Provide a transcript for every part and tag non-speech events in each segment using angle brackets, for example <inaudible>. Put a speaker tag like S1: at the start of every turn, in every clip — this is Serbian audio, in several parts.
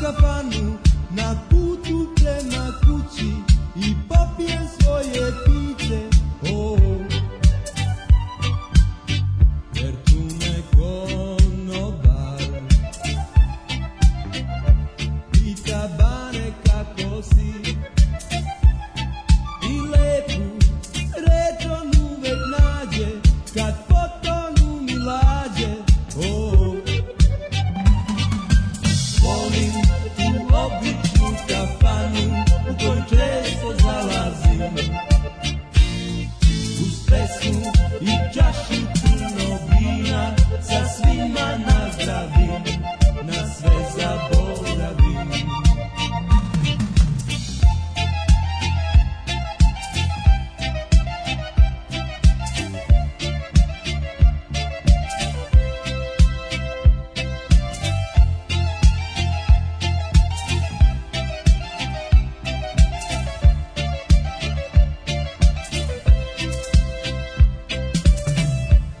S1: kafanu na putu prema kući i popijem svoje piće. Oh, jer tu me konobar pita bane kako si. I lepu reč on uvek nađe kad potonu mi lađe. Oh, Volim tu običnu kafanu u koju često zalazim Uz pesmu i čašu crnog vina sa svima nazdravim Na sve zaboravim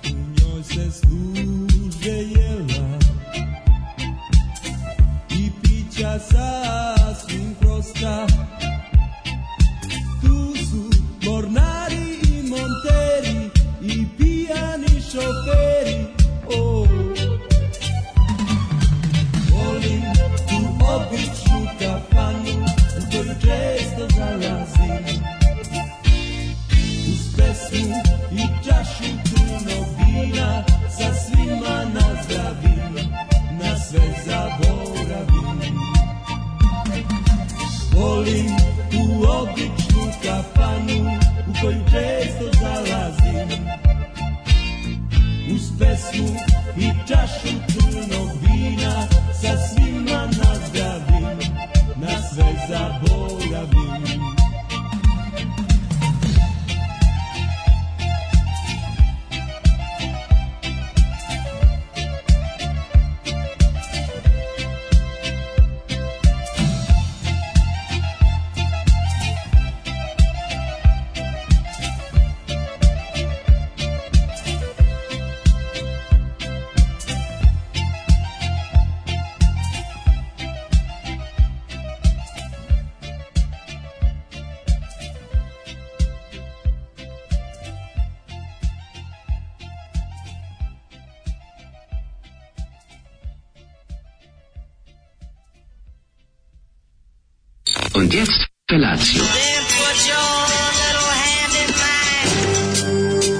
S1: U njoj se služe jela I pića sasvim prosta Tu su mornari i monteri I pijani šoferi oh. Volim tu običnu kafanu U koju često zalazim uz pesmu i čašu puno vina sa svima nazdravim na sve zaboravim volim tu običnu kafanu u koju često zalazim uz pesmu i čašu puno vina sa svima nazdravim na sve zaboravim
S2: Und jetzt Felatio.
S3: Then put your little hand in mine.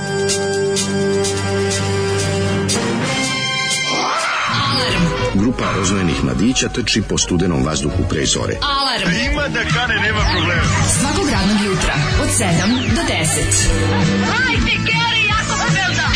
S4: Grupa rozvojenih mladića trči po studenom vazduhu pre zore.
S5: Alarm. Ima da kane, nema problema. Svakog radnog jutra, od 7 do 10. Hajde, Geri, jako se velda.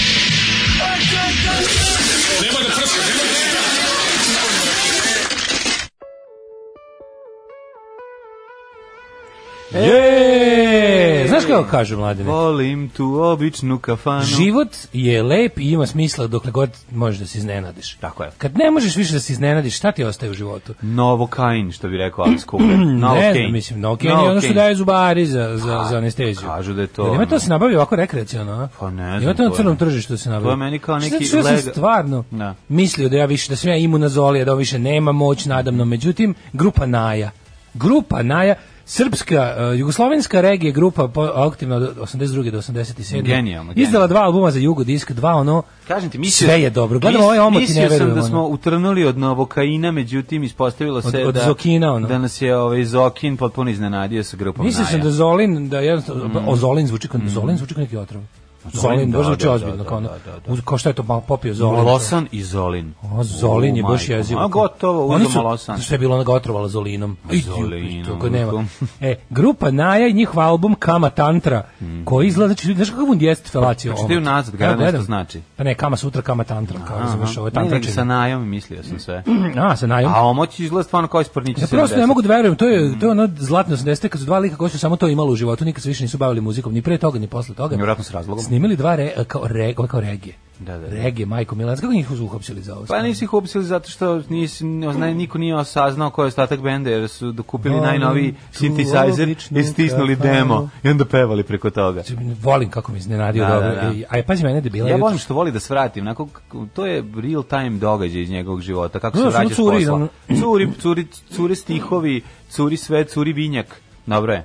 S6: Je! Znaš kako kažu mladine?
S7: Volim tu običnu kafanu.
S6: Život je lep i ima smisla dokle god možeš da se iznenadiš.
S7: Tako je.
S6: Kad ne možeš više da se iznenadiš, šta ti ostaje u životu?
S7: Novo kain, što bi rekao Alice Cooper. Novo
S6: ne
S7: Kain.
S6: znam, mislim, Nokia je ono što
S7: Kain.
S6: daje zubari za, za, za anesteziju.
S7: Pa, kažu da je to,
S6: Jel ima to
S7: ono-
S6: se nabavi ovako rekreacijalno, a?
S7: Pa ne znam,
S6: Ima to na
S7: to je-
S6: crnom tržištu da se nabavi.
S7: to je meni kao neki
S6: Šta, ja sam
S7: lega-
S6: stvarno
S7: Da.
S6: mislio da ja više, da sam ja imun na zoli, a da on više nema moć nadamno. Međutim, grupa Naja. Grupa Naja, srpska, eh, jugoslovenska regija grupa po- aktivna od 82. do 87.
S7: Genijalno,
S6: Izdala
S7: genijalno.
S6: dva albuma za Jugodisk, dva ono,
S7: Kažem ti, mislio,
S6: sve je dobro. Gledamo
S7: mis-
S6: ovaj omot i ne
S7: Mislio sam
S6: verujem,
S7: da
S6: ono.
S7: smo utrnuli od novokaina, međutim, ispostavilo se
S6: Od- od
S7: da...
S6: Zokina, ono.
S7: Da nas je ovaj Zokin potpuno iznenadio sa grupom
S6: Mislio sam
S7: Pa Naja. Mm.
S6: da Zolin, da jednostavno, o Zolin zvuči kao, Zolin zvuči kao neki otrov.
S7: Zolin,
S6: Zolin,
S7: da,
S6: baš zvuči
S7: da,
S6: ozbiljno,
S7: da,
S6: kao ono,
S7: da, da,
S6: uz- kao što je to malo popio Zolin.
S7: Molosan i Zolin.
S6: O, Zolin je
S7: U,
S6: baš
S7: majko.
S6: jezivo.
S7: A gotovo,
S6: Oni
S7: uzmo
S6: su-
S7: Molosan.
S6: Sve je bilo onoga otrovala Zolinom. pa
S7: Zolinom,
S6: To koje nema.
S7: to.
S6: <laughs> E, grupa Naja i njihov album Kama Tantra, koji izlazi, znači, znaš kakav on jest felacija?
S7: Pročitaj
S6: ovom?
S7: unazad,
S6: Evo,
S7: gledam Mhm. šta
S6: gledam.
S7: znači.
S6: Pa ne, Kama Sutra, Kama Tantra, kao razumeš, ovo je
S7: Ne, nego
S6: tantračenje.
S7: sa najom mislio sam
S6: <clears throat>
S7: sve.
S6: A, sa Najom.
S7: A omoć izgleda stvarno kao ispornići
S6: Ja
S7: 70.
S6: prosto ne mogu da verujem, to je to je ono zlatno 80 kad su dva lika koji su samo to imali u životu, nikad se više nisu bavili muzikom, ni pre toga, ni posle toga.
S7: Vjerojatno s razlogom.
S6: Snimili dva re, kao, re, kao regije.
S7: Da, da, da.
S6: Regije, majko Milanc, kako njih uhapsili za ovo?
S7: Pa nisi ih upsili zato što nisi, oznaj, niko nije osaznao ko je ostatak benda jer su dokupili
S6: Volim
S7: najnoviji
S6: tu pa
S7: synthesizer
S6: običnu
S7: i stisnuli
S6: kafanu.
S7: demo i onda pevali preko toga.
S6: Znači, Volim kako mi iznenadio
S7: Da,
S6: da,
S7: da,
S6: dobro.
S7: da.
S6: Ej, Aj, pazi mene debila.
S7: Ja
S6: jutros.
S7: volim što voli da svratim, onako, k- to je real time događaj iz njegovog života, kako se
S6: Znaš, ono
S7: vraćaš
S6: curi,
S7: posla.
S6: ono-
S7: Curi, curi, curi stihovi, curi sve, curi vinjak. Dobro je.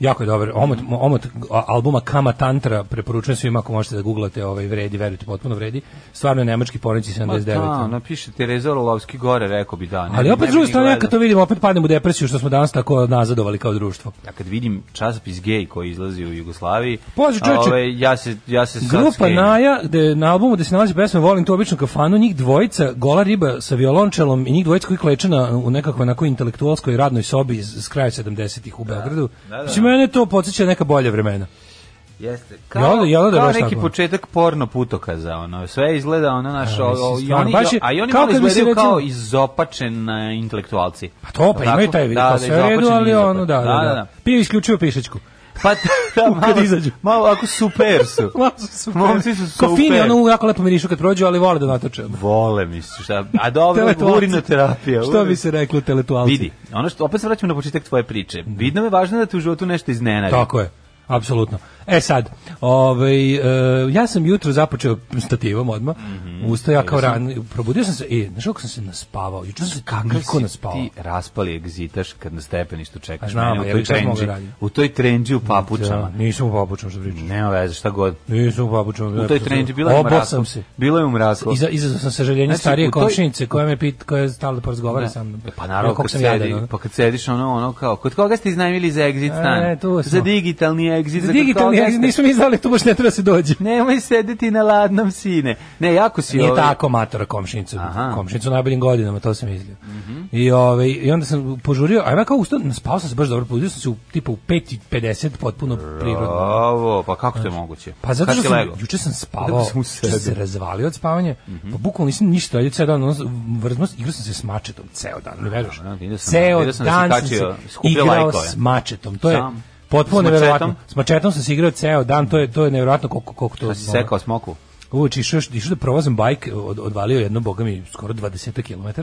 S6: Jako je dobar. Omot, omot a- albuma Kama Tantra preporučujem svima ako možete da googlate ovaj vredi, verujte, potpuno vredi. Stvarno je nemački poreći
S7: Ma
S6: 79.
S7: Pa da, napiše Tereza Orlovski gore, rekao bi da. ne
S6: Ali
S7: bi- ne
S6: opet s
S7: bi
S6: druge
S7: ni
S6: strane, ja
S7: gledao.
S6: kad to vidim, opet padnem u depresiju što smo danas tako nazadovali kao društvo.
S7: Ja kad vidim časopis gej koji izlazi u Jugoslaviji,
S6: Pazi, čoveče,
S7: ovaj, ja se, ja se sad
S6: Grupa
S7: skenjem.
S6: Naja, gde na albumu gde se nalazi pesma Volim tu običnu kafanu, njih dvojica, gola riba sa violončelom i njih dvojica koji kleče na, u nekakvoj onako intelektualskoj radnoj sobi iz, iz kraja 70-ih u Beogradu.
S7: da, da.
S6: Mislim, mene to podsjeća na neka bolja vremena.
S7: Jeste.
S6: Jel
S7: Kao,
S6: da- jel da
S7: kao
S6: baš
S7: neki
S6: tako?
S7: početak porno putokaza, ono, sve izgleda ono naš,
S6: A,
S7: o-
S6: mislim,
S7: o- i
S6: stvarno,
S7: oni,
S6: baš je-
S7: a i oni
S6: kao
S7: malo
S6: kad bi se
S7: izgledaju
S6: recimo-
S7: kao izopačena intelektualci.
S6: Pa to, pa
S7: Jel
S6: imaju
S7: tako?
S6: taj
S7: Da,
S6: video,
S7: da,
S6: sve u redu,
S7: izopačeni,
S6: ali
S7: izopačeni.
S6: ono, da, da, da. Pije isključivo <laughs> pišečku.
S7: Pa
S6: <laughs>
S7: da, malo,
S6: Kad izađu.
S7: malo ako super
S6: <laughs>
S7: su. Momci su
S6: Ko
S7: super.
S6: fini, ono jako lepo mirišu kad prođu, ali vole da natoče.
S7: Vole mi se, šta, a dobro,
S6: Teletualci.
S7: urinoterapija.
S6: Što bi
S7: urino-
S6: se reklo teletualci?
S7: Vidi, ono što, opet se vraćamo na početak tvoje priče. Vidno je važno da te u životu nešto iznenadi.
S6: Tako je. Apsolutno. E sad, ovaj, e, ja sam jutro započeo stativom odmah,
S7: Mhm.
S6: ustao
S7: E,
S6: ja kao ran, probudio sam se, e, znaš kako sam se naspavao, jučer sam se kako
S7: si
S6: naspavao.
S7: Ti raspali egzitaš kad na stepeništu čekaš
S6: A znam,
S7: mene u
S6: ja
S7: toj
S6: bih sad mogao
S7: trendži,
S6: raditi.
S7: u toj trendži u
S6: Da,
S7: papučama.
S6: nisam u papučama što pričaš.
S7: Nema veze, šta god.
S6: Nisam u papučama.
S7: U toj trendži bila je
S6: Obao
S7: mraku.
S6: sam se.
S7: Bilo je u mraku.
S6: Iza, izazvao sam sažaljenje
S7: Znači, u
S6: starije
S7: toj-
S6: komšinice koja me pit, koja je stala da porazgovara sa mnom.
S7: Pa naravno,
S6: Kako
S7: kad,
S6: sam
S7: sedi,
S6: jadan, ono.
S7: pa kad sediš ono, ono kao, kod koga ste iznajmili za exit stan?
S6: E, tu smo.
S7: za digitalni exit.
S6: Za
S7: kod koga
S6: digitalni,
S7: ste?
S6: nismo mi znali, tu baš ne treba da se dođe.
S7: Nemoj sedeti na ladnom sine. Ne, jako si
S6: Nije
S7: ovaj-
S6: tako matora komšinicu.
S7: Aha.
S6: Komšinicu u najboljim godinama, to sam mislio. I, ovaj, I onda sam požurio, a ja kao ustao, spao sam se baš dobro, pobudio sam se u, tipa u 5.50 potpuno prirodno.
S7: Ovo, pa kako to je moguće?
S6: Pa zato
S7: Kad
S6: što
S7: si
S6: sam,
S7: legao?
S6: juče sam spavao,
S7: Zato sam u Mhm.
S6: juče sam
S7: sebi.
S6: se razvalio od spavanja, pa bukvalno nisam ništa radio ceo dan, ono, vrzno, sam- igrao sam se s mačetom ceo dan, ne veruješ?
S7: Dobro, vidio sam-
S6: Ceo
S7: vidio sam da si
S6: dan sam se
S7: kačio, skupljao
S6: igrao
S7: lajkove.
S6: s mačetom, to je
S7: Sam.
S6: potpuno
S7: S mačetom?
S6: neverovatno. S mačetom sam se igrao ceo dan, to je, to je neverovatno koliko, koliko to...
S7: Pa si
S6: ono-
S7: sekao smoku?
S6: Uveč išao, išao da provozam bajk, od, odvalio jedno, boga mi, skoro 20 km.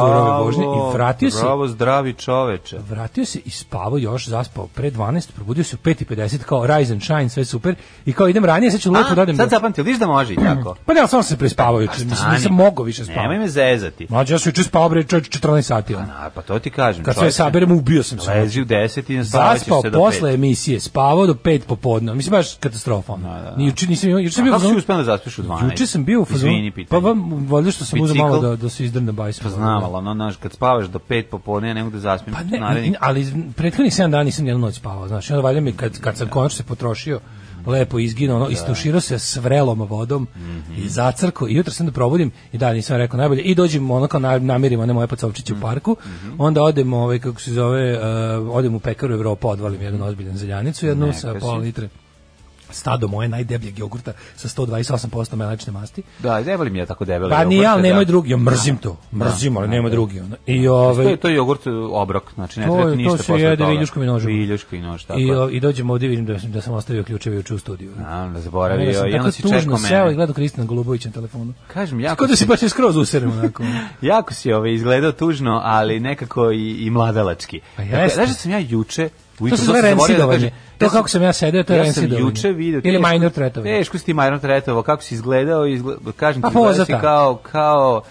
S6: Surove vožnje i vratio se,
S7: Bravo, zdravi čoveče.
S6: vratio se i spavao još, zaspao pre 12, probudio se u 5.50, kao rise and shine, sve super, i kao idem ranije, sad ću lepo da odem.
S7: sad
S6: do-
S7: zapamtio, vidiš da može
S6: <clears throat>
S7: i tako.
S6: Pa ne, samo sam se prespavao juče, mislim, nisam mogao više
S7: Nemoj
S6: spavati.
S7: me zezati.
S6: Mlađe, ja sam juče spavao, bre, čovječ, 14 sati. ono.
S7: A, pa to ti kažem.
S6: Kad sve
S7: čoveče.
S6: saberem, ubio sam se.
S7: Lezi u deset i naspavaćeš
S6: Zaspao
S7: se do
S6: posle
S7: pet.
S6: emisije, spavao do 5 popodne. Mislim, baš katastrofa. ono. Ni juče nisam imao, juče sam
S7: A
S6: bio... u
S7: Kako si
S6: fazonu-
S7: uspeo da zaspiš u 12?
S6: Juče sam bio u fazonu.
S7: Izvini,
S6: pa
S7: pitanje.
S6: vam valjda što sam uzeo malo
S7: Bicikl?
S6: da da se izdrne bajs.
S7: Pa znam, ali ono, znaš, kad spavaš do pet popodne, ja ne mogu da zaspim.
S6: Pa ne,
S7: narednih
S6: ali iz- prethodnih 7 dana nisam jednu noć spavao, znači onda valjda mi kad kad sam konačno se potrošio lepo izginuo, ono, istuširao se s vrelom vodom
S7: Mhm.
S6: i zacrko i jutro sam da probudim i da nisam rekao najbolje i dođem ono kao na- namirim one moje pacovčiće
S7: Mhm.
S6: u parku onda odem ovaj kako se zove eh, odem u pekaru Evropa odvalim jednu ozbiljan zeljanicu jednu sa
S7: Neka si.
S6: pola litre stado moje najdebljeg jogurta sa 128% mlečne masti
S7: Da, ne volim ja tako debeli
S6: Pa ni
S7: jogurte,
S6: ja,
S7: da.
S6: nemoj drugi, ja mrzim to. Mrzim, ali nemoj drugi. ono. I
S7: To je,
S6: ovaj
S7: to je jogurt uh, obrok, znači ne
S6: To
S7: treba
S6: je-
S7: ti
S6: to
S7: ništa
S6: se
S7: posle toga.
S6: jede viljuškom i nožem.
S7: Viljuškom i nož, tako.
S6: I,
S7: I,
S6: o, I dođem ovdje i vidim da sam, da sam ostavio ključeve juče u studiju.
S7: Naravno,
S6: Onda
S7: zaboravio.
S6: sam
S7: I onda
S6: tako
S7: si
S6: tužno
S7: čekao
S6: seo i
S7: mene.
S6: gledao Kristina Golubovića na telefonu.
S7: Kažem,
S6: Kao
S7: jako
S6: da si baš je skroz useren
S7: <laughs>
S6: onako.
S7: Jako si ovaj izgledao tužno, ali nekako i, i mladalački.
S6: Pa
S7: Dakle,
S6: jeste.
S7: Znaš da sam ja juče
S6: To
S7: ujutru,
S6: se zove
S7: sam zaboravio da
S6: rensidovanje.
S7: kažem,
S6: To
S7: ja sam-
S6: kako sam ja sedeo, to je
S7: Ja sam
S6: rensidovanje.
S7: juče video
S6: Ili
S7: teško-
S6: minor tretovanje.
S7: Teško si ti minor tretovo, kako si izgledao, izgledao kažem
S6: Pa
S7: ti, izgledao si
S6: pozata.
S7: kao, kao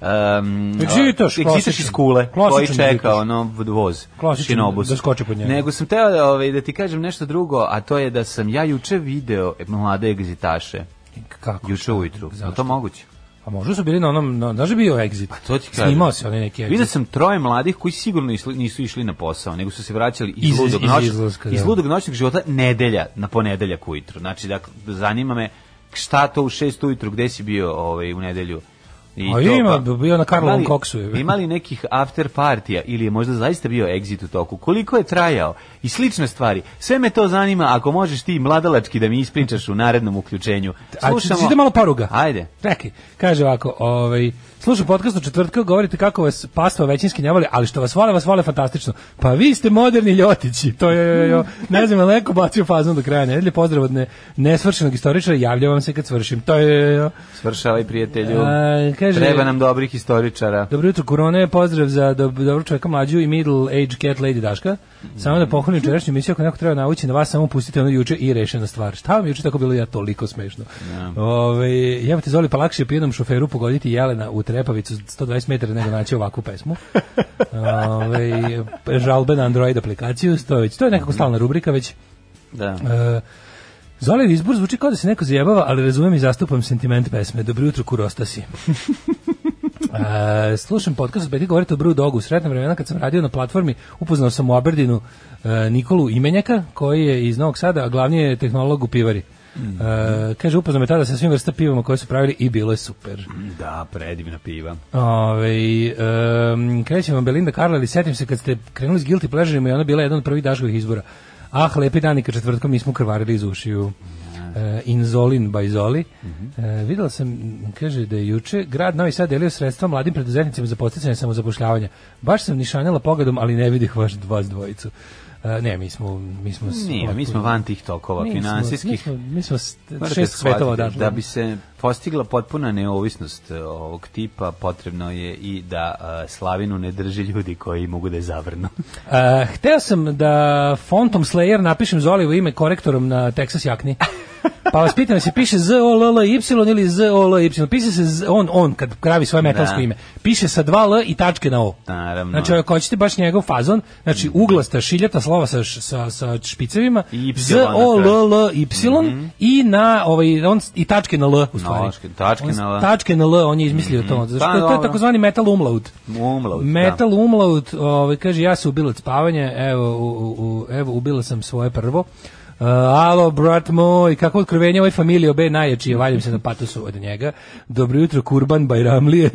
S7: Um,
S6: Egzitaš,
S7: egzitaš
S6: klasičan.
S7: iz kule, koji
S6: Klasičan
S7: čeka
S6: egzitaš.
S7: ono v- voz,
S6: Klasičan,
S7: šinobus.
S6: da skoči pod njega.
S7: Nego sam teo da, ovaj, da ti kažem nešto drugo, a to je da sam ja juče video mlade egzitaše,
S6: Kako?
S7: juče ujutru. Je li
S6: Zašto?
S7: to moguće?
S6: A možda su bili na onom, na, znaš da je bio exit? Pa
S7: to ti kažem.
S6: Snimao se onaj neki exit.
S7: E, Vidio sam troje mladih koji sigurno isli- nisu išli na posao, nego su se vraćali iz,
S6: Iz-
S7: ludog,
S6: iz
S7: noć,
S6: izlaska,
S7: iz
S6: da.
S7: ludog noćnog života nedelja na ponedeljak ujutru. Znači, dakle, zanima me šta to u šest ujutru, gde si bio ovaj, u nedelju? I
S6: A ima, bio na Karlovom
S7: ima li-
S6: koksu je.
S7: Ima li nekih after partija ili je možda zaista bio exit u toku? Koliko je trajao? I slične stvari. Sve me to zanima, ako možeš ti mladalački da mi ispričaš u narednom uključenju.
S6: A,
S7: Slušamo.
S6: ide malo paruga.
S7: Ajde.
S6: Čekaj, kaže ovako, ovaj, Slušam podcast od četvrtka, govorite kako vas pastva većinski ne voli, ali što vas vole, vas vole fantastično. Pa vi ste moderni ljotići. To je, jo, jo. ne znam, je leko bacio fazom do kraja nedelje. Pozdrav od ne, nesvršenog istoričara, javljam vam se kad svršim. To je, jo, jo.
S7: Svršavaj prijatelju.
S6: A, E, kaže-
S7: Treba nam dobrih historičara.
S6: Dobro jutro, Korone, pozdrav za dob dobro čovjeka mlađu i middle age cat lady Daška. Samo da pohvalim jučerašnju emisiju, ako neko treba naučiti na vas, samo pustite ono juče i rešena stvar. Šta vam je juče tako bilo ja toliko smešno? Ove, jevo te zoli, pa lakše je pijenom šoferu pogoditi Jelena u Trepavicu 120 metara nego naći ovakvu pesmu. Ove, žalbe na Android aplikaciju, to je, već, to je nekako stalna rubrika već.
S7: Da.
S6: E, Zoli izbor zvuči kao da se neko zajebava, ali razumem i zastupam sentiment pesme. Dobro jutro, kurostasi. E, slušam podcast od Beti, govorite o Brew Dogu. U sretna vremena kad sam radio na platformi, upoznao sam u Aberdinu e, Nikolu Imenjaka, koji je iz Novog Sada, a glavni je tehnolog u pivari. E, kaže, upoznao me tada sa svim vrsta pivama koje su pravili i bilo je super.
S7: Da, predivna piva.
S6: Ove, um, krećem vam Belinda Karla, ali setim se kad ste krenuli s Guilty Pleasure-ima i ona bila jedan od prvih daškovih izbora. Ah, lepi dani kad četvrtkom nismo krvarili iz ušiju. E, Inzolin by Zoli.
S7: Mhm.
S6: E, videla sam, kaže da je juče grad Novi Sad delio sredstva mladim preduzetnicima za podsticanje samozapošljavanja. Baš sam nišanjala pogledom, ali ne vidih vaš vas dvojicu. E, ne, mi smo... Mi smo s-
S7: Nije, mi smo van tih tokova
S6: Mi smo-
S7: finansijskih.
S6: Mi smo, mi smo s-
S7: Morate
S6: šest
S7: shvatiti
S6: svetova odatle.
S7: Da bi se postigla potpuna neovisnost e, ovog tipa, potrebno je i da e, Slavinu ne drže ljudi koji mogu da je zavrnu.
S6: Uh, hteo sam da fontom Slayer napišem Zolivo ime korektorom na Texas
S7: <laughs>
S6: jakni. Pa vas pitam, se piše Z O L L Y ili Z O L Y? Piše se z- on on kad pravi svoje metalsko
S7: Da.
S6: ime. Piše sa dva L i tačke na O.
S7: Naravno.
S6: Znači, ako hoćete baš njegov fazon, znači uglasta šiljata slova sa š- sa sa špicevima
S7: I Y Mhm.
S6: Z O L L Y i na ovaj on s- i tačke na L u stvari.
S7: tačke- tačke
S6: On s-
S7: na L.
S6: Tačke na L, on je izmislio to. Zato
S7: Pa,
S6: što to je
S7: dobro.
S6: takozvani metal umlaut.
S7: <laughs> Umlaut, da.
S6: Metal umlaut, ovaj kaže ja sam ubila od spavanja, evo u, u, u, evo ubila sam svoje prvo. Uh, alo, brat moj, kako otkrovenje ovoj familiji obe najjačije, valjam se na patosu od njega. Dobro jutro, Kurban
S7: <laughs>
S6: Bajramlije.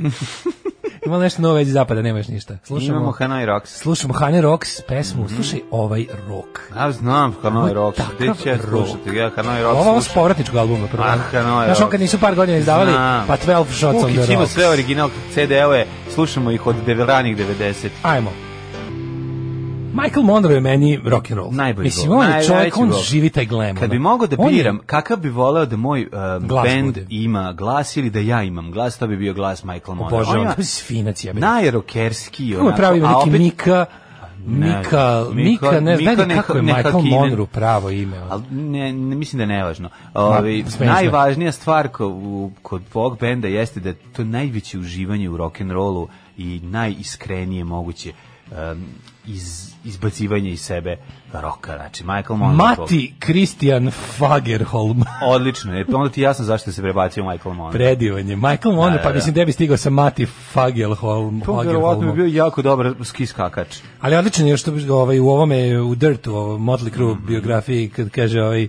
S6: Ima nešto novo vezi zapada, nemaš ništa. Slušamo,
S7: Imamo Mhm. Hanoi Rocks.
S6: slušamo Hane Rocks pesmu, slušaj ovaj rock.
S7: Ja znam Hanoi Rocks. Gde
S6: takav
S7: ću ja
S6: rock.
S7: slušati? Ja Hanoi Rocks
S6: Ovo ovo s
S7: slušam.
S6: povratničkog albuma prvo.
S7: Ah, Hanoi
S6: Znaš, on
S7: Rocks.
S6: kad nisu par godina izdavali,
S7: Znam.
S6: pa 12 shots on
S7: Vukić
S6: the
S7: ima
S6: rocks.
S7: sve original CD-ove, slušamo ih od dev- ranih 90.
S6: Ajmo. Michael Monroe je meni rock and roll.
S7: Najbolji
S6: Mislim,
S7: gol.
S6: on je čovjek,
S7: Najveći
S6: on
S7: gol.
S6: živi taj glam.
S7: Kad
S6: ono.
S7: bi mogao da
S6: On je-
S7: biram, kakav bi voleo da moj um,
S6: Glas
S7: band
S6: bude.
S7: ima glas ili da ja imam glas, to bi bio glas Michael Monroe.
S6: Bože,
S7: ono, On
S6: on
S7: ima
S6: je sfinac, ja bih.
S7: najrokerski,
S6: Kako je
S7: onako,
S6: pravi
S7: a
S6: neki
S7: opet-
S6: Mika,
S7: Ne,
S6: Mika,
S7: Mika-
S6: Mika, ne
S7: Mika
S6: znam ne, kako je
S7: neka-
S6: Michael
S7: nekakine.
S6: Monroe pravo ime. ono.
S7: Ali ne, ne, mislim da je nevažno. Ovi,
S6: smešno je.
S7: najvažnija stvar ko, u, kod ovog benda jeste da je to najveće uživanje u rock'n'rollu i najiskrenije moguće um, iz, izbacivanje iz sebe roka. Znači, Michael Monroe.
S6: Mati Christian Fagerholm. <laughs>
S7: Odlično, je, onda ti je jasno zašto se prebacio Michael Monroe.
S6: Predivan je. Michael Monroe,
S7: da,
S6: pa
S7: da.
S6: mislim da bi stigao sa Mati Fagerholm.
S7: To verovatno bi bio jako dobar ski skakač.
S6: Ali odlično je što bi- ovaj u ovome u Dirtu, u Motley Crue
S7: Mhm.
S6: biografiji kad kaže ovaj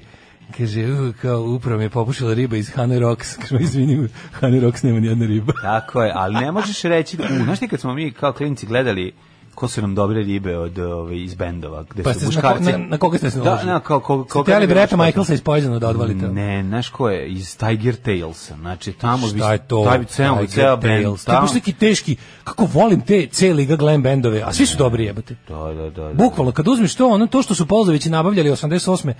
S6: kaže "U, kao upravo mi je popušila riba iz Hanoi Rocks. <laughs> Kaže izvinim, Hanoi Rocks nema ni jedna riba.
S7: Tako je, ali ne možeš reći, u, znaš ti kad smo mi kao klinci gledali ko su nam dobre ribe od ove iz bendova, gde
S6: Pa
S7: su
S6: ste na, ko-
S7: muškarci.
S6: na, na koga ste se
S7: Da,
S6: naložili?
S7: na ko- ko-
S6: Ste
S7: koga
S6: htjeli
S7: bi
S6: Breta
S7: muškarci?
S6: Michaelsa iz Poisona da odvalite?
S7: Ne, znaš ko je, iz Tiger Tailsa, znači tamo bi...
S6: Šta je to?
S7: Taj bi ceo,
S6: Tiger
S7: ceo band,
S6: Tales. To je
S7: tamo...
S6: baš neki teški, kako volim te C liga glam bendove, a svi su dobri jebote.
S7: Da, da, da. da.
S6: Bukvalno kad uzmeš to, ono to što su Polzovići nabavljali 88.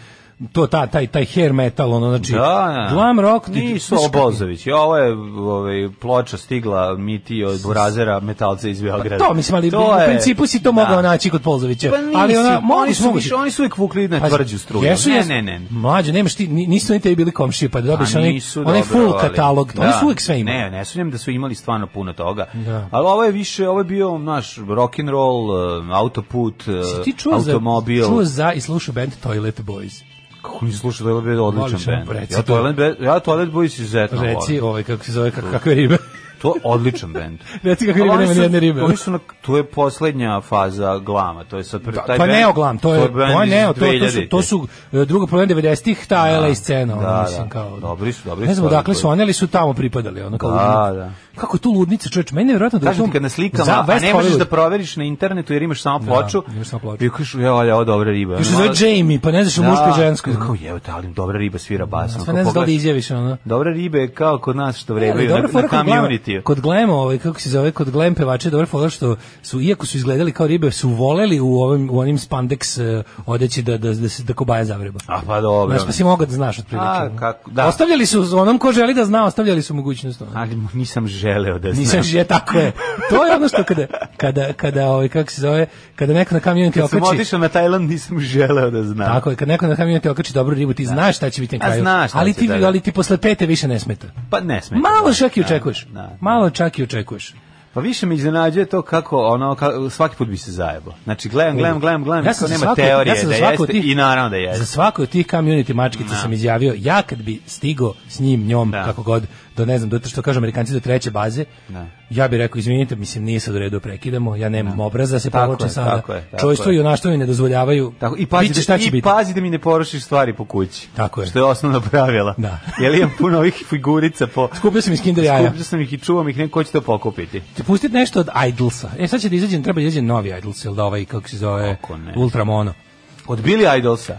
S6: to ta taj taj hair metal ono znači
S7: Da, da.
S6: glam rock
S7: Nisu
S6: znaš kako-
S7: Obozović. Ja, ovo je ovaj, ploča stigla miti od Burazera metalca iz Beograda.
S6: Pa To mislim, ali
S7: To
S6: u
S7: je-
S6: principu si to mogao
S7: da.
S6: naći kod Polzovića.
S7: Pa nisi,
S6: ali ono, ona,
S7: oni
S6: mogući,
S7: su
S6: mogući.
S7: više- oni su uvijek vukli na
S6: Pazi,
S7: tvrđu struju.
S6: Jesu,
S7: Ne,
S6: jesu.
S7: ne, ne.
S6: Mlađe, nemaš ti, ni- nisu ni tebi bili komšije, pa dobiješ
S7: A
S6: onaj,
S7: nisu
S6: onaj
S7: dobro,
S6: full
S7: ali-
S6: katalog. Oni su uvijek sve imali.
S7: Ne, ne sumnjam da su imali stvarno puno toga.
S6: Da.
S7: Ali ovo je više, ovo je bio naš rock and roll, e, autoput, eh,
S6: Si ti čuo
S7: automobil.
S6: za, čuo za i slušao band Toilet Boys.
S7: Kako nisam slušao Toilet Boys, odličan
S6: Molim,
S7: band.
S6: reci
S7: Ja
S6: to.
S7: Toilet Boys, ja Toilet Boys izuzetno
S6: Reci,
S7: volim.
S6: ovaj, kako se zove, kak, kakve ribe.
S7: To je odličan band.
S6: <laughs> Reci kakve ribe,
S7: Ali oni
S6: nema
S7: su-
S6: nijedne ribe.
S7: Oni su na, to je poslednja faza glama, to je sad pre,
S6: Pa,
S7: taj
S6: pa
S7: band-
S6: neo glam, to je,
S7: band
S6: to je
S7: iz
S6: neo, to, to su,
S7: 2000-te.
S6: to su e, druga polovina 90-ih, ta LA scena, ono,
S7: da,
S6: mislim,
S7: da.
S6: kao.
S7: Dobri su, dobri
S6: Ne
S7: su
S6: znam
S7: stvari
S6: odakle su
S7: koji-
S6: oni, ali su tamo pripadali, ono, kao
S7: Da,
S6: ludnici.
S7: da.
S6: Kako je tu ludnica, čovječ, meni je vjerojatno da u
S7: Kažem
S6: tom...
S7: ti kad na
S6: za
S7: slikama, a
S6: West
S7: ne možeš
S6: Hollywood-
S7: da proveriš na internetu jer imaš samo ploču.
S6: imaš samo ploču.
S7: I kažeš, evo, ali ovo dobra riba. Ono
S6: Još se zove Jamie, pa ne znaš da, muško i žensko.
S7: Kao, evo, te, ali dobra riba svira basom.
S6: Pa
S7: Kao
S6: ne znaš da li
S7: pogledaš-
S6: izjaviš, ono.
S7: Dobra riba je kao kod nas što
S6: Ne, ali
S7: vrebaju na,
S6: dobra
S7: na
S6: fora kod glave-
S7: vidio.
S6: kod Glema, ovaj kako se zove, kod Glem pevače dobro fora što su iako su izgledali kao ribe, su voleli u ovim u onim spandex eh, odeći da da da se da kobaja zavreba.
S7: A pa dobro.
S6: Znaš, pa si mogao da znaš otprilike.
S7: A,
S6: ono.
S7: kako- da.
S6: Ostavljali su onom ko želi da zna, ostavljali su mogućnost. ono.
S7: Ali mu nisam želeo da
S6: Nisam
S7: znam.
S6: je tako je. To je ono što kada kada kada ovaj kako se zove, kada neko na kamion te
S7: Kad sam
S6: okači.
S7: otišao na Tajland, nisam želeo da znam.
S6: Tako je, kad neko na kamion te okači dobru ribu, ti znaš šta će biti na
S7: A,
S6: kraju.
S7: znaš šta
S6: ali
S7: će,
S6: ti
S7: da, da.
S6: ali ti posle pete više ne smeta.
S7: Pa ne smeta.
S6: Malo
S7: Da,
S6: čak i
S7: da,
S6: očekuješ.
S7: da, da.
S6: Malo čak i očekuješ.
S7: Pa više me iznenađuje to kako ono ka, svaki put bi se zajebo. Znači gledam, gledam, gledam, gledam, ja
S6: sam za
S7: nema
S6: svako-
S7: teorije
S6: ja sam
S7: da
S6: za svako
S7: jeste
S6: od tih-
S7: i naravno da
S6: Za
S7: jeste.
S6: svako od tih community mačkica sam izjavio, ja kad bi stigo s njim, njom,
S7: Da.
S6: kako god, do ne znam, do što kažu Amerikanci, do treće baze,
S7: Da.
S6: ja bih rekao, izvinite, mislim, nije sad u redu, prekidamo, ja nemam obraza da se
S7: Tako
S6: povlačim
S7: je,
S6: sada.
S7: tako je, tako
S6: Čojstvo
S7: je.
S6: i onaštvo mi ne dozvoljavaju.
S7: Tako, I
S6: Vidit
S7: pazi,
S6: ćeš
S7: da,
S6: šta će
S7: i pa-
S6: biti.
S7: pazi da mi ne porušiš stvari po kući.
S6: Tako je.
S7: Što je osnovno pravila.
S6: Da.
S7: Jer imam puno ovih figurica po...
S6: Kupio sam iz Kinder jaja.
S7: Skupio sam ih i čuvam ih, neko će to pokupiti.
S6: Će pustit nešto od Idlesa. E sad će da izađe, treba da izađe novi Idles, ili da ovaj, kako se zove,
S7: Kako ne.
S6: Ultramono.
S7: Od Billy Idolsa.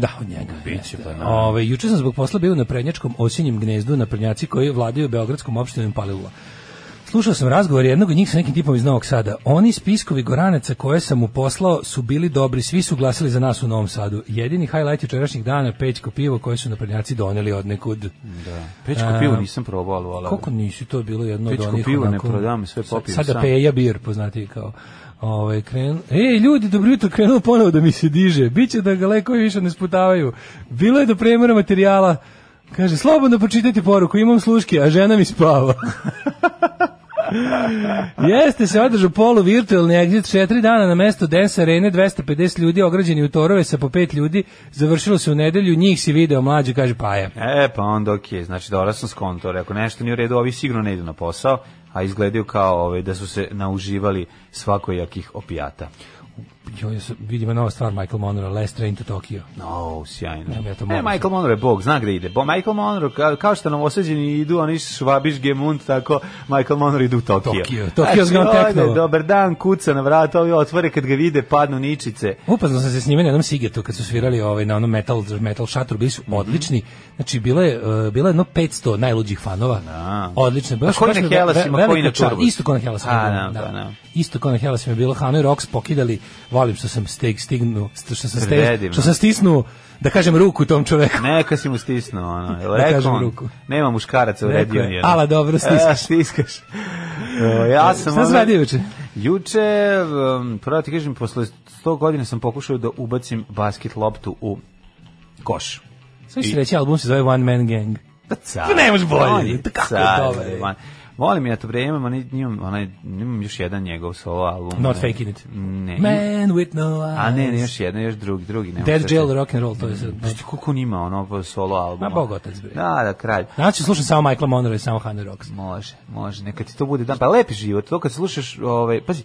S6: Da, od njega. jeste.
S7: pa, da.
S6: Ove, juče sam zbog posla bio na prednjačkom osinjem gnezdu na prednjaci koji vladaju Beogradskom opštinom Palilula. Slušao sam razgovor jednog od njih sa nekim tipom iz Novog Sada. Oni spiskovi Goranaca koje sam mu poslao su bili dobri, svi su glasili za nas u Novom Sadu. Jedini highlight jučerašnjih dana Pećko pivo koje su naprednjaci doneli od nekud.
S7: Da. Pečko pivo nisam probao, ali vola.
S6: Koliko nisi to je bilo jedno
S7: Pećko
S6: od onih
S7: pivo ne
S6: onako-
S7: prodam, sve popijem
S6: Sada
S7: sam.
S6: peja bir poznati kao. Ovaj kren. Ej ljudi, dobro jutro, krenuo ponovo da mi se diže. Biće da ga lekovi više ne sputavaju. Bilo je do premora materijala. Kaže, slobodno pročitajte poruku, imam sluške, a žena mi spava. <laughs> Jeste se održao polu virtualni exit četiri dana na mesto Dance Arene, 250 ljudi ograđeni u torove sa po pet ljudi, završilo se u nedelju, njih si video mlađi, kaže Paja.
S7: E, pa onda okej, znači dobro sam skonto, rekao nešto nije u redu, ovi sigurno ne idu na posao, a izgledaju kao ove, da su se nauživali svakojakih opijata.
S6: Jo, ja sam, vidimo nova stvar Michael Monroe, Last Train to Tokyo.
S7: No, sjajno.
S6: Ne, ja to
S7: e,
S6: moram.
S7: Michael Monroe je bog, zna gde ide. Bo Michael Monroe, ka, kao što nam osađeni idu, oni švabiš gemund, tako Michael Monroe ide u Tokio. Znači,
S6: Tokio, Tokio's gone
S7: ode,
S6: techno.
S7: Dobar dan, kuca na vrat, ovi otvore, kad ga vide, padnu ničice.
S6: Upoznao sam se s njima na jednom Sigetu kad su svirali ovaj, na onom metal, metal šatru, bili su
S7: Mhm.
S6: odlični. Znači, bilo je, uh, bilo je jedno 500 najluđih fanova.
S7: Da.
S6: Odlično.
S7: A koji na
S6: mi je ve-
S7: Hellasima,
S6: ve-
S7: koji na
S6: velika čast.
S7: Turbus?
S6: Isto ko na Hellasima.
S7: A,
S6: bilo,
S7: da,
S6: da.
S7: pa, da.
S6: Isto ko na Hellasima je bilo. Hanoi Rocks pokidali. Volim što sam steg, stignu, st- što sam, steg,
S7: Predivno.
S6: što sam stisnuo, da kažem, ruku tom
S7: <laughs>
S6: čoveku.
S7: Neka si mu stisnuo, ono. jel
S6: Da
S7: Rekao
S6: kažem
S7: on,
S6: ruku.
S7: nema muškaraca u
S6: Rekao
S7: redionu.
S6: je,
S7: jednom.
S6: "Ala, dobro, stiskaš."
S7: <laughs> E, stiskaš. E, ja sam...
S6: Šta si
S7: ono-
S6: radio juče?
S7: Juče, um, pravo ti kažem, posle 100 godina sam pokušao da ubacim basket loptu u koš.
S6: Sve ću reći, album se zove One Man Gang.
S7: Car.
S6: Pa ne može bolje.
S7: On je
S6: Kako je
S7: car,
S6: dobar,
S7: bre,
S6: ej.
S7: man. Volim ja to vreme, imam, onaj- imam, onaj, imam još jedan njegov solo album.
S6: Not
S7: onaj-
S6: faking it.
S7: Ne.
S6: Man with no eyes.
S7: A ne, ne, još jedan, još drugi, drugi. ne mogu
S6: Dead
S7: sad
S6: Jail
S7: se-
S6: Rock and Roll, to je sad.
S7: Znaš ti koliko on ima ono solo album?
S6: Ma, bog otac, bre.
S7: Da, da, kralj.
S6: Znači, slušam samo Michael Monroe i samo Hanoi Rocks.
S7: Može, može, neka ti to bude dan. Pa lepi život, to kad slušaš, ovaj, pazi,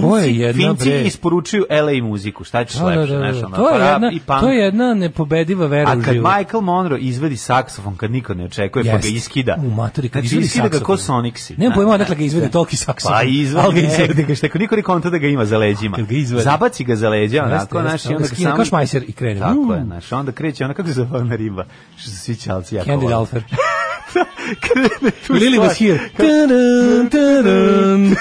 S6: To je
S7: Finci,
S6: jedna,
S7: Finci
S6: bre.
S7: isporučuju LA muziku, šta ćeš
S6: Da, da,
S7: lepše,
S6: da, da.
S7: znaš, ono,
S6: To je
S7: rap
S6: jedna,
S7: i punk.
S6: to je jedna nepobediva vera
S7: A
S6: u
S7: kad
S6: životu.
S7: Michael Monroe izvedi saksofon kad niko ne očekuje, pa ga
S6: Jeste.
S7: iskida.
S6: U maturi, kad
S7: znači,
S6: izvedi
S7: iskida ga ko
S6: saksofon.
S7: Sonixi.
S6: Nemam
S7: znaš.
S6: pojma odakle ga izvede toliki saksofon.
S7: Pa
S6: ali ga
S7: izvadi
S6: izvede.
S7: negde ga što niko ni konta da ga ima za leđima.
S6: Kad ga izvadi.
S7: Zabaci ga za leđa, onako,
S6: jeste.
S7: znaš, i
S6: Onda
S7: onda
S6: skine kao šmajser i krene.
S7: Tako je,
S6: Mm.
S7: znaš, onda kreće ona kako se zove ona riba, što su svi čalci jako
S6: Candy
S7: vole.
S6: Dalfer.
S7: <laughs> Krene tu
S6: Lily was
S7: stvar.
S6: here. Tadam, tadam,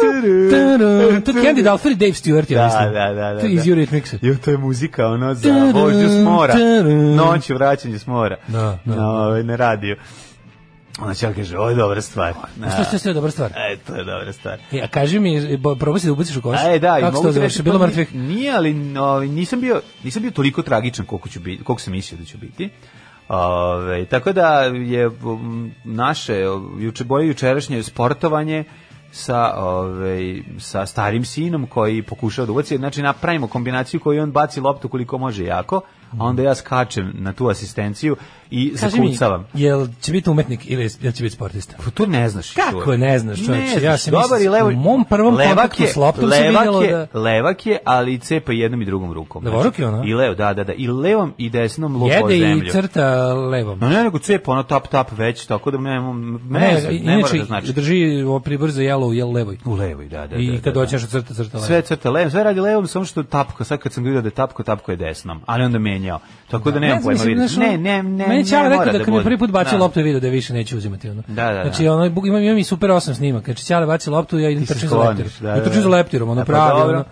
S6: tadam. To je Candy Dalfer i Dave Stewart, ja
S7: Da,
S6: mislim.
S7: da, da, da,
S6: To je iz
S7: da.
S6: Eurythmicsa.
S7: Jo, to je muzika, ono, za
S6: Tadam,
S7: vožnju s mora.
S6: tadam.
S7: Noć i vraćanje s mora.
S6: Da, da.
S7: Na, ovaj, na radiju. Onda će kaže, ovo je dobra stvar. Da.
S6: Što što je sve dobra stvar?
S7: E, to je dobra stvar.
S6: E, a kaži mi, bo- probaj si da ubaciš u koš.
S7: E, da, i
S6: Kako se
S7: mogu
S6: to
S7: ti reći,
S6: završi? Bilo
S7: pa
S6: mrtvih?
S7: ni- Nije, ali ovaj, nisam, bio, nisam bio toliko tragičan koliko, ću biti, koliko sam mislio da ću biti. Ove, tako da je um, naše juče boje jučerašnje sportovanje sa ovaj sa starim sinom koji pokušao da ubaci znači napravimo kombinaciju koju on baci loptu koliko može jako a onda ja skačem na tu asistenciju i
S6: Kaži mi,
S7: zakucavam
S6: jel će biti umetnik ili jel će biti sportista?
S7: Pa to ne znaš.
S6: Kako
S7: čovječe.
S6: ne znaš, čovječe?
S7: Ne
S6: Ja
S7: znaš.
S6: sam
S7: Dobar
S6: mislim,
S7: i levo.
S6: u mom prvom kontaktu s loptom se
S7: levak
S6: vidjelo
S7: je,
S6: da-
S7: Levak je, ali cepa jednom i drugom rukom. Znači,
S6: Levoruk je ono?
S7: I levo, da, da, da. I levom i desnom lupa o
S6: Jede
S7: zemlju.
S6: i crta levom.
S7: No ne, nego cepa ono tap tap već, tako da ne, ne,
S6: Ne,
S7: znam, ne, mora
S6: inače
S7: da znači.
S6: drži ovo pribor za jelo u jel levoj.
S7: U levoj, da, da. da,
S6: I
S7: da,
S6: kad
S7: da.
S6: doćeš od crta crta levo.
S7: Sve crta levom, sve radi levom, samo što tapko, sad kad sam ga vidio da je tapko, tapko je desnom, ali onda menja menjao. Tako da, nemam pojma
S6: znam,
S7: vidjeti.
S6: mislim, znaš,
S7: Ne,
S6: ono,
S7: ne, ne,
S6: Meni
S7: ne,
S6: Ćale
S7: mora
S6: rekao da,
S7: da
S6: kad mi
S7: bude.
S6: prvi put bacio
S7: Da.
S6: loptu je video da više neće uzimati ono.
S7: Da, da, da.
S6: Znači ono bu- imam imam i super 8 snimak. Znači Ćale baci loptu ja idem
S7: Ti se
S6: trčim za
S7: skloniš,
S6: leptirom.
S7: da,
S6: Ja
S7: da,
S6: trčim za
S7: da.
S6: leptirom, ono
S7: E, pa
S6: pravi.
S7: dobro.
S6: ono.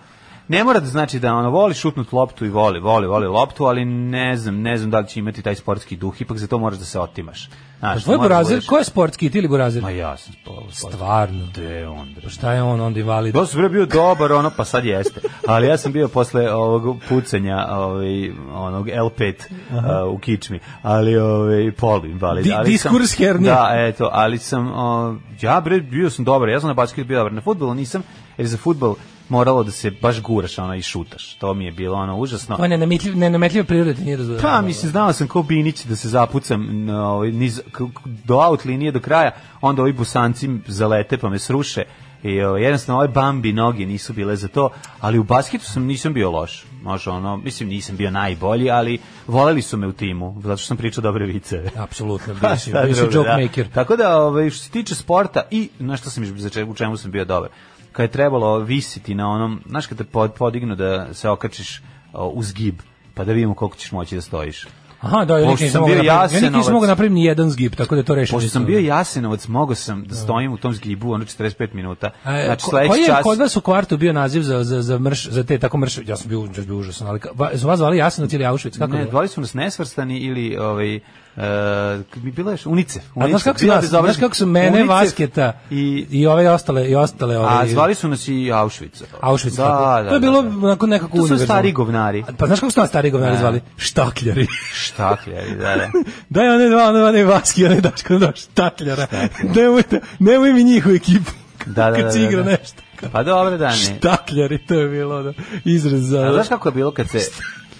S7: Ne mora da znači da ono voli šutnut loptu i voli, voli, voli loptu, ali ne znam, ne znam da li će imati taj sportski duh, ipak za to moraš da se otimaš.
S6: Pa
S7: Znaš,
S6: tvoj
S7: moraš da
S6: Burazer,
S7: budeš-
S6: ko je sportski ti ili Burazer?
S7: Ma ja sam spolu.
S6: Stvarno.
S7: Te onda.
S6: Šta je on onda invalid?
S7: Da sam bre bio dobar, ono, pa sad jeste. Ali ja sam bio posle ovog pucanja, ovaj, onog L5 a, u kičmi. Ali, ovaj, polu invalid.
S6: Di-
S7: ali sam-
S6: diskurs hernije.
S7: Da, eto, ali sam, o, ja bre, bio sam dobar. Ja sam na basketu bio dobar. Na futbolu nisam, jer za futbol moralo da se baš guraš, ono, i šutaš. To mi je bilo, ono, užasno.
S6: On Pa je nenametljiv, nenametljiv priroda ti nije dozvoljava.
S7: Pa, mislim, znao sam ko Binić da se zapucam na ovaj, niz, k- k- do aut linije do kraja, onda ovi busanci zalete pa me sruše. I ovaj, jednostavno ove bambi noge nisu bile za to, ali u basketu sam nisam bio loš. Može ono, mislim nisam bio najbolji, ali voleli su me u timu, zato što sam pričao dobre vice. <laughs>
S6: Apsolutno,
S7: Pa,
S6: bio si,
S7: šta
S6: bio si
S7: drugo,
S6: joke
S7: da.
S6: maker.
S7: Tako da, ovaj, što se tiče sporta i na što sam, još- za če- u čemu sam bio dobar, kad je trebalo visiti na onom, znaš kad te pod- podignu da se okačiš o, uz gib, pa da vidimo koliko ćeš moći da stojiš.
S6: Aha, da, ja
S7: Pošto
S6: nikad nisam
S7: sam
S6: mogao
S7: bio
S6: napraviti, ja nikad
S7: Jasenovac.
S6: nisam mogao napraviti ni jedan zgib, tako da je to rešim.
S7: Pošto sam bio jasenovac, mogao sam da stojim u tom zgibu ono 45 minuta. Znači,
S6: E, ko-
S7: sledeći
S6: koji je
S7: čas...
S6: kod vas u kvartu bio naziv za, za, za, mrš, za te tako mrš, ja sam bio, ja sam bio užasan, ali ka- va- su vas zvali Jasenovac ili Auschwitz, kako
S7: Ne,
S6: je bilo?
S7: zvali su nas nesvrstani ili ovaj e, k- bi bilo još unicef.
S6: A
S7: UNICEF,
S6: znaš kako su,
S7: bila
S6: nas, znaš
S7: bezobrazna-
S6: kako su mene,
S7: UNICEF
S6: Vasketa i,
S7: i
S6: i ove ostale, i ostale ove,
S7: A zvali su nas i Auschwitz.
S6: Auschwitz.
S7: Da,
S6: tako.
S7: da,
S6: to je bilo
S7: da, da.
S6: onako nekako
S7: To su
S6: univerzalno.
S7: stari govnari.
S6: A, Pa znaš kako su nas stari govnari
S7: Da.
S6: zvali? Štakljari.
S7: Štakljari, da, da.
S6: <laughs> Daj one dva, one, one Vaski, one Daško, one Štakljara. Nemojte, nemoj mi njihovu ekipu.
S7: Da, da,
S6: Kad se
S7: da, da,
S6: igra
S7: da.
S6: nešto.
S7: Pa dobro, da, ne.
S6: Štakljari, to je bilo da, izraz za...
S7: A znaš kako je bilo kad se...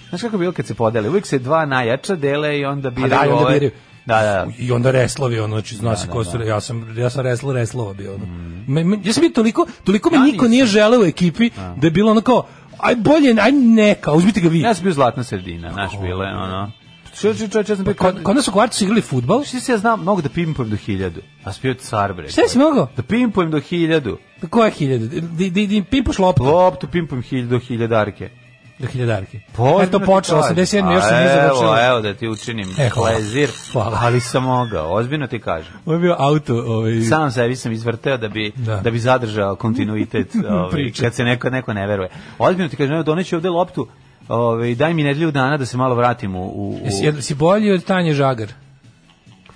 S7: Znaš kako je bilo kad se podele? Uvijek se dva najjača dele i onda biraju
S6: da, i onda
S7: ove-
S6: biraju.
S7: Da, da.
S6: I onda reslovi, ono, znači, zna se ko su, ja sam, ja sam reslo, reslova bio, ono. Me- me- ja sam bio toliko, toliko me
S7: Mm. Ja
S6: niko nije želeo u ekipi, da je bilo ono kao, aj bolje, aj neka, uzmite ga vi.
S7: Ja sam bio zlatna sredina, znaš, bilo je
S6: Pa
S7: ono... Pa Čo, čo, čo, čo, sam bio...
S6: Kod, kod nas u kvartu su igrali futbal,
S7: Što se ja znam, mogu da pimpujem do hiljadu. A sam bio car, bre.
S6: Šta si mogao?
S7: Da pimpujem do hiljadu.
S6: koja hiljada? Di, di, di, pipoš loptu
S7: Loptu pimpujem hilj, do hiljadarke.
S6: do hiljadarke.
S7: Pozdrav
S6: Eto,
S7: Pa ti
S6: počelo,
S7: kažem.
S6: 87. još
S7: A
S6: sam nije završilo.
S7: Evo, evo da ti učinim
S6: E, hvala.
S7: plezir,
S6: Hvala.
S7: ali sam mogao, ozbiljno ti kažem.
S6: Ovo je bio auto, ovaj...
S7: Sam sebi sam izvrteo da bi,
S6: Da.
S7: da. bi zadržao
S6: <laughs>
S7: kontinuitet ovaj,
S6: Priče.
S7: kad se neko, neko ne veruje. Ozbiljno ti kažem, evo doneću ovde loptu, ovaj, daj mi nedelju dana da se malo vratim u... u, u
S6: Jesi, jel- si bolji od Tanje Žagar?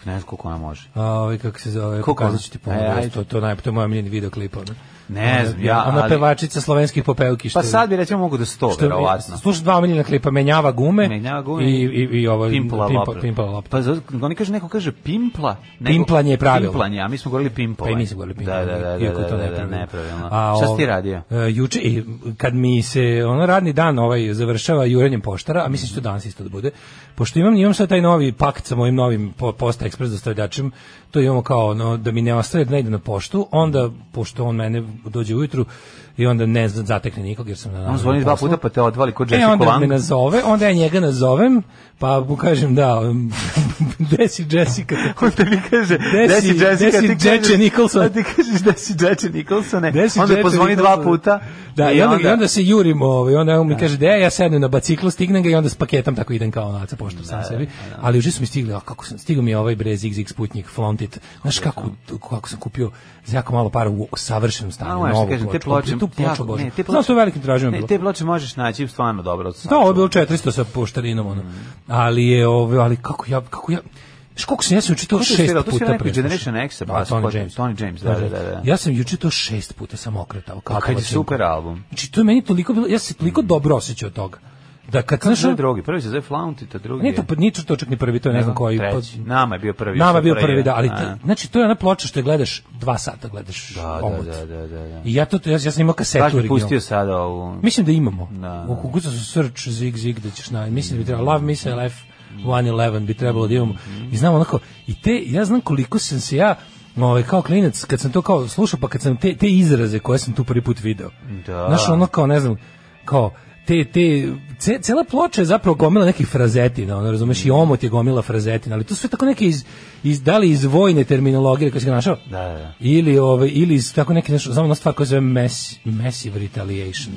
S7: ne znam koliko ona može.
S6: A, ovaj, kako se zove,
S7: Ko
S6: pokazat
S7: ko?
S6: ću ti
S7: E,
S6: pomoći,
S7: ajde.
S6: to, to, naj, to je moj omiljeni videoklip, ono.
S7: Ne
S6: Ona-
S7: znam, ja,
S6: Ona
S7: ali-
S6: pevačica slovenskih popevki, što
S7: Pa
S6: je-
S7: sad bi recimo mogu do 100,
S6: Što je-
S7: verovatno.
S6: Slušaj dva omiljena klipa, menjava gume,
S7: Menjava gume
S6: i, i, i ovo,
S7: pimpla
S6: pimpa,
S7: lopta.
S6: pimpala lopta.
S7: Pa zato- oni kaže neko kaže pimpla, neko,
S6: Pimplanje je pravilo.
S7: Pimplanje, a mi smo govorili
S6: Pa
S7: pimpola.
S6: i nisam govorio
S7: Ovaj, Da, da, da, da, da, da, da, nepravilno. Šta si ti radio?
S6: ovaj, e, juče, i, kad mi se ono radni dan ovaj, završava jurenjem poštara, a mislim što danas isto da bude, pošto imam, imam sad taj novi pakt sa mojim novim po- posta ekspres dostavljačem, to imamo kao ono, da mi ne ostaje da ne idem na poštu, onda, pošto on mene dođe ujutru, i onda ne zna- zatekne nikog jer sam na
S7: On zvoni dva puta pa te odvali kod
S6: E,
S7: Jessica
S6: onda me
S7: Lang. <laughs>
S6: nazove, onda ja njega nazovem, pa mu kažem da, <laughs> um, gde si Jessica?
S7: On tebi kaže,
S6: Gde
S7: gde
S6: si-
S7: si Jessica,
S6: gde si
S7: ti kažeš-
S6: Jesse Nicholson?
S7: A ti kažeš, gde si Jesse Nicholson,
S6: Gde si
S7: onda
S6: Jesse
S7: pozvoni dva
S6: Nicholson?
S7: puta.
S6: Da, i onda, i onda se jurimo, ovaj, onda on mi kaže da ja sednem na biciklu, stignem ga i onda s paketom tako idem kao onaca pošto sam sebi. Ali uže su mi stigli, a kako sam stigao mi je ovaj bre zig zig sputnik Flontit. Znaš kako kako sam kupio za jako malo para u savršenom
S7: A,
S6: stanju,
S7: možeš
S6: novu
S7: ti kažem, te
S6: ploču.
S7: ploče,
S6: tu ploču,
S7: jako-
S6: bože.
S7: ne, te
S6: Znam
S7: ploče-
S6: što je velikim tražnjama
S7: Ne,
S6: bilo.
S7: te ploče možeš naći stvarno dobro. od
S6: Da, ovo je
S7: sačuvanih.
S6: bilo 400 sa poštarinom, ono. Ali je, ovo, ali kako ja, kako ja, Znaš koliko sam, ja sam juče to
S7: Ko je
S6: šest
S7: svirao? To
S6: puta
S7: svira neki
S6: preslušao.
S7: Generation X-a,
S6: Da,
S7: bas, ko
S6: Tony
S7: je-
S6: James.
S7: Tony James, da, da, da, da.
S6: Ja sam juče to šest puta sam okretao. Kao
S7: Kad je
S6: palačinka.
S7: super album.
S6: Znači, to je meni toliko bilo, ja sam se toliko dobro osjećao od toga. Da kad
S7: Kako se
S6: znaš,
S7: zove
S6: ono-
S7: drugi? Prvi se zove Flauntit, a drugi
S6: nije to,
S7: je-
S6: pa- nije to čak ni prvi, to je ne znam koji. pa-
S7: Treći. Nama je bio prvi.
S6: Nama je bio
S7: Sutra
S6: prvi, da, ali
S7: A.
S6: ta- znači to je ona ploča što je gledaš dva sata, gledaš
S7: Da, da,
S6: omot. E,
S7: da, da, da, da.
S6: I ja to, ja, ja sam imao kasetu
S7: Kaži,
S6: originalnu.
S7: pustio sada ovu...
S6: Mislim da imamo.
S7: ono. Da.
S6: U kukucu su search zig zig da ćeš naći. Mislim da bi trebalo Love Missile F 111 bi trebalo da imamo.
S7: Mhm.
S6: I znam onako i te ja znam koliko sam se ja ovaj kao klinac kad sam to kao slušao pa kad sam te te izraze koje sam tu prvi put video.
S7: Da.
S6: Znaš ono kao ne znam kao te, te, ce- cela ploča je zapravo gomila nekih frazetina, ono, razumeš, i omot je gomila frazetina, ali to su sve tako neke iz, iz da li iz vojne terminologije, kako si ga našao?
S7: Da, da, da.
S6: Ili, ove, ili iz tako neke, nešto, znam ona stvar koja se zove mass, Massive Retaliation.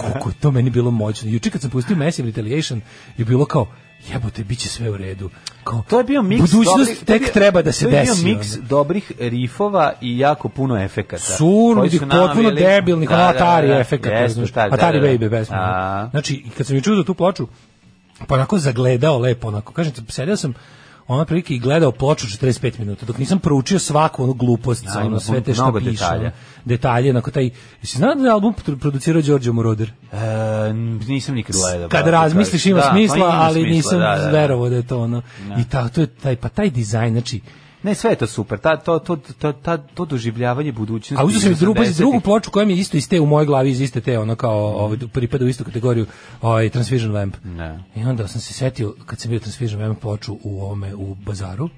S6: Koliko je to meni bilo moćno. Juče kad sam pustio Massive Retaliation, je bilo kao, jebote, bit će sve u redu. Kao,
S7: To je bio miks
S6: Budućnost
S7: dobrih- to je
S6: tek
S7: bio-
S6: treba da se
S7: to je bio
S6: desi,
S7: miks
S6: ono.
S7: dobrih rifova i jako puno efekata.
S6: Surnudih, potpuno debilnih, ono Atari efekat,
S7: Jeste, pa,
S6: razumeš, Atari Baby pesma.
S7: A,
S6: Znači, kad sam je čuo za tu ploču, pa onako zagledao lepo, onako, kažem, ti, sedeo sam ono prilike i gledao ploču 45 minuta, dok nisam proučio svaku onu glupost,
S7: Ja,
S6: ja,
S7: ima
S6: ono, sve te što
S7: mnogo
S6: piše,
S7: detalja.
S6: ono, detalje, onako taj, jesi znao da je album produ- producirao Đorđe Moroder?
S7: e, nisam nikad gledao.
S6: Kad
S7: brate,
S6: razmisliš ima
S7: da, pa
S6: smisla,
S7: ima
S6: ali
S7: smisla,
S6: nisam
S7: da, da, da.
S6: verovao da je to ono. I ta, to je taj, pa taj dizajn, znači,
S7: Ne, sve je to super. Ta, to, to, to, ta, to doživljavanje budućnosti.
S6: A uzeo sam i
S7: iz
S6: drugu, pazi,
S7: 80-ih.
S6: drugu ploču koja mi je isto iz te u mojoj glavi iz iste te ono kao ovaj pripada u istu kategoriju ovaj Transvision Vamp.
S7: Ne.
S6: I onda sam se setio kad sam bio Transvision Vamp ploču u ovome u bazaru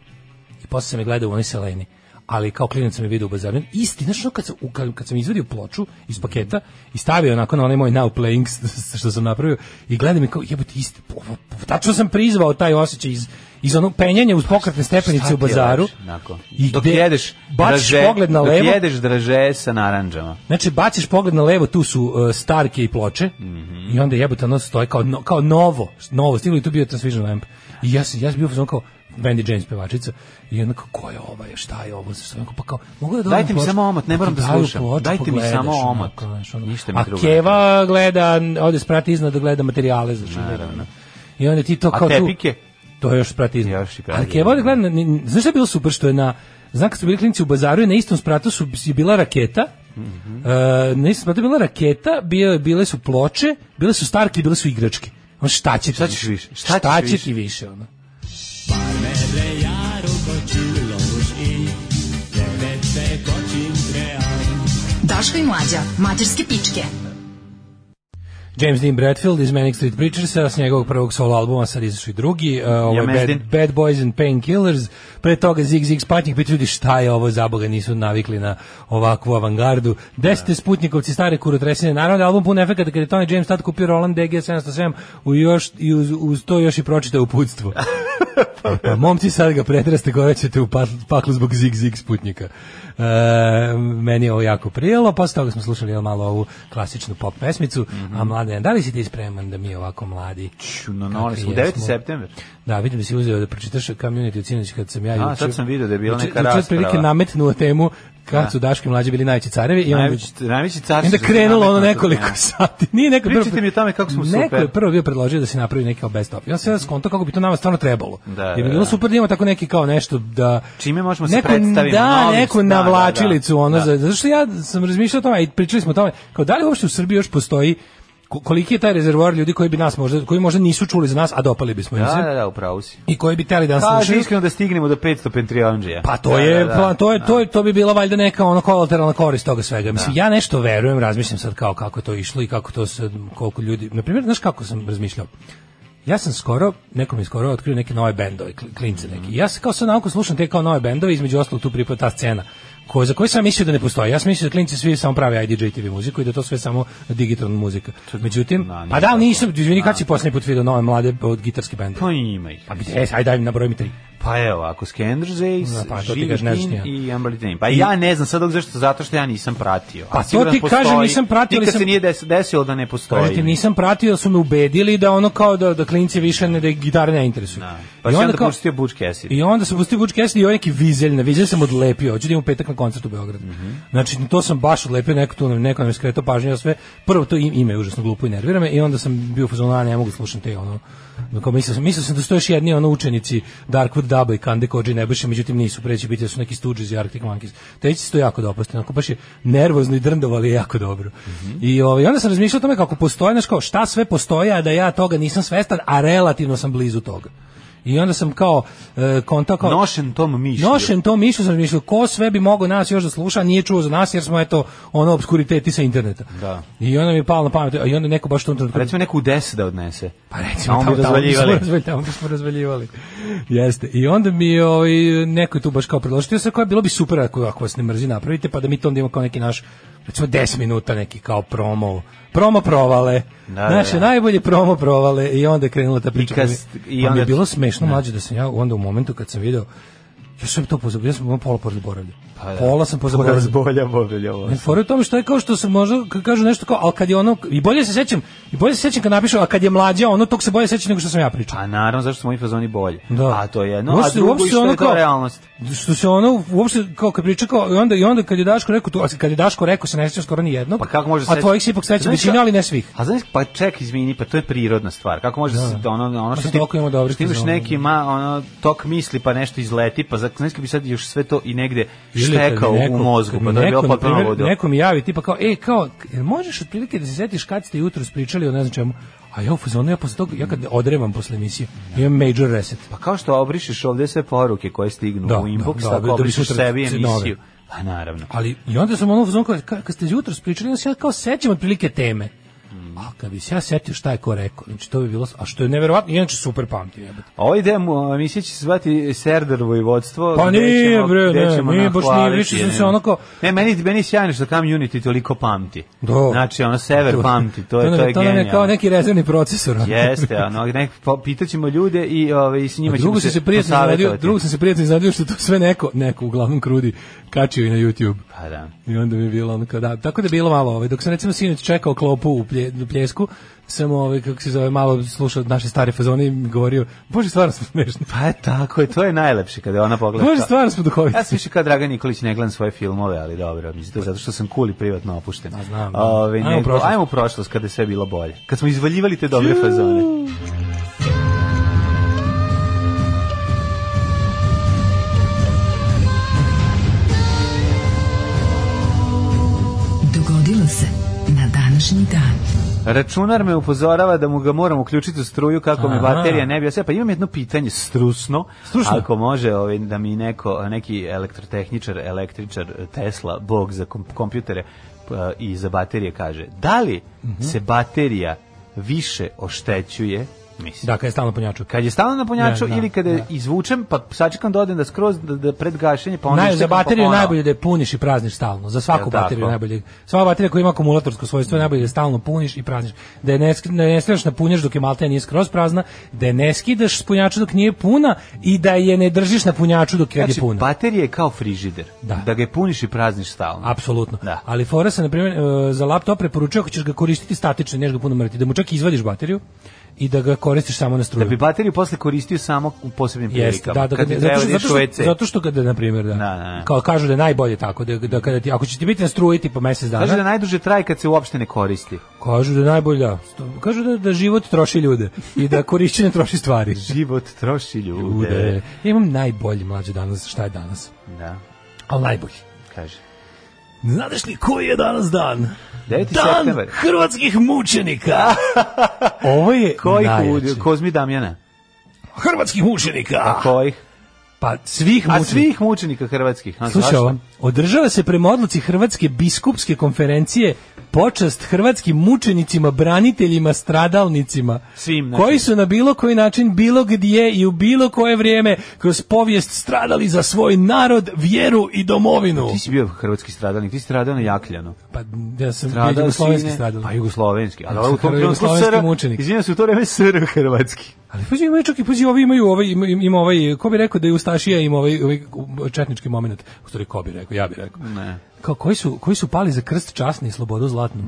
S6: i posle sam je gledao u onoj seleni ali kao klinac sam je video u bazaru. Isti, znaš, ono kad sam, u- kad, kad sam izvadio ploču iz paketa i stavio onako na onaj moj now playing <laughs> s- što sam napravio i gledam i kao, jebote, isti, ovo- tačno sam prizvao taj osjećaj iz, iz onog penjanja uz pokretne stepenice
S7: Šta
S6: u
S7: ti je
S6: bazaru.
S7: lepše, onako?
S6: I
S7: dok
S6: gde
S7: jedeš
S6: baciš
S7: draže,
S6: pogled na
S7: dok
S6: levo,
S7: jedeš draže sa naranđama.
S6: Znači, baciš pogled na levo, tu su uh, starke i ploče i onda jebote ono stoji kao, no, kao novo, novo, stiglo i tu bio Transvision Lamp. I ja sam, ja sam bio u fazonu kao Wendy James pevačica i onda kao, ko je ova, je, šta je ovo, zašto je ovo?" pa kao, mogu da
S7: Dajte mi samo omot, ne moram da slušam. Dajte mi samo omot. Ništa
S6: Ništa
S7: mi
S6: mi ono, A
S7: drugo ne
S6: Keva gleda, ode sprati iznad da gleda materijale za što I onda ti to
S7: A
S6: Pa kao tu-
S7: tepike?
S6: to je još prati iznad.
S7: Još i prati
S6: Ali
S7: iznad.
S6: Keva gledam, ni- ni- znaš šta je bilo super što je na Znam kad su bili klinici u bazaru i na istom spratu su, je bila raketa,
S7: Mhm.
S6: e, na istom spratu je bila raketa, bile, bile su ploče, bile su starke i bile su igračke. Ono šta će ti
S7: Šta ćeš više? Šta
S6: Šta,
S7: ćeš
S6: će
S7: više?
S6: ti više? Ono?
S5: Daško i mlađa, mađarske pičke.
S6: James Dean Bradfield iz Manic Street Preachersa s njegovog prvog solo albuma sad izašao i drugi uh, ovaj Bad,
S7: Jamezdin.
S6: Bad Boys and Painkillers pre toga Zig Zig Sputnik pa ljudi šta je ovo zaboga nisu navikli na ovakvu avangardu desete Sputnikovci stare kurotresine naravno da je album pun efekata kad je Tony James tad kupio Roland DG 707 u još, i uz, uz to još i pročitao uputstvo Pa, Momci sad ga pretraste, gorećete u pat- paklu zbog zig zig sputnika. E, meni je ovo jako prijelo, posle toga smo slušali jel, malo ovu klasičnu pop pesmicu, a
S7: Mhm.
S6: mlade, da li si ti spreman da mi ovako mladi?
S7: Ču, no, no,
S6: Kakvi
S7: u 9.
S6: jesmo?
S7: september.
S6: Da, vidim da si uzeo da pročitaš Community od sinoć kad sam ja
S7: A,
S6: juče.
S7: sad sam video da je bila
S6: juče-
S7: neka
S6: juče
S7: rasprava.
S6: otprilike nametnuo temu kad su Daški mlađi bili najveći carevi i onda
S7: Najveći- najveći carci
S6: onda
S7: su
S6: krenulo ono
S7: nametnuto,
S6: nekoliko
S7: da.
S6: sati. Nije neko
S7: Pričajte
S6: prvo-
S7: mi o tome kako smo
S6: Neko
S7: super.
S6: je prvo bio predložio da se napravi neki kao best of. Ja sam ja skonto kako bi to nama stvarno trebalo.
S7: Da,
S6: Jer bi
S7: da,
S6: bilo
S7: da.
S6: super da imamo tako neki kao nešto da
S7: Čime možemo se
S6: neku-
S7: predstavimo,
S6: Da,
S7: novim-
S6: neku
S7: da, da, da.
S6: navlačilicu ono
S7: Da.
S6: za zato što ja sam razmišljao o tome i pričali smo o tome kao da li uopšte u Srbiji još postoji ko- koliki je taj rezervoar ljudi koji bi nas možda koji možda nisu čuli za nas a dopali bismo im se
S7: Da, da, da, upravo si.
S6: i koji bi teli da nas
S7: Kaže
S6: slušaju.
S7: iskreno da stignemo do 500 Patreonđija.
S6: Pa to je plan, to je to je to bi bila valjda neka ono kolateralna korist toga svega. Mislim ja nešto verujem, razmišljam sad kao kako je to išlo i kako to se koliko ljudi, na primjer, znaš kako sam razmišljao. Ja sam skoro, nekom je skoro otkrio neke nove bendove, kli- klince neki. Ja se kao sad nauku slušam te kao nove bendove, između ostalog tu pripada ta scena koja, za koju sam mislio da ne postoji. Ja sam mislio da klinci svi samo prave IDJ TV muziku i da je to sve samo digitalna muzika. Međutim,
S7: na, nije
S6: pa da,
S7: tako.
S6: ali nisam, izvini, kad si posljednji put vidio nove mlade od gitarske bendove?
S7: Pa ima ih.
S6: Pa gde, ajde, ajde, nabroj mi tri.
S7: Pa evo, ako Skenders Ace,
S6: Da, pa to ti
S7: Živi
S6: kažeš, ne
S7: Kin
S6: znaš ti ja.
S7: i Amber Lane. Pa ja ne znam sad dok zašto, zato što ja nisam pratio. A
S6: Pa to
S7: sigurno
S6: ti
S7: postoji.
S6: kažem, nisam pratio, ali
S7: Nikad
S6: sam-
S7: se nije des- desilo da ne postoji.
S6: Kažete, nisam pratio, su me ubedili da ono kao da, da klinci više ne, da ih gitare ne interesuju.
S7: Da. Pa si onda pustio Butch Cassidy.
S6: I onda sam pustio Butch Cassidy i ovaj neki vizelj, na vizelj sam odlepio, hoću da imam u petak na koncert u Beogradu. Znači, to sam baš odlepio, neko tu nam- neko nam je skretao pažnju, ja sve, prvo to im- ime je užasno glupo i nervira me, i onda sam bio u fazonu, a ne mogu slušati te ono, kao mislio sam, mislio sam da su to još jedni ono učenici Darkwood Daba i Kande Koji Nebojše, međutim nisu, preći biti da su neki Stooges i Arctic Monkeys. Te će se to jako dopasti, onako baš je nervozno i drndavo, ali je jako dobro. I ovaj, onda sam razmišljao o tome kako postoje, znaš kao, šta sve postoje, a da ja toga nisam svestan, a relativno sam blizu toga. I onda sam kao e, konta kao
S7: Nošen tom mišlju.
S6: nošen to mišlju sam mislio ko sve bi mogao nas još da sluša, a nije čuo za nas jer smo eto ono obskuriteti sa interneta.
S7: Da.
S6: I onda mi je palo na pamet, a i onda neko baš u tom trenutku
S7: Recimo neku u 10 da odnese.
S6: pa recimo,
S7: Tamo
S6: tamo,
S7: bi
S6: tamo, bismo
S7: razvaljivali.
S6: razvalj- tamo bismo razvaljivali. Jeste. I onda mi je ovaj, neko je tu baš kao predložio, ja sam kao, bilo bi super ako, ako vas ne mrzi napravite, pa da mi to onda imamo kao neki naš recimo 10 minuta neki kao promo, promo provale.
S7: Da,
S6: Naše
S7: da.
S6: najbolje promo provale i onda je krenula ta priča.
S7: I kas-
S6: Pa
S7: i
S6: mi je
S7: onda-
S6: bilo smešno mlađe da sam ja onda u momentu kad sam video Ja sam to pozabio, ja sam imao pola poraboravlja. Pa Pola sam pozaboravlja.
S7: Razbolja, bolja, ovo.
S6: Ne, Pa Fora je u tome što je kao što se možda kad kažu nešto kao, ali kad je ono, i bolje se sećam, i bolje se sećam kad napišu, a kad je mlađa, ono tog se bolje sećam nego što sam ja pričao.
S7: A naravno, zašto su moji fazoni bolje?
S6: Da.
S7: A to je jedno, a
S6: Uopšte-
S7: drugo i
S6: uopšte
S7: što
S6: ono
S7: je to
S6: kao-
S7: realnost.
S6: Što se ono uopšte kao kad priča kao i onda i onda kad je Daško rekao tu, a kad je Daško rekao se ne sećam skoro ni jednog.
S7: Pa kako može
S6: A tvojih se ipak sećam većina, ali ne svih.
S7: A znaš, pa ček, izvini, pa to je prirodna stvar. Kako može da, se ono, ono
S6: Pa
S7: što
S6: sad toliko imamo dobrih
S7: što imaš
S6: fazona.
S7: neki ma, ono, tok misli pa nešto izleti, pa za- znaš kad bi sad još sve to i negde
S6: Ili kad mi
S7: štekao
S6: neko-
S7: u mozgu,
S6: kad mi
S7: pa to je
S6: neko,
S7: bilo
S6: na
S7: potpuno
S6: primjer,
S7: ludo.
S6: Neko mi javi tipa kao, ej, kao, jel možeš otprilike da se setiš kad ste jutro pričali o ne znam čemu? A ja u fazonu, ja posle toga, ja kad odrevam posle emisije, imam major reset.
S7: Pa kao što obrišeš ovde sve poruke koje stignu
S6: Da,
S7: u inbox,
S6: da, da,
S7: tako
S6: da bi
S7: obrišeš
S6: sutra
S7: sebi
S6: se nove.
S7: emisiju. Pa naravno.
S6: Ali i onda sam ono u fazonu kao, ka- kad ste jutro pričali, onda se ja kao sećam otprilike teme.
S7: Mm.
S6: A kad bi se ja setio šta je ko rekao, znači to bi bilo, a što je neverovatno, inače super pamtim jebote.
S7: A Ovo ide, mu- emisija će se zvati Serder vojvodstvo.
S6: Pa
S7: gde
S6: nije,
S7: ćemo-
S6: bre,
S7: gde
S6: ne,
S7: ćemo
S6: nije, baš nije,
S7: nahvaliti
S6: više sam
S7: jedne-
S6: se onako-
S7: Ne, meni, meni je sjajno što community toliko pamti.
S6: Do.
S7: Znači, ono, sever pamti, to je, to je
S6: To nam je kao
S7: genijalno.
S6: neki rezervni procesor. ono. <laughs>
S7: Jeste, ono, nek, po- pitaćemo ljude i, ove, i s njima
S6: A
S7: ćemo
S6: drugo
S7: se,
S6: sam se prijatno iznenadio,
S7: posavetovati.
S6: drugo sam se prijatno iznenadio što to sve neko, neko uglavnom krudi kačio i na YouTube.
S7: Pa da.
S6: I onda mi je bilo ono kao da, tako da je bilo malo ovaj, dok sam recimo sinoć čekao klopu u, plje, u pljesku, sam ovaj, kako se zove, malo slušao naše stare fazone i mi govorio, bože, stvarno smo smešni.
S7: Pa je tako, je, to je najlepše kada ona pogleda.
S6: Bože,
S7: to.
S6: stvarno smo duhoviti.
S7: Ja sam više kao Dragan Nikolić ne gledam svoje filmove, ali dobro, mislim to je zato što sam cool i privatno opušten.
S6: A znam, da.
S7: Ove,
S6: Ajmo
S7: ajmo,
S6: u prošlost.
S7: ajmo u prošlost kada je sve bilo bolje. Kad smo izvaljivali te dobre fazone.
S5: Dogodilo se na današnji dan.
S7: Računar me upozorava da mu ga moram uključiti u struju kako mi
S6: Aha.
S7: baterija ne bi osjela. Pa imam jedno pitanje strusno.
S6: Strusno?
S7: Ako može ovaj, da mi neko, neki elektrotehničar, električar Tesla, bog za kom- kompjutere p- i za baterije kaže. Da li
S6: Mhm.
S7: se baterija više oštećuje mislim,
S6: Da, kad je stalno ponjaču.
S7: Kad je stalno na punjaču
S6: Da, da,
S7: ili kada
S6: da.
S7: izvučem, pa sačekam da odem da skroz da, da pred gašenje, pa onda
S6: Naj,
S7: ištekam,
S6: za
S7: pa
S6: bateriju je
S7: ponovo.
S6: najbolje da je puniš i prazniš stalno. Za svaku
S7: Jel tako?
S6: bateriju je najbolje. Sva baterija koja ima akumulatorsko svojstvo je najbolje da je stalno puniš i prazniš. Da je ne, sk- da je ne stavljaš na punjač dok je maltene nije skroz prazna, da je ne skidaš s punjača dok nije puna i da je ne držiš na punjaču dok kad je
S7: Znači,
S6: puna.
S7: baterija je kao frižider.
S6: Da.
S7: Da ga je puniš i prazniš stalno.
S6: Apsolutno.
S7: Da.
S6: Ali fora se na primjer e, za laptop preporučuje ako ćeš ga koristiti statično, neš ga puno mrti, da mu čak izvadiš bateriju i da ga koristiš samo na struju.
S7: Da bi bateriju posle koristio samo u posebnim
S6: Jeste,
S7: prilikama.
S6: da, da,
S7: kad
S6: kad-
S7: ti
S6: zato,
S7: treba
S6: što,
S7: da ideš
S6: zato,
S7: u
S6: što,
S7: WC.
S6: zato što kada, na primjer, da,
S7: da.
S6: kao kažu da je najbolje tako, da, da kada ti, ako će ti biti na struji tipa mesec dana,
S7: Kaže da najduže traje kad se uopšte ne koristi.
S6: kažu da je najbolje, da, Sto- kažu da, da život troši ljude i da korišćenje troši
S7: <laughs>
S6: stvari.
S7: Život troši ljude.
S6: Ljude. Ja imam najbolji mlađe danas, šta je danas?
S7: Da,
S6: Ali najbolji.
S7: kaže.
S6: Znaš li koji je danas dan?
S7: 9.
S6: dan
S7: septembar.
S6: hrvatskih
S7: <laughs>
S6: mučenika. Ovo je
S7: Kojih
S6: najjače.
S7: u, Kozmi Damjana?
S6: Hrvatskih mučenika.
S7: Kojih?
S6: Pa svih
S7: A
S6: mučenika.
S7: svih mučenika hrvatskih. A,
S6: Slušaj
S7: zašto?
S6: ovo, održava se prema odluci Hrvatske biskupske konferencije počast hrvatskim mučenicima, braniteljima, stradalnicima,
S7: Svim, znači.
S6: koji su na bilo koji način, bilo gdje i u bilo koje vrijeme kroz povijest stradali za svoj narod, vjeru i domovinu.
S7: Pa Ti si bio hrvatski stradalnik, ti si stradao na Jakljanu.
S6: Pa ja sam
S7: Stradao
S6: bio jugoslovenski
S7: si, ne?
S6: stradalnik.
S7: Pa jugoslovenski.
S6: Ja
S7: Ali ovo u
S6: sam
S7: tom trenutku
S6: jugoslovenski
S7: SR
S6: mučenik.
S7: Izvinjam se, u to vreme SR hrvatski.
S6: Ali pazi, imaju čak i pazi, ovi imaju ovaj ima, ima ovaj ko bi rekao da je ustašija ima ovaj, ovaj četnički momenat. U stvari ko bi rekao, ja bi rekao.
S7: Ne.
S6: Kao koji su koji su pali za krst časni i slobodu zlatnu.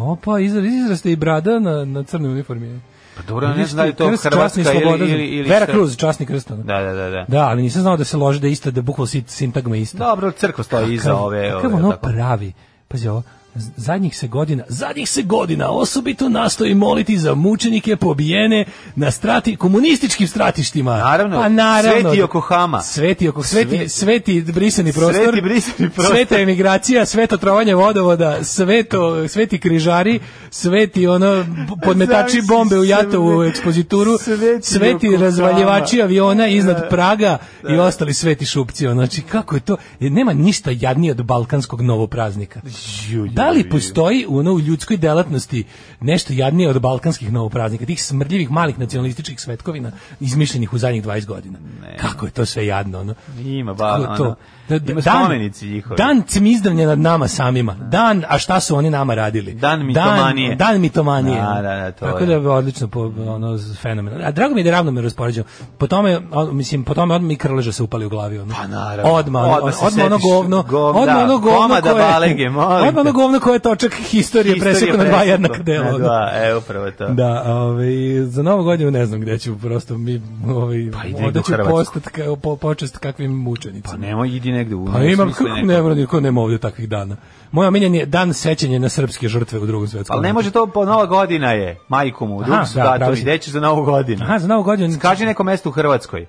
S6: Opa, izraz, izraste i brada na na crnoj uniformi.
S7: Pa dobro, ja ne znam da li je to
S6: Krst časni
S7: Hrvatska
S6: i sloboda
S7: ili,
S6: za-
S7: ili, ili
S6: Vera
S7: šta.
S6: Cruz časni krst. ono.
S7: Da, da, da, da.
S6: Da, ali nisam znao da se lože da je ista da je bukvalno sit- sintagma je ista.
S7: Dobro, crkva stoji iza
S6: Kakav-
S7: ove...
S6: kakav
S7: ove,
S6: ono
S7: tako.
S6: pravi. Pazi ovo, z- zadnjih se godina, zadnjih se godina osobito nastoji moliti za mučenike pobijene na strati komunističkim stratištima.
S7: Naravno,
S6: pa naravno.
S7: sveti Yokohama.
S6: Sveti oko sveti sveti brisani prostor.
S7: Sveti brisani prostor.
S6: Sveta emigracija, sveto trovanje vodovoda, sveto sveti križari, sveti
S7: <laughs>
S6: ono podmetači bombe u Jatovu ekspozituru,
S7: Sveti
S6: sveti
S7: rokokama.
S6: razvaljivači aviona iznad Praga i ostali sveti šupci. ono. Znači, kako je to? E, Nema ništa jadnije od balkanskog novopraznika.
S7: Znači,
S6: Da li postoji u ono u ljudskoj delatnosti nešto jadnije od balkanskih novopraznika, tih smrdljivih malih nacionalističkih svetkovina izmišljenih u zadnjih 20 godina? Kako je to sve jadno, ono?
S7: Ima ba,
S6: Kako je to?
S7: ono,
S6: Da- da-
S7: ima spomenici njihovi.
S6: Dan cmizdavnja nad nama samima. Dan, a šta su oni nama radili?
S7: Dan mitomanije.
S6: Dan, dan mitomanije.
S7: Da, da, da, to
S6: Tako
S7: je.
S6: da je odlično po, ono, fenomenalno. A drago mi je da ravno me raspoređujem. Po tome, o, mislim, po tome odmah mi krleža se upali u glavi. Ono.
S7: Pa naravno.
S6: Odmah, ono-
S7: Odmah se
S6: odmah ono
S7: setiš
S6: govno.
S7: govna,
S6: odmah ono govno
S7: komada
S6: koje,
S7: balege, molim
S6: odmah ono
S7: te.
S6: govno koje je točak historije,
S7: Istorija
S6: presekao na dva
S7: presekla.
S6: jednaka dela.
S7: Na
S6: ono.
S7: dva, e, upravo to.
S6: Da, ovaj za novu godinu ne znam gde ću, prosto mi ovaj
S7: Pa idi
S6: odat
S7: u
S6: ću
S7: Hrvatsku.
S6: postat kao po, počast kakvim mučenicima.
S7: Pa nemoj, idi negde u...
S6: Pa
S7: u
S6: imam
S7: smislu
S6: kako
S7: nekog-
S6: ne mora niko <laughs> nema ovdje takvih dana. Moj omiljen je dan sećanja na srpske žrtve u Drugom svjetskom.
S7: Ali ne
S6: ratu.
S7: može to, po nova godina je, majku mu,
S6: Aha,
S7: dok su
S6: da,
S7: da,
S6: pravi
S7: to
S6: si.
S7: ide ćeš za novu godinu.
S6: Aha, za novu godinu.
S7: Kaži neko mesto u Hrvatskoj.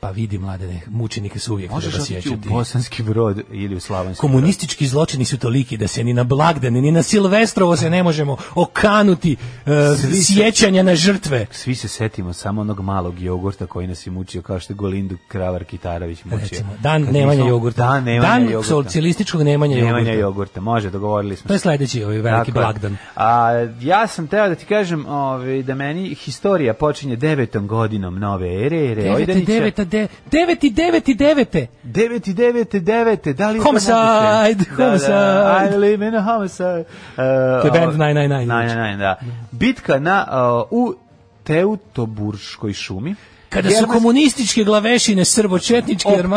S6: Pa vidi mladene, mučenike su uvijek
S7: Možeš
S6: treba
S7: otići u
S6: sjećati.
S7: Bosanski brod ili u Slavonski
S6: Komunistički zločini su toliki da se ni na blagdane, ni na Silvestrovo se ne možemo okanuti e,
S7: Svi se-
S6: sjećanja na žrtve.
S7: Svi se setimo samo onog malog jogurta koji nas je mučio, kao što je Golindu Kravar Kitarović mučio.
S6: Recimo, dan
S7: Kad
S6: nemanja
S7: nismo-
S6: jogurta.
S7: Dan nemanja jogurta.
S6: socijalističkog nemanja,
S7: Nemanja
S6: jogurta.
S7: jogurta, može, dogovorili smo
S6: To je
S7: se.
S6: sledeći ovaj veliki
S7: Tako je.
S6: blagdan.
S7: A, ja sam teo da ti kažem ovaj, da meni historija počinje devetom godinom nove ere, ere
S6: 9.
S7: Ojdanića.
S6: 9. 9. 9. 9.
S7: Deveti, devete, devete, da li je
S6: Homicide,
S7: to moguće? Da, da,
S6: homicide.
S7: I live in a homicide. Uh,
S6: To je band 999, znači.
S7: da. Bitka na, uh, u Teutoburškoj šumi.
S6: Kada su
S7: Germanske-
S6: komunističke glavešine srbočetničke armade-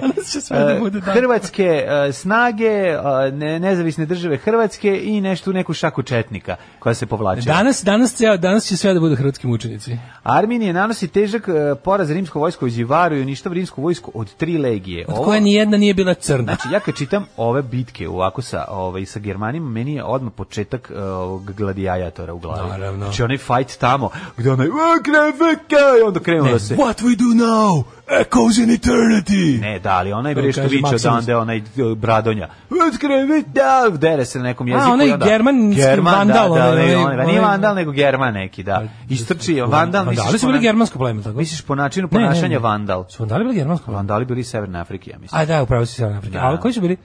S6: <laughs> Danas će sve da
S7: eh,
S6: bude tako.
S7: hrvatske eh, snage, eh, ne, nezavisne države Hrvatske i nešto u neku šaku četnika koja se povlače.
S6: Danas, danas, ceo, danas će sve da budu hrvatski mučenici.
S7: Arminije nanosi težak eh, poraz rimsko vojsko u Zivaru i uništava rimsku vojsku od tri legije.
S6: Od
S7: Ovo-
S6: koje nijedna nije bila crna.
S7: Znači, ja kad čitam ove bitke ovako sa, ovaj, sa Germanima, meni je odmah početak eh, ovog gladijatora u glavi.
S6: Naravno.
S7: Znači, onaj fight tamo, gde onaj, "O, kraj, veka!" i onda krenu da se...
S6: What we do now echoes in eternity.
S7: Ne, da, ali onaj
S6: To
S7: bre što
S6: kaže
S7: viče
S6: Maksimus.
S7: odande, onaj eh, bradonja. "Otkrivi da!" Dere se na nekom jeziku.
S6: onaj
S7: i onda-
S6: germanski vandal,
S7: Da, da,
S6: onaj,
S7: onaj,
S6: onaj- Pa,
S7: onaj- nije vandal, nego german neki, da. Istrči, vandal, misliš...
S6: Vandali su
S7: po
S6: bili
S7: na-
S6: germansko pleme, tako?
S7: Misliš po načinu
S6: Ne, ne,
S7: ponašanja
S6: ne.
S7: vandal.
S6: Su vandali Pa bili germansko pleme?
S7: Vandali bili iz Severne Afrike, ja mislim.
S6: A da, upravo si Severna Afrika.
S7: Da.
S6: A koji su bili?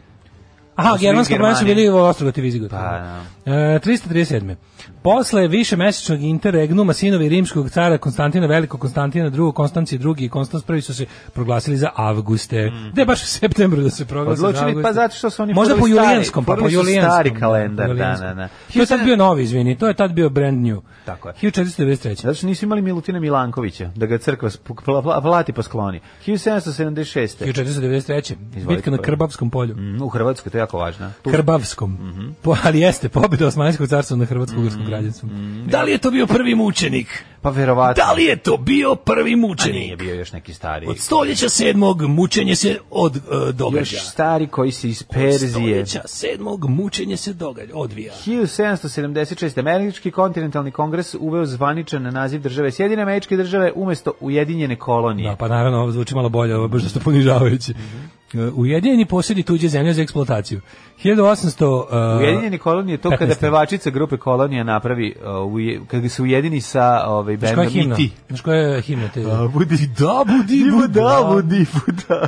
S6: Aha,
S7: su bili
S6: germansko pleme su
S7: Germani.
S6: bili u Ostrogoti Vizigot.
S7: Pa, da.
S6: E, 337. Posle više mesečnog interregnuma sinovi rimskog cara Konstantina Velikog, Konstantina II, Konstancije II i Konstans I su se proglasili za avguste. Gde baš u septembru da se proglasi za
S7: Mhm. Odlučili,
S6: avguste?
S7: pa zato što su oni
S6: Možda po
S7: furali stari-
S6: julijanskom, pa po
S7: furali su
S6: julijanskom.
S7: stari
S6: da,
S7: kalendar,
S6: po julijanskom.
S7: da, da, da.
S6: To je tad bio novi, izvini, to je tad bio brand new.
S7: Tako je.
S6: 1493.
S7: Zato što nisu imali Milutina Milankovića, da ga crkva sp- pla- pla- vlati pa skloni. 1776.
S6: 1493. Bitka na
S7: kolega.
S6: Krbavskom polju.
S7: Mm, U Hrvatskoj, to je jako važno. Tu-
S6: Krbavskom.
S7: Mhm.
S6: Po, ali jeste, pobjeda Osmanskog carstva na Hrvatsko-Ugorskom kraljevstvom.
S7: mhm.
S6: Da li je to bio prvi mučenik?
S7: Pa verovatno.
S6: Da li je to bio prvi
S7: A nije
S6: mučenik?
S7: bio još neki stari.
S6: Od stoljeća sedmog mučenje se od, e, događa.
S7: Još stari koji se iz
S6: Od
S7: Perzije.
S6: stoljeća sedmog mučenje se događa, odvija.
S7: 1776. Američki kontinentalni kongres uveo zvaničan naziv države Sjedine američke države umesto Ujedinjene kolonije.
S6: Da, pa naravno, ovo zvuči malo bolje, ovo je baš da ste ponižavajući.
S7: Mhm.
S6: E, Ujedinjeni posjedi tuđe zemlje za eksploataciju. 1800... e,
S7: Ujedinjeni kolonije je to kada
S6: 15..
S7: pevačica grupe kolonija napravi, uh, uje- kada se ujedini sa ovaj,
S6: Znaš koja
S7: bendom
S6: je himna?
S7: i ti.
S6: Znaš koja je himna? Te...
S7: budi
S6: da, budi,
S7: da, budi buda.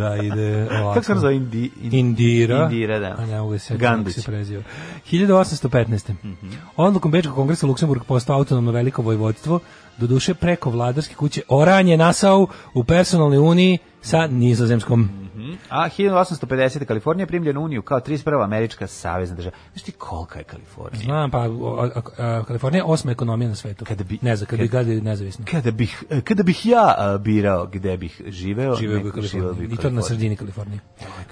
S6: Da, ide ovako.
S7: Kako se ona zove Indi, in-
S6: Indira.
S7: Indira, da.
S6: A ne mogu se setiti kako
S7: Gandić.
S6: se preziva. 1815.
S7: Mhm.
S6: Odlukom Bečkog kongresa Luksemburg postao autonomno veliko vojvodstvo, doduše preko vladarske kuće Oranje Nasau u personalnoj uniji sa nizozemskom.
S7: Mhm. A 1850. Kalifornija je primljena u Uniju kao 31. američka savezna država. Znaš ti kolika je Kalifornija?
S6: Znam, pa o- a- a- Kalifornija je osma ekonomija na svetu.
S7: Kada bi-
S6: ne znam, kada bi gledali nezavisno.
S7: Kada bih, eh, kada bih ja eh, birao gde bih živeo,
S6: Živeo bi u
S7: neko- živeo bi u
S6: Kaliforniji. I to na
S7: Kaliforniji.
S6: sredini Kalifornije.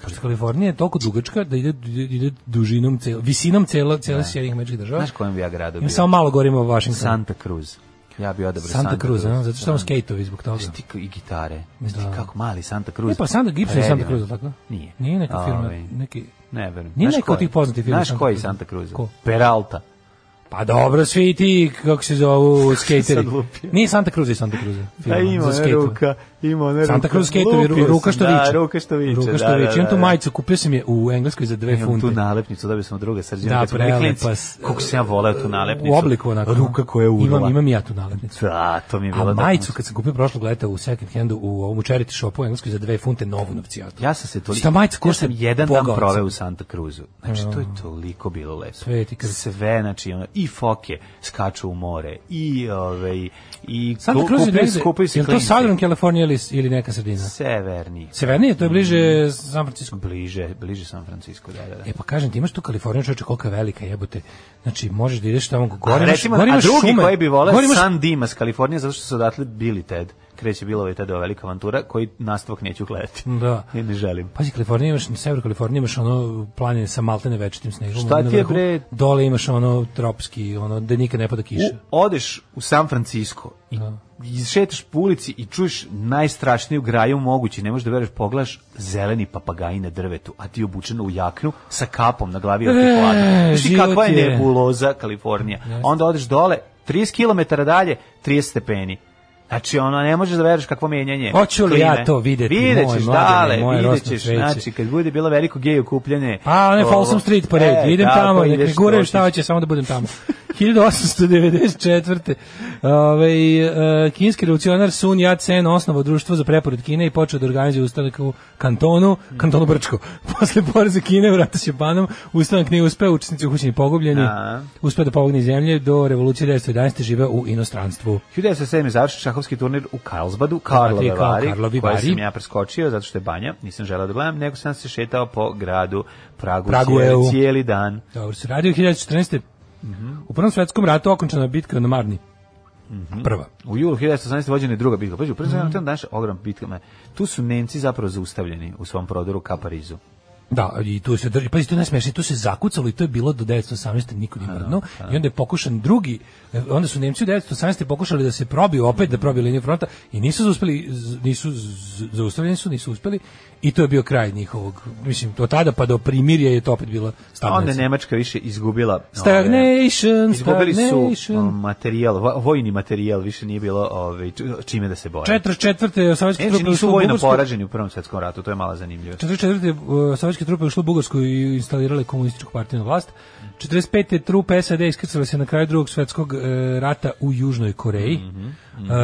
S6: Pošto Kalifornija je toliko dugačka da ide, ide, ide dužinom, cel, visinom celo, cele Sjedinjenih američkih država.
S7: Znaš kojem bi ja gradu bio?
S6: Ima samo malo gorimo o Washingtonu.
S7: Santa Cruz. Ja bi odabrao
S6: Santa, Cruz, a? zato što
S7: Da.
S6: on skejtovi zbog toga.
S7: Znaš ti k- i gitare. Znaš ti kako mali Santa Cruz.
S6: E pa Santa Gibson je Santa
S7: Predivno.
S6: Cruz, tako?
S7: Nije.
S6: Nije neka firma,
S7: Ovaj,
S6: neki...
S7: Ne verujem.
S6: Nije
S7: Znaš
S6: neka od
S7: koji?
S6: tih poznatih firma
S7: Znaš
S6: Santa
S7: koji
S6: Cruz?
S7: Santa Cruz?
S6: Ko?
S7: Peralta.
S6: Pa dobro, svi ti, kako se
S7: <laughs>
S6: zovu, skateri.
S7: lupio.
S6: Nije Santa Cruz i Santa Cruz.
S7: Da, Pa ima ona ruka, ima ona ruka.
S6: Santa Cruz skatovi,
S7: Lupio
S6: ru- ruka
S7: sam,
S6: što
S7: da,
S6: viče.
S7: ruka što viče.
S6: Ruka što
S7: da,
S6: viče.
S7: da,
S6: Imam tu
S7: da.
S6: majicu, kupio sam je u Engleskoj za dve
S7: Imam
S6: funte.
S7: tu nalepnicu, dobio sam od druga srđana.
S6: Da,
S7: kad smo bili
S6: prelepa
S7: klinci.
S6: s-
S7: Kako sam ja voleo tu nalepnicu.
S6: U obliku onako.
S7: Ruka koja je urla.
S6: Imam, imam i ja tu nalepnicu.
S7: Da, to mi je bilo...
S6: A
S7: da-
S6: majicu kad sam kupio prošlog leta u second handu u ovom charity shopu u Engleskoj za dve funte novu novcijatu.
S7: Ja sam se toliko...
S6: Šta majica košta?
S7: Ja sam jedan dan
S6: Bogavac.
S7: proveo u Santa Cruzu. Znači, to je toliko bilo lepo.
S6: Sveti krst.
S7: Sve, znači, ono, i foke skaču u more, i, ove, i...
S6: Santa
S7: ku-
S6: Cruz je
S7: kupili-
S6: negde,
S7: skupili se
S6: je li to
S7: klinci.
S6: Southern California ili, ili neka sredina?
S7: Severni.
S6: Severnije, to je bliže San Francisco.
S7: Bliže, bliže San Francisco, da, da, da.
S6: E pa kažem ti, imaš tu Kaliforniju, čoveče, kolika je velika jebote. Znači, možeš da ideš tamo, gore
S7: a,
S6: imaš,
S7: recimo,
S6: gore
S7: a
S6: imaš
S7: drugi
S6: šume.
S7: koji bi vole
S6: gore imaš-
S7: San Dimas, Kalifornija, zato što su odatle bili Ted. Kreće bila ovaj Tedova velika avantura, koji nastavak neću gledati.
S6: Da.
S7: <laughs> I ne želim.
S6: Pazi, Kalifornija imaš, na severu Kalifornije imaš ono planine sa maltene večitim snegom.
S7: Šta
S6: ono
S7: ti je,
S6: na vrhu.
S7: bre?
S6: Dole imaš ono tropski, ono, da nikad ne pada
S7: U,
S6: kiša.
S7: odeš u San Francisco i izšetaš po ulici i čuješ najstrašniju graju mogući, ne možeš da veruješ, pogledaš zeleni papagaji na drvetu, a ti obučen u jaknu sa kapom na glavi od
S6: E,
S7: hladno. Znaš ti
S6: život
S7: kakva je
S6: je.
S7: nebuloza Kalifornija. Onda odeš dole, 30 km dalje, 30 stepeni. Znači, ono, ne možeš da veruješ kakvo menjanje.
S6: Hoću li ja
S7: klime.
S6: to videti,
S7: Vidjet
S6: moj
S7: ćeš,
S6: mladene,
S7: dale,
S6: moje
S7: vidjet
S6: rosno
S7: ćeš.
S6: cveće.
S7: Znači, kad bude bilo veliko gej okupljanje...
S6: A, ne,
S7: ovo-
S6: Folsom Street parade,
S7: E,
S6: idem
S7: tako,
S6: tamo, nek me
S7: ideš,
S6: guraju
S7: doći
S6: šta hoće, samo da budem tamo. <laughs> 1894. Ove, e, kinski revolucionar Sun Yat-sen osnovao društvo za preporod Kine i počeo da organizuje ustanak u kantonu, kantonu Brčko. <laughs> Posle poreza Kine u ratu s Japanom, ustanak nije uspeo, učesnici u kućini pogubljeni,
S7: A.
S6: uspeo da pomogne iz zemlje, do revolucije 1911. žive u inostranstvu.
S7: 1907 je završen šahovski turnir u Karlsbadu,
S6: Karlovi,
S7: Karlove
S6: kao
S7: Vari,
S6: Karlovi
S7: koje
S6: Vari.
S7: sam ja preskočio zato što je banja, nisam želeo da gledam, nego sam se šetao po gradu Pragu,
S6: Pragu, E
S7: cijeli,
S6: EU.
S7: cijeli dan.
S6: Dobro, se radi u 1914.
S7: Mhm.
S6: U Prvom svetskom ratu okončana je bitka na Marni.
S7: Mhm.
S6: Prva.
S7: U julu 1918. vođena je druga bitka. Pađu, prvi mm. dan naša ogrom bitkama. Tu su Nemci zapravo zaustavljeni u svom prodoru ka Parizu.
S6: Da, i tu se drži, pazi, to je najsmešnije, tu se zakucalo i to je bilo do 1918. niko nije mrdno, i onda je pokušan drugi, e, onda su Nemci u 1918. pokušali da se probiju opet, da probiju liniju fronta, i nisu zauspeli, z- nisu, z- zaustavljeni su, nisu uspeli, i to je bio kraj njihovog, mislim, od tada pa do primirja je to opet bila
S7: A onda
S6: stagnacija.
S7: je Nemačka više izgubila... ove,
S6: Pa Stagnation,
S7: Izgubili su
S6: stagnation.
S7: um, materijal, vo- vojni materijal, više nije bilo ove, č- čime da se boje.
S6: 44. sovjetske
S7: Nemci
S6: trupe
S7: nisu
S6: ušle u
S7: vojno
S6: Bugarsku.
S7: poraženi u Prvom svjetskom ratu, to je mala zanimljivost.
S6: 44. e, sovjetske trupe ušle u Bugarsku i instalirale komunističku partiju na vlast. 45. trupe SAD iskrcale se na kraju drugog svetskog e, rata u Južnoj Koreji.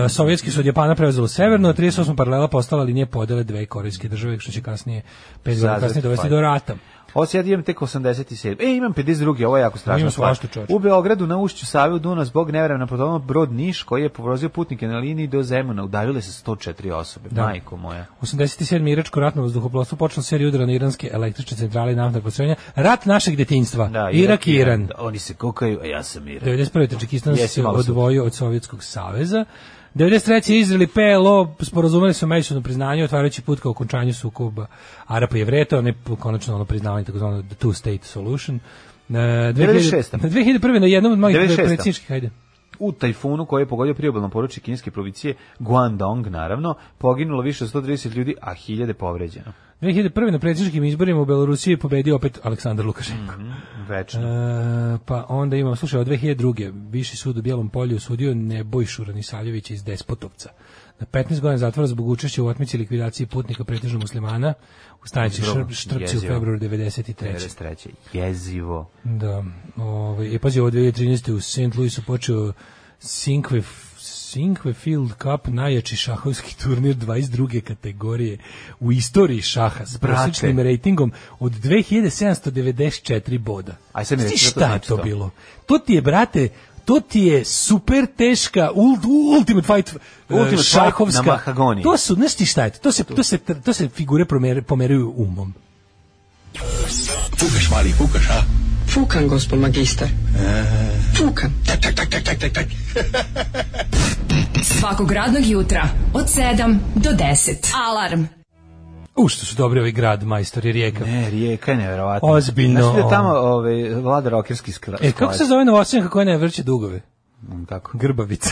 S6: E, sovjetski su od Japana preuzelo severno, a 38. paralela postala linije podele dve korejske države, što će kasnije, pet godina
S7: Zazreti
S6: kasnije dovesti
S7: pad.
S6: do rata.
S7: Ovo sad imam tek 87. E, imam 52. Ovo je jako strašno.
S6: Imam svašta, čoveče.
S7: U Beogradu na ušću Save u Duna zbog nevremena potonuo brod Niš koji je povrozio putnike na liniji do Zemuna. Udavile se 104 osobe.
S6: Da.
S7: Majko moja.
S6: 87. iračko ratno vazduhoplovstvo počelo seriju udara na iranske električne centrale i naftne postrojenja. Rat našeg detinjstva. Irak i Iran. E.
S7: Da, oni se kokaju, a ja sam Iran.
S6: 91. Tadžikistan
S7: Jesi,
S6: se
S7: malo sam.
S6: odvojio od Sovjetskog saveza. 93. Izrael i PLO sporazumeli su međusobno priznanje, otvarajući put ka okončanju sukoba Arapa i Jevreta, ono je po- konačno ono priznavanje takozvano the two state solution. Na
S7: 96..
S6: 2001. na jednom od malih
S7: 96..
S6: predsjedničkih, ajde.
S7: U tajfunu koji je pogodio priobalno područje kineske provincije Guangdong, naravno, poginulo više od 130 ljudi, a hiljade povređeno.
S6: 2001. na predsjedničkim izborima u Belorusiji je pobedio opet Aleksandar Lukašenko.
S7: Mhm. Večno.
S6: E, pa onda imamo, slušaj, od 2002. Viši sud u Bijelom polju osudio Nebojšu Ranisavljevića iz Despotovca. Na 15 godina zatvora zbog učešća u otmici i likvidaciji putnika pretežno muslimana u stanici
S7: Drugo,
S6: Šrb, Štrpci u
S7: jezivo.
S6: februaru 93.
S7: 93. Jezivo.
S6: Da, ovaj, i pazi, ovo 2013. u St. Louisu počeo Cinque, Cinque Field Cup, najjači šahovski <laughs> turnir 22. kategorije u istoriji šaha s
S7: Brate.
S6: prosječnim rejtingom od 2794 boda.
S7: Aj, sad mi
S6: Znaš ti
S7: reci šta
S6: šta
S7: to
S6: je
S7: znači
S6: to
S7: to?
S6: bilo? To ti je, brate, to ti je super teška ult, ultimate fight
S7: Ultimate
S6: ultimate
S7: fight
S6: šahovska
S7: na mahagoniji.
S6: to su znaš ti šta je to to se to se to se figure promere- pomeraju umom
S8: Fukan, gospod magistar. Fukan.
S5: Svakog radnog jutra od 7 do 10. Alarm.
S6: u što su dobri ovaj grad majstori rijeka
S7: Ne, rijeka je nevjerovatna.
S6: Ozbiljno.
S7: Znaš li da tamo ove, vlada rokerski skla-
S6: E, kako se
S7: sklad?
S6: zove Novosadnjaka koja ne vrće dugove? <laughs>
S7: Mm, Kako?
S6: Grbavica.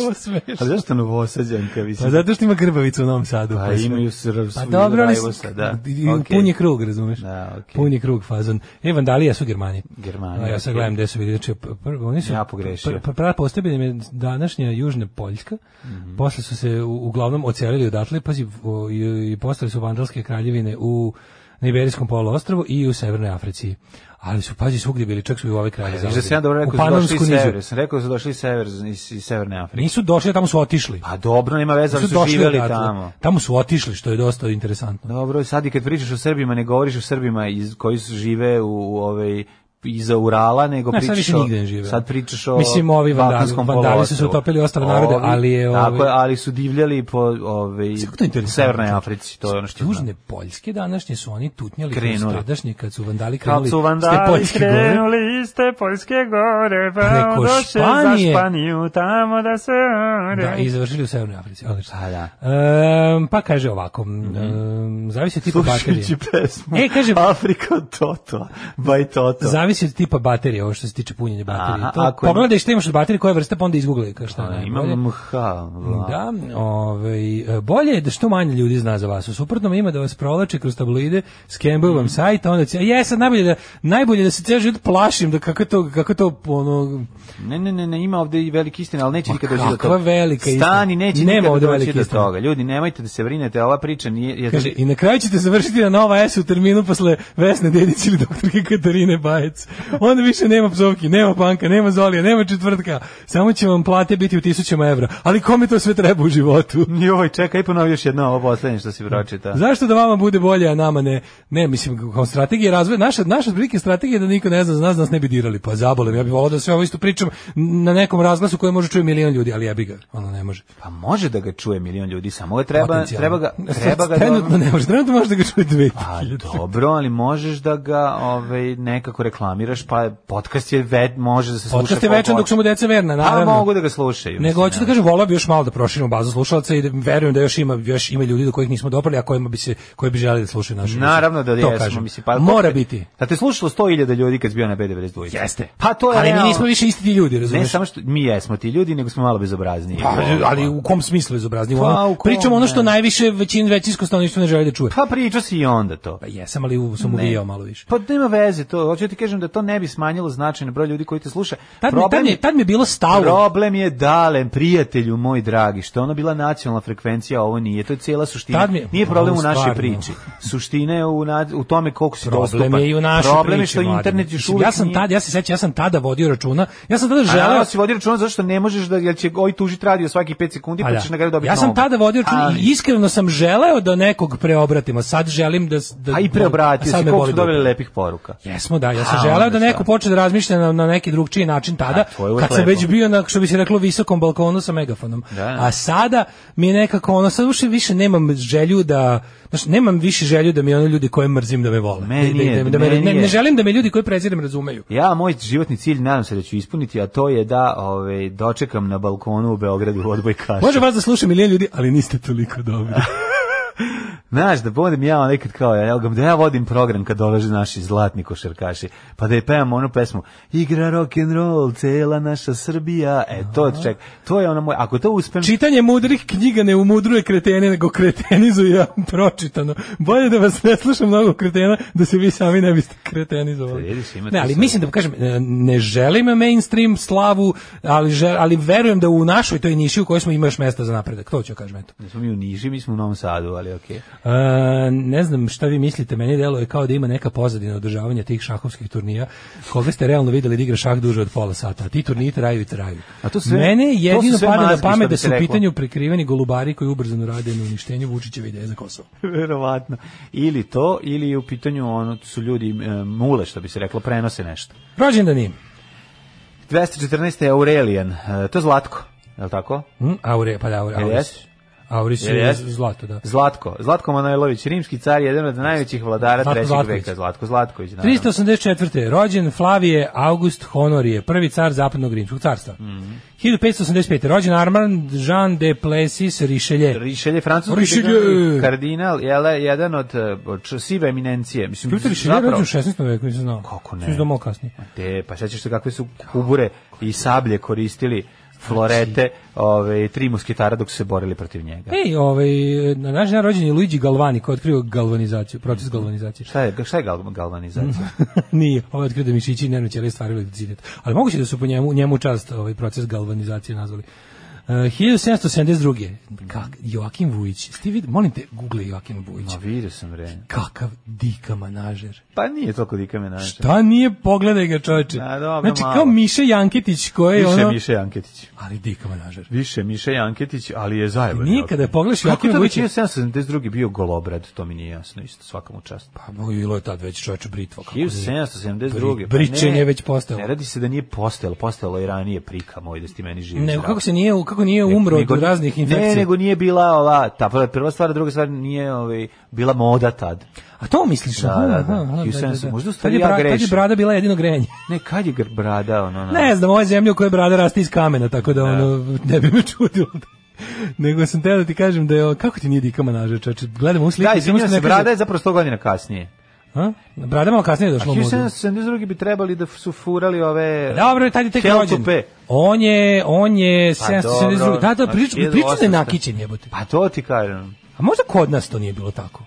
S6: Ovo smešno.
S7: A Pa zašto novosađanka? mislim?
S6: Pa zato što ima grbavicu u Novom Sadu.
S7: Pa
S6: sve.
S7: imaju sr-
S6: Pa
S7: svuda
S6: dobro, ali <laughs>
S7: rajvosa, da. Okej.
S6: pun je krug, razumeš?
S7: Da, okej.
S6: Pun je krug fazon. E, vandalija su Germani.
S7: Germani,
S6: A Ja sad
S7: okej.
S6: gledam gde su bili. Znači, prvo, oni su,
S7: Ja pogrešio.
S6: Pr, pr, pr, postavljena im je današnja Južna Poljska,
S7: Mhm.
S6: posle su se u, uglavnom ocelili odatle, pazi, o, i, i postali su vandalske kraljevine u na Iberijskom poluostrvu i u Severnoj Africi. Ali su, pazi, svugdje bili, čak su i u ove kralje
S7: Znaš da sam ja dobro rekao,
S6: u
S7: da su došli
S6: Panonsku
S7: iz
S6: nizu.
S7: severa. Sam rekao da su došli iz, sever, iz, iz Severne Afrike.
S6: Nisu došli, tamo su otišli.
S7: Pa dobro, nema veze, ali
S6: Nisu
S7: su
S6: došli
S7: živjeli
S6: odatle.
S7: tamo.
S6: Tamo su otišli, što je dosta interesantno.
S7: Dobro, sad i kad pričaš o Srbima, ne govoriš o Srbima iz, koji su žive u, u ovaj iza Urala, nego
S6: Ne, sad
S7: pričaš
S6: više
S7: o...
S6: nigde ne žive.
S7: Sad pričaš o
S6: Mislim, ovi vandali-
S7: Balkanskom
S6: vandali su
S7: poluostrvu.
S6: se utopili ostale narode,
S7: Ovi-
S6: ali je,
S7: Tako
S6: ovaj-
S7: je, ali su divljali po ovaj,
S6: Kako to je interesantno?
S7: Severnoj Africi, to je ono što
S6: Južne Poljske današnje su oni tutnjali
S7: Krenuli.
S6: kroz tadašnje kad su vandali
S7: znam. Kad
S6: krenuli
S7: su
S6: s te
S7: vandali
S6: Poljske gore.
S7: krenuli iz te Poljske gore, pa
S6: Preko
S7: došli za
S6: Španije.
S7: Španiju, tamo da se...
S6: Da, i završili u Severnoj Africi. odlično.
S7: Pa da.
S6: Ehm, pa kaže ovako, ehm, zavisi od tipa baterije.
S7: Mhm. Slušajući pesmu
S6: E, kaže-
S7: Afrika od Toto, by Toto.
S6: Zavisi od tipa baterije, ovo što se tiče punjenja baterije.
S7: Aha,
S6: To,
S7: ako je-
S6: pogledaj šta imaš od baterije, koja je vrsta, pa onda izgooglaj ka šta je
S7: A,
S6: najbolje.
S7: Imam MH. vla.
S6: Da, ovaj, e, bolje je da što manje ljudi zna za vas. U suprotnom ima da vas provlače kroz tabloide, skembuju
S7: Mhm.
S6: vam sajt, a onda će, ja sad najbolje da, najbolje da se ceo život plašim, da kako to, kako to, ono,
S7: Ne, ne, ne, ne, ima ovde i velike istine, ali neće
S6: Ma
S7: nikada doći do
S6: kakva
S7: toga.
S6: velika istina?
S7: Stani, neće
S6: Nema
S7: nikada
S6: ovde
S7: doći
S6: velike
S7: do
S6: istine.
S7: toga. Ljudi, nemojte da se brinete, ova priča nije... Je,
S6: Kaže, i na kraju ćete završiti na Nova S u terminu posle Vesne Dedić ili doktorke Katarine Bajec. Onda više nema psovki, nema panka, nema zolija, nema četvrtka. Samo će vam plate biti u tisućama evra. Ali kome to sve treba u životu?
S7: Joj, čekaj, ponovi još jedno ovo poslednje što si pročita.
S6: Zašto da vama bude bolje, a nama ne? Ne, mislim, kao strategija razvoja, naša, naša prilike strategija je da niko ne zna, za nas, da nas ne bi dirali. Pa zabolem, ja bih volao da sve ovo isto pričam na nekom razglasu koji može čuje milion ljudi, ali ja bi ga, ono ne može.
S7: Pa može da ga čuje milion ljudi, samo ga treba,
S6: Potencijalno.
S7: treba ga, treba ga...
S6: Trenutno ne može, trenutno može da ga čuje dve
S7: Pa dobro, ali možeš da ga ovaj, nekako reklamiraš, pa podcast je ve, može da se sluša.
S6: Podcast je
S7: koliko
S6: večan dok su mu deca verna,
S7: A
S6: naravno.
S7: mogu da ga slušaju.
S6: Nego
S7: mislim,
S6: hoću da
S7: ja.
S6: kažem, volao bih još malo da proširimo bazu slušalaca i da verujem da još ima još ima ljudi do kojih nismo doprli, a kojima bi se koji bi želeli da slušaju našu. emisiju.
S7: Naravno da
S6: To
S7: jesmo,
S6: kažem.
S7: mislim, pa
S6: mora biti.
S7: Da te slušalo 100.000 ljudi kad si bio na B92.
S6: Jeste.
S7: Pa to je
S6: Ali mi
S7: realno.
S6: nismo više isti ti ljudi,
S7: Ne
S6: razumeš?
S7: samo što mi jesmo ti ljudi, nego smo malo bezobrazniji.
S6: Pa, ali u kom smislu izobrazni?
S7: Pa,
S6: Ono,
S7: u kom,
S6: pričamo ono što
S7: ne.
S6: najviše većin većinsko stanovništvo ne želi da čuje.
S7: Pa pričao si i onda to.
S6: Pa jesam, ali u, sam uvijao malo više.
S7: Pa nema veze to. Hoću ti kažem da to ne bi smanjilo značajno broj ljudi koji te sluša.
S6: Tad, mi, tad, mi, je- tad mi je bilo stalo.
S7: Problem je dalen, prijatelju moj dragi, što je ono bila nacionalna frekvencija, a ovo nije. To je cijela suština.
S6: Tad mi je-
S7: Nije problem
S6: Ovo
S7: u našoj
S6: stvarno.
S7: priči. Suština je u, nad- u tome koliko si dostupan.
S6: Problem je i u našoj
S7: Problem je
S6: priči,
S7: što
S6: mladen.
S7: internet još
S6: Mislim,
S7: uvijek
S6: Ja sam
S7: nije-
S6: tad, ja se sećam, ja sam tada vodio računa. Ja sam tada
S7: A naravno
S6: želeo
S7: si vodi računa zašto ne možeš da jel će oj tužiti radio svaki 5 sekundi pa,
S6: Pa da.
S7: ćeš na kraju dobiti.
S6: ja sam
S7: novu.
S6: tada vodio račun
S7: Ali-
S6: i iskreno sam želeo da nekog preobratimo. Sad želim da... s- da
S7: A i preobratio
S6: a sad
S7: si
S6: me
S7: koliko
S6: boli
S7: su dobili
S6: dupe.
S7: lepih poruka.
S6: Jesmo, da. Ja sam
S7: A,
S6: želeo
S7: onda
S6: da neko
S7: šta?
S6: počne da razmišlja na, na neki drugčiji način tada,
S7: A, to je uvek
S6: kad sam
S7: lepo.
S6: već bio na, što bi se reklo, visokom balkonu sa megafonom.
S7: Da.
S6: A sada mi je nekako ono, sad više, više nemam želju da, znači nemam više želju da mi ono ljudi koje mrzim da me vole.
S7: Meni
S6: Da- da-
S7: je,
S6: da me-
S7: meni
S6: ne,
S7: je.
S6: ne želim da me ljudi koje prezirem razumeju.
S7: Ja moj životni cilj nadam se da ću ispuniti, a to je da ovaj dočekam na balkonu u Beogradu odbojkaša.
S6: Može vas da sluša milijen ljudi, ali niste toliko dobri.
S7: Znaš, da budem ja nekad kao, ja, da ja vodim program kad dolaze naši zlatni košarkaši, pa da je pevam onu pesmu Igra rock and roll, cela naša Srbija, e to ček, to je ono moj, ako to uspem,
S6: Čitanje mudrih knjiga ne umudruje kretene, nego kretenizuje <laughs> pročitano. Bolje da vas ne slušam mnogo kretena, da se vi sami ne biste kretenizovali.
S7: Da, vidiš, imate
S6: ne, ali
S7: sve.
S6: mislim da kažem, e, ne želim mainstream slavu, ali, žel, ali verujem da u našoj toj niši u kojoj smo ima još mesta za napredak. To ću kažem, eto.
S7: smo mi u Niži, mi smo u Novom Sadu, ali okej.
S6: E, ne znam šta vi mislite, meni deluje kao da ima neka pozadina održavanja tih šahovskih turnija. Koga ste realno videli da igra šah duže od pola sata? A ti turniji traju i traju.
S7: A to sve-
S6: Mene
S7: to su
S6: jedino
S7: sve
S6: pada na
S7: mazgi, što
S6: pamet
S7: bi
S6: da
S7: se
S6: su u
S7: reklo.
S6: pitanju prikriveni golubari koji ubrzano rade na uništenju Vučićeve ideje za Kosovo.
S7: <laughs> Verovatno. Ili to, ili je u pitanju ono, su ljudi e, mule, što bi se reklo, prenose nešto.
S6: Rođendan im.
S7: 214. je Aurelijan, e, to je Zlatko, je li tako?
S6: Hm? Aure, pa da, Aure,
S7: Jel
S6: Auris.
S7: jesi?
S6: Auris
S7: Jel
S6: je
S7: jesi?
S6: zlato, da.
S7: Zlatko, Zlatko Manojlović, rimski car, jedan od najvećih vladara
S6: Zlatko
S7: trećeg
S6: Zlatković.
S7: veka, Zlatko Zlatković. naravno.
S6: 384. rođen Flavije August Honorije, prvi car zapadnog rimskog carstva.
S7: Mhm.
S6: 1585. rođen Armand Jean de Plessis Richelieu.
S7: Richelieu, francuski
S6: Richelieu.
S7: kardinal, jel, jedan od e, č- sive eminencije. Mislim,
S6: Peter Richelieu je rođen u 16. veku, nisam znao.
S7: Kako ne?
S6: Sam znao malo kasnije.
S7: Te, pa sećaš se kakve su kubure i sablje koristili florete, ove, tri musketara dok su se borili protiv njega.
S6: Ej, ovaj, na naš dan rođen je Luigi Galvani koji je otkrio galvanizaciju, proces galvanizacije. <laughs>
S7: Šta je, šta je gal- galvanizacija?
S6: Nije, ovaj je otkrio da mišići i nervne ćelije stvaraju elektricitet. Ali moguće da su po njemu, njemu čast ovaj proces galvanizacije nazvali. Uh, 1772. Kak, Joakim Vujić. Ste vid, molim te, google Joakim Vujić.
S7: Ma vidio sam re.
S6: Kakav dika manažer.
S7: Pa nije toliko dika me naša.
S6: Šta nije, pogledaj ga čoveče.
S7: A, dobro,
S6: znači,
S7: malo.
S6: kao Miše Janketić koji je
S7: Više
S6: ono...
S7: Miše Janketić.
S6: Ali dika manažer.
S7: Više Miše Janketić, ali je zajeban.
S6: Nije, kada je pogledaš
S7: Kako
S6: Joakim
S7: je to već
S6: Vujića-
S7: 1772. bio golobrad, to mi nije jasno isto, svakom u čast.
S6: Pa bilo je tad već čoveče britvo. kako nije.
S7: 1772. Pa
S6: Bričenje
S7: ne,
S6: je već postao.
S7: Ne radi se da nije postojalo, postojalo je ranije prika moj da ti meni živiš.
S6: Ne, kako se nije, kako nije umro od raznih infekcija.
S7: Ne, nego nije bila ova, ta prva- prva stvar, druga stvar nije ovaj, bila moda tad.
S6: A to misliš?
S7: Da,
S6: aha,
S7: da, da.
S6: aha, aha,
S7: I u sensu, možda u
S6: Tad
S7: stvari
S6: je
S7: ja
S6: bra- Tad je
S7: grešim.
S6: brada bila jedino grenje.
S7: Ne, kad je gr- brada, ono, ono.
S6: Ne znam, ovo je zemlja u kojoj brada raste iz kamena, tako da ono, ne bi me čudilo. Nego sam teo da ti kažem da je, ovo- kako ti nije dika manaža, čoče, gledam u sliku.
S7: Da,
S6: samo
S7: izvinjam
S6: sam
S7: se,
S6: ne
S7: brada
S6: kažem-
S7: je zapravo 100 godina kasnije.
S6: A? Brada je malo kasnije
S7: A
S6: došla u modu.
S7: 1772. bi trebali da su furali ove...
S6: Dobro, tad je tek
S7: Kelp
S6: rođen.
S7: P. Pa
S6: On je, on je 772.
S7: dobro,
S6: Da, da,
S7: znači,
S6: priča, priča da je
S7: 1800.
S6: nakićen jebote.
S7: Pa to ti kažem.
S6: A možda kod nas to nije bilo tako.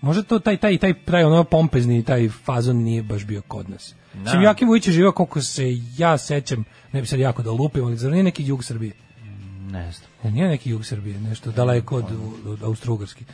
S6: Možda to taj taj taj taj ono pompezni taj fazon nije baš bio kod nas. Da. Sim Jakim Vujić je živio koliko se ja sećam, ne bi sad jako da lupim, ali zar nije neki jug Srbije?
S7: Ne znam.
S6: Ne, nije neki jug Srbije, nešto daleko od, od Austrougarske.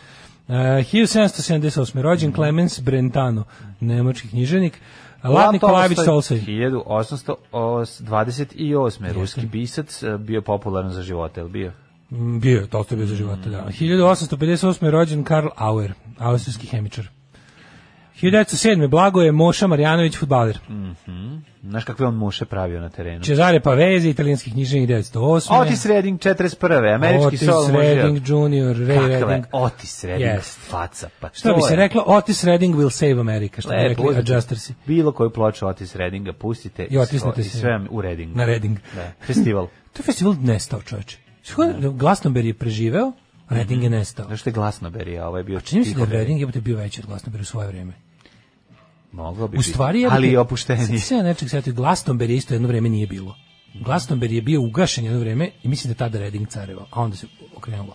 S6: Uh, 1778. rođen Clemens Brentano, nemački književnik. Vlad Nikolajević Solsej.
S7: 1828. Ruski pisac e, bio popularan za života, je li bio?
S6: Mm, Bio je, to bio za života, da. 1858. rođen Karl Auer, austrijski hemičar. 1907. Blago je Moša Marjanović, futbaler.
S7: Znaš kakve on muše pravio na terenu?
S6: Cesare Pavezi, pa italijanski književnik 908.
S7: Otis Redding 41. Američki
S6: Otis
S7: sol
S6: Redding Jr., Ray
S7: Kakva je
S6: Redding.
S7: Otis Redding
S6: Jest.
S7: faca? Pa
S6: Što
S7: to
S6: bi se
S7: je
S6: reklo, Otis Redding will save America, što bi
S7: lepo,
S6: rekli
S7: uzmite
S6: adjustersi.
S7: Bilo koju ploču Otis Reddinga pustite
S6: I otisnite
S7: svo-
S6: se.
S7: sve vam u Reddingu.
S6: Na Redding.
S7: Da, festival.
S6: To je festival nestao, čoveče. Glastonbury je preživeo, Redding je nestao.
S7: Znaš što je Glasnoberry, a ovo je bio
S6: Čini mi se da je
S7: Tihoberry.
S6: Redding je bio veći od Glastonbury u svoje vreme.
S7: Moglo bi
S6: U stvari je...
S7: ali i opušteni.
S6: Sve ja nečeg sjetio, Glastonbury isto jedno vreme nije bilo. Glastonbury je bio ugašen jedno vreme i mislim da je tada Redding carevao, a onda se okrenulo.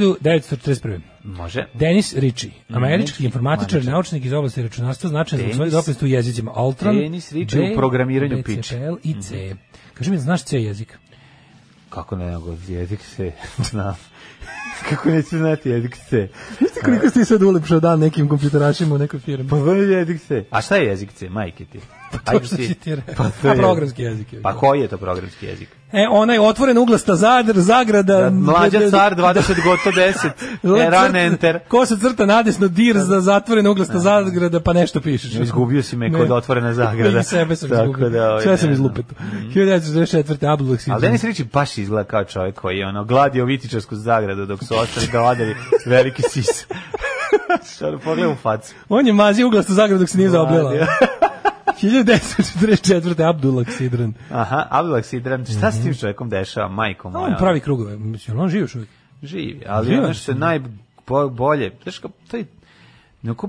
S6: 1941.
S7: Može.
S6: Denis Ritchie, američki
S7: Ritchie,
S6: informatičar,
S7: matičar.
S6: naučnik iz oblasti računarstva, značajan za
S7: Denis-
S6: svoje dopisnosti u jezicima Altran,
S7: Denis Ritchie u programiranju Mhm. piče.
S6: BCPL i C. Kaži mi, znaš C jezik?
S7: Kako ne mogu, jezik se, <laughs> znam. Kako neću znati jezik se? Znate koliko
S6: si sad ulepšao dan nekim kompjuterašima u nekoj firmi?
S7: Pa vrlo jezik se. A šta je jezik se, majke ti?
S6: Pa to što si ti rekao. A programski jezik je.
S7: Pa koji je to programski jezik?
S6: E, onaj otvoren uglasta zadr, zagrada...
S7: Mlađa
S6: d- d-
S7: car, 20 goto
S6: <laughs>
S7: 10, E, run enter.
S6: Ko se crta nadesno dir za zatvorena uglasta zagrada, pa nešto pišeš.
S7: Izgubio si me
S6: Ne.
S7: kod otvorena zagrada.
S6: I sebe sam
S7: Tako
S6: izgubio.
S7: da, ovaj,
S6: Sve sam
S7: ne znam.
S6: izlupetao. 1924. Abdullah Sibir.
S7: Ali Denis Riči baš izgleda kao čovjek koji je ono, gladio vitičarsku zagradu dok su ostali gladili veliki sis. <laughs> Što pogledaj u facu.
S6: On je mazio uglastu zagradu dok se nije zaobljela.
S7: <laughs> Mladio.
S6: 1944. Abdullah Sidran.
S7: Aha, Abdulak Sidran, šta se s tim čovjekom dešava, majko moja?
S6: Mhm. On pravi krugove. Mislim, on živi još uvijek.
S7: Živi, ali
S6: Živi,
S7: ono što je najbolje, znaš kao, taj, neko,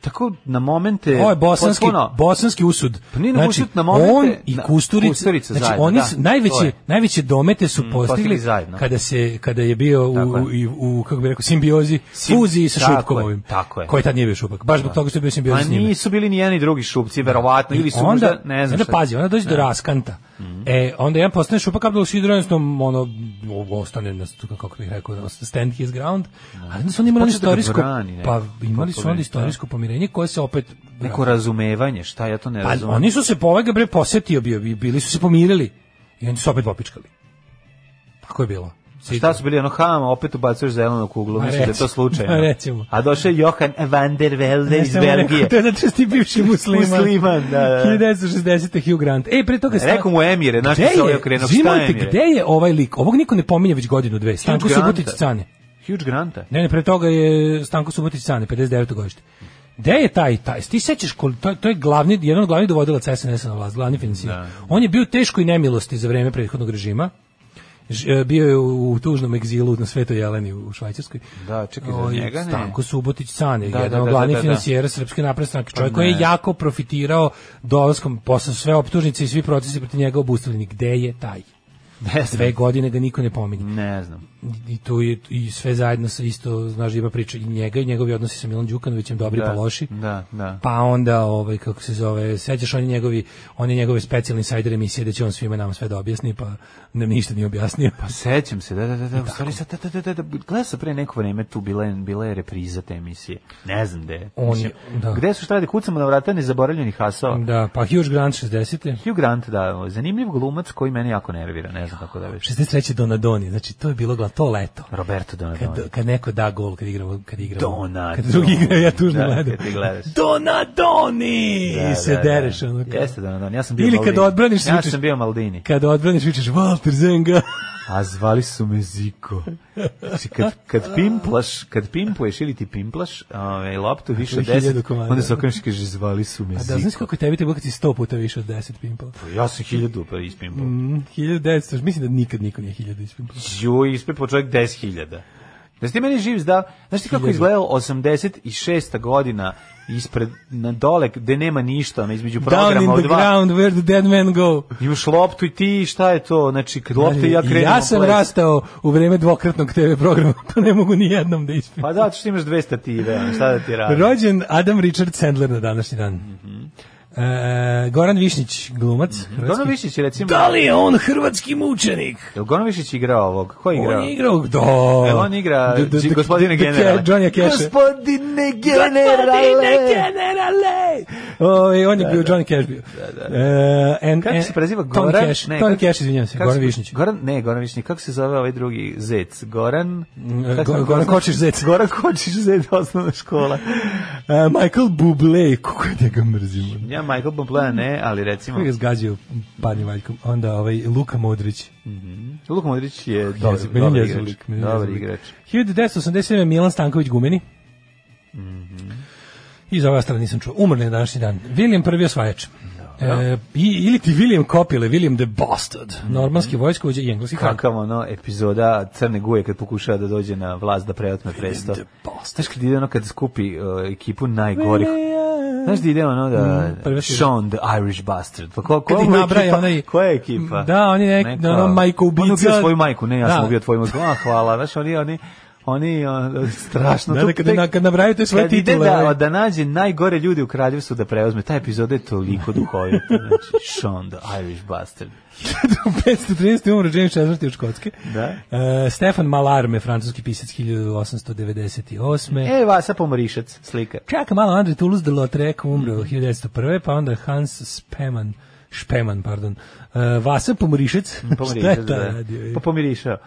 S7: tako na momente...
S6: Ovo je bosanski,
S7: E, potpuno-
S6: bosanski usud. Znači,
S7: Pa nije na usud, na momente-
S6: on i
S7: na-
S6: Kusturica,
S7: Kusturica
S6: znači
S7: zajedno,
S6: oni
S7: da,
S6: su,
S7: to
S6: najveće,
S7: je. Mm,
S6: najveće domete su postigli
S7: postigli zajedno.
S6: kada, se, kada je bio u,
S7: Tako je.
S6: u, i u, kako bih rekao, simbiozi,
S7: Sim-
S6: fuziji sa
S7: tako je,
S6: Šupkom ovim.
S7: tako je.
S6: Koji tad nije bio Šupak. Baš zbog toga što je bio simbiozi
S7: Pa
S6: s njime.
S7: nisu bili ni jedni drugi šupci, verovatno, ili su
S6: onda,
S7: možda, ne znam
S6: onda
S7: šta. Mhm.
S6: pazi, onda dođe do raskanta. E, onda jedan postane šupak pa Abdul Sidor, jednostavno, ono, ostane na, stu- kako bih rekao, ono, stand his ground, ali onda su oni imali
S7: Počne da ga
S6: istorijsko,
S7: brani, ne,
S6: pa imali su onda
S7: popović,
S6: istorijsko pomirenje koje se opet...
S7: Neko razumevanje, šta ja to ne
S6: Pa,
S7: razumem.
S6: oni su se po ovaj ga bre posetio bio, bi- bili su se pomirili i oni su se opet popičkali. Tako je bilo.
S7: Šta su bili ono hama, opet ubacuješ zelenu kuglu,
S6: Ma,
S7: mislim da je
S6: Pa recimo,
S7: to
S6: ma,
S7: slučajno.
S6: recimo.
S7: A došao je Johan van der Velde
S6: Ne
S7: iz
S6: samo
S7: Belgije.
S6: rekao, <laughs> To je zato što si ti bivši musliman.
S7: <laughs> Musliman, da, da, da.
S6: 1960. Hugh Grant. E, pre toga... sta-
S7: Rekao mu Emire, znaš što
S6: Gde
S7: se ovaj
S6: je,
S7: okrenuo,
S6: izvini,
S7: šta
S6: molim te,
S7: Emire?
S6: gde je ovaj lik? Ovog niko ne pominje već godinu dve. Stanko
S7: Granta.
S6: Subotić Cane.
S7: Huge Granta.
S6: Ne, ne, pre toga je Stanko Subotić Cane, 59. godište. Gde je taj, taj, ti sećaš, kol- to, to je glavni, jedan od glavnih dovodilaca SNS-a na vlast, glavni financijer. On je bio u teškoj nemilosti za vreme prethodnog režima, Ž- e, bio je u, u tužnom egzilu na Svetoj Jeleni u Švajcarskoj.
S7: Da, čekaj, za
S6: O, i
S7: njega ne.
S6: Stanko Subotić Cane,
S7: Da,
S6: jedan
S7: da,
S6: od
S7: da,
S6: glavnih
S7: da, da, da.
S6: finansijera Srpske napredne stranke, čovjek koji je jako profitirao dolaskom posle su sve optužnice i svi procesi protiv njega obustavljeni. Gde je taj?
S7: Ne znam.
S6: Dve godine ga niko ne pominje.
S7: Ne znam.
S6: I tu je i sve zajedno sa isto, znaš, ima priča i njega i njegovi odnosi sa Milan Đukanovićem, dobri
S7: Da,
S6: pa loši.
S7: da, da.
S6: Pa onda, ovaj, kako se zove, sećaš oni njegovi, oni njegove specijalni insider emisije da će on svima nama sve da objasni, pa nam ništa nije objasnio.
S7: Pa sećam se, da, da, da, da, u stvari sad, da, da, da, da, da, gledao sam pre neko vreme tu, bila je, bila je repriza te emisije, ne znam gde.
S6: On
S7: Mislim,
S6: je- da.
S7: Gde su šta radi, kucamo na vrata nezaboravljenih
S6: <laughs>
S7: hasova.
S6: Da, pa Hugh Grant 60.
S7: Hugh Grant, da, zanimljiv glumac koji mene jako nervira, ne znam kako da već.
S6: 63. Donadoni, znači to je bilo gla- to leto.
S7: Roberto Pa, Donadoni.
S6: Kad, kad neko da gol, kad igramo, kad igramo.
S7: Donadoni.
S6: Kad drugi igraju, ja tužno
S7: Da,
S6: gledam.
S7: kad ti gledaš.
S6: Donadoni! I se dereš, ono. kao-
S7: Jeste Donadoni, ja sam bio
S6: Ili kad
S7: Maldini.
S6: odbraniš,
S7: Ja
S6: vičeš-
S7: sam bio Maldini.
S6: Kad odbraniš, vičeš Walter Zenga.
S7: A zvali su me Ziko. Znači, kad, kad pimplaš, kad pimpluješ ili ti pimplaš ovaj, loptu više od
S6: To je hiljadu
S7: 10,
S6: komada.
S7: onda se okreneš i kaže, zvali su me
S6: A da, znaš
S7: Ziko.
S6: kako je tebi te bilo kad si sto puta više od 10 pimpala?
S7: Ja sam hiljadu pa ispimpao.
S6: 1900, mislim da nikad niko nije 1000 ispimpala.
S7: Ju, ispepo čovjek 10.000. Da ste meni živ zda, znaš ti kako izgledalo 86. godina ispred, na dole, gde nema ništa, ono, između
S6: Down in
S7: programa od
S6: the
S7: dva.
S6: ground where the dead men go.
S7: Imaš loptu i ti, šta je to? Znači, kad lopta i ja
S6: Ali,
S7: krenem.
S6: ja sam rastao u vreme dvokratnog TV programa, <laughs> to ne mogu ni jednom da ispim.
S7: Pa da, što imaš dve stative, ono, šta da Mhm. ti radi?
S6: Rođen Adam Richard Sandler na današnji dan. E, Goran Višnić, glumac.
S7: Mhm.
S6: hrvatski.
S7: Gonovišić je recimo...
S6: Da li je on hrvatski mučenik?
S7: Jel Gonovišić igrao ovog? Ko je igrao?
S6: On je igrao, da.
S7: Jel E, on igra
S6: D- d-
S7: Đi-
S6: d- d-
S7: gospodine
S6: d-
S7: generale?
S6: Johnny Cash.
S7: Gospodine generale!
S6: generale! Oj, on je bio Johnny Cash bio. Da, da.
S7: Kako se preziva
S6: Goran?
S7: Goran?
S6: E, Tom Cash,
S7: Ne,
S6: Tom
S7: kako-
S6: Cash, izvinjavam se,
S7: kako se-
S6: Goran Višnić.
S7: Goran, ne, Goran Višnić. Kako se zove ovaj drugi zec? Goran...
S6: Mm, Go-
S7: kako se-
S6: Goran Kočiš Zec.
S7: Goran Kočiš zec, <laughs> osnovna škola.
S6: E, Michael Bublé, kako ja njega mrzimo.
S7: Ja Michael Bublé ne, ali recimo...
S6: Kako ga zgađio Pani Valjkom. Onda ovaj, Luka Modrić.
S7: Luka Modrić je dobar,
S6: Jezik, meni
S7: dobar
S6: jezik
S7: igrač.
S6: lik, meni
S7: Dobar
S6: jezik lik.
S7: igrač.
S6: 1987. Milan Stanković Gumeni.
S7: Mhm.
S6: I za ova strana nisam čuo. Umrli je na današnji dan. William prvi osvajač. E, i, ili ti William Kopile, William the Bastard.
S7: Mhm.
S6: Normanski vojskovođa i engleski kralj.
S7: Kakav ono epizoda Crne guje kad pokušava da dođe na vlast da preotme presto. Znaš kad ide ono kad skupi uh, ekipu najgorih Znaš da ide ono da
S6: prva si-
S7: Sean the Irish Bastard. Pa ko, ko
S6: Kad ih
S7: mu je
S6: nabraja
S7: ekipa?
S6: onaj-
S7: Koja je ekipa?
S6: Da, oni nek-
S7: Neka-
S6: ono, majkoubica.
S7: On je ubio svoju majku, ne, ja sam
S6: Da.
S7: ubio tvoju majku. A, hvala. Znaš, oni, oni, oni o, strašno.
S6: Da,
S7: Tu
S6: da, kad,
S7: No, tek-
S6: na, kad nabraju te svoje
S7: kad ide
S6: titule.
S7: Da,
S6: ovaj. <laughs>
S7: da nađe najgore ljudi u kraljevstvu da preozme. Ta epizoda je toliko
S6: <laughs>
S7: duhovita. Znači, Sean the Irish Bastard.
S6: 513. umro James IV. od Škotske.
S7: Da.
S6: E, Stefan Malarme, francuski pisac 1898.
S7: E, Vasa Pomorišac, slika.
S6: Čeka malo André Toulouse de Lautrec umro 1901. Pa onda Hans Speman, Speman, pardon. E, Vasa Pomorišec. <laughs> Šta
S7: Pomirišac,
S6: je ta
S7: Mm, da.
S6: radio?
S7: Pa pomirišao.
S6: Ja.
S7: Uh,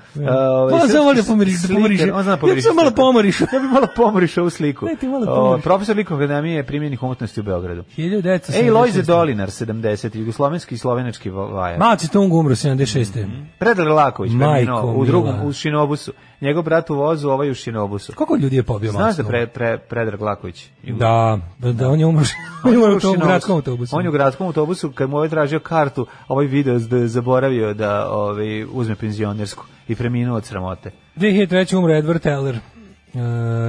S6: Pa, samo da pomiri- pomiriše.
S7: On zna
S6: Ja bi
S7: pomiriše.
S6: samo malo pomirišao.
S7: Ja bi malo pomirišao ovu sliku.
S6: Ne, ti malo
S7: O,
S6: pomiriš.
S7: profesor likovne akademije primjenih umotnosti u Beogradu.
S6: 1976.
S7: Ej, Lojze Dolinar, 70, jugoslovenski i slovenački va- vajar.
S6: Mao Tung umro 76.
S7: Predrag Laković,
S6: Majko
S7: preminuo, u drugom,
S6: mila.
S7: u Šinobusu. Njegov brat u vozu, ovaj u Šinobusu.
S6: Koliko ljudi je pobio Mao
S7: Znaš da
S6: Tse-tunga?
S7: pre, pre, Predrag Laković? Jugo-
S6: Da, da, da, on je umro. on je <laughs> umro u tom
S7: Šinobusu.
S6: gradskom autobusu.
S7: On je u gradskom autobusu, kad mu je ovaj tražio kartu, ovaj video da je zaboravio da ovaj, uzme penzionersku i preminuo od sramote.
S6: 2003. umro Edward Teller. Uh,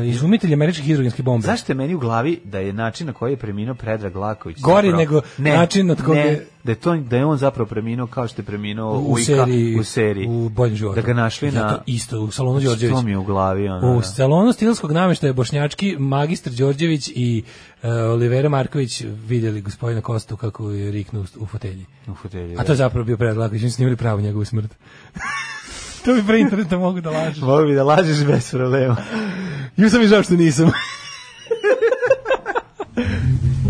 S6: izumitelj američkih hidrogenskih bombe.
S7: Zašto je meni u glavi da je način na koji je preminuo Predrag Laković?
S6: Gori nego način na koji
S7: ne,
S6: je-
S7: Da je, to, da je on zapravo preminuo kao što je preminuo
S6: u,
S7: Ujka
S6: seriji
S7: u seriji.
S6: u boljem životu.
S7: Da ga našli
S6: Ja
S7: na...
S6: to isto u salonu Đorđević.
S7: Što mi je u glavi? Ono,
S6: U
S7: da.
S6: salonu stilskog nameštaja Bošnjački magistar Đorđević i e, Olivera Marković vidjeli gospodina Kostu kako je riknu u, u fotelji.
S7: U fotelji,
S6: A to je zapravo bio Predrag Laković, oni su snimili pravu njegovu smrt. <laughs> to bi pre interneta mogu da lažem.
S7: Mogu bi da lažeš bez problema.
S6: Ju sam i žao što nisam.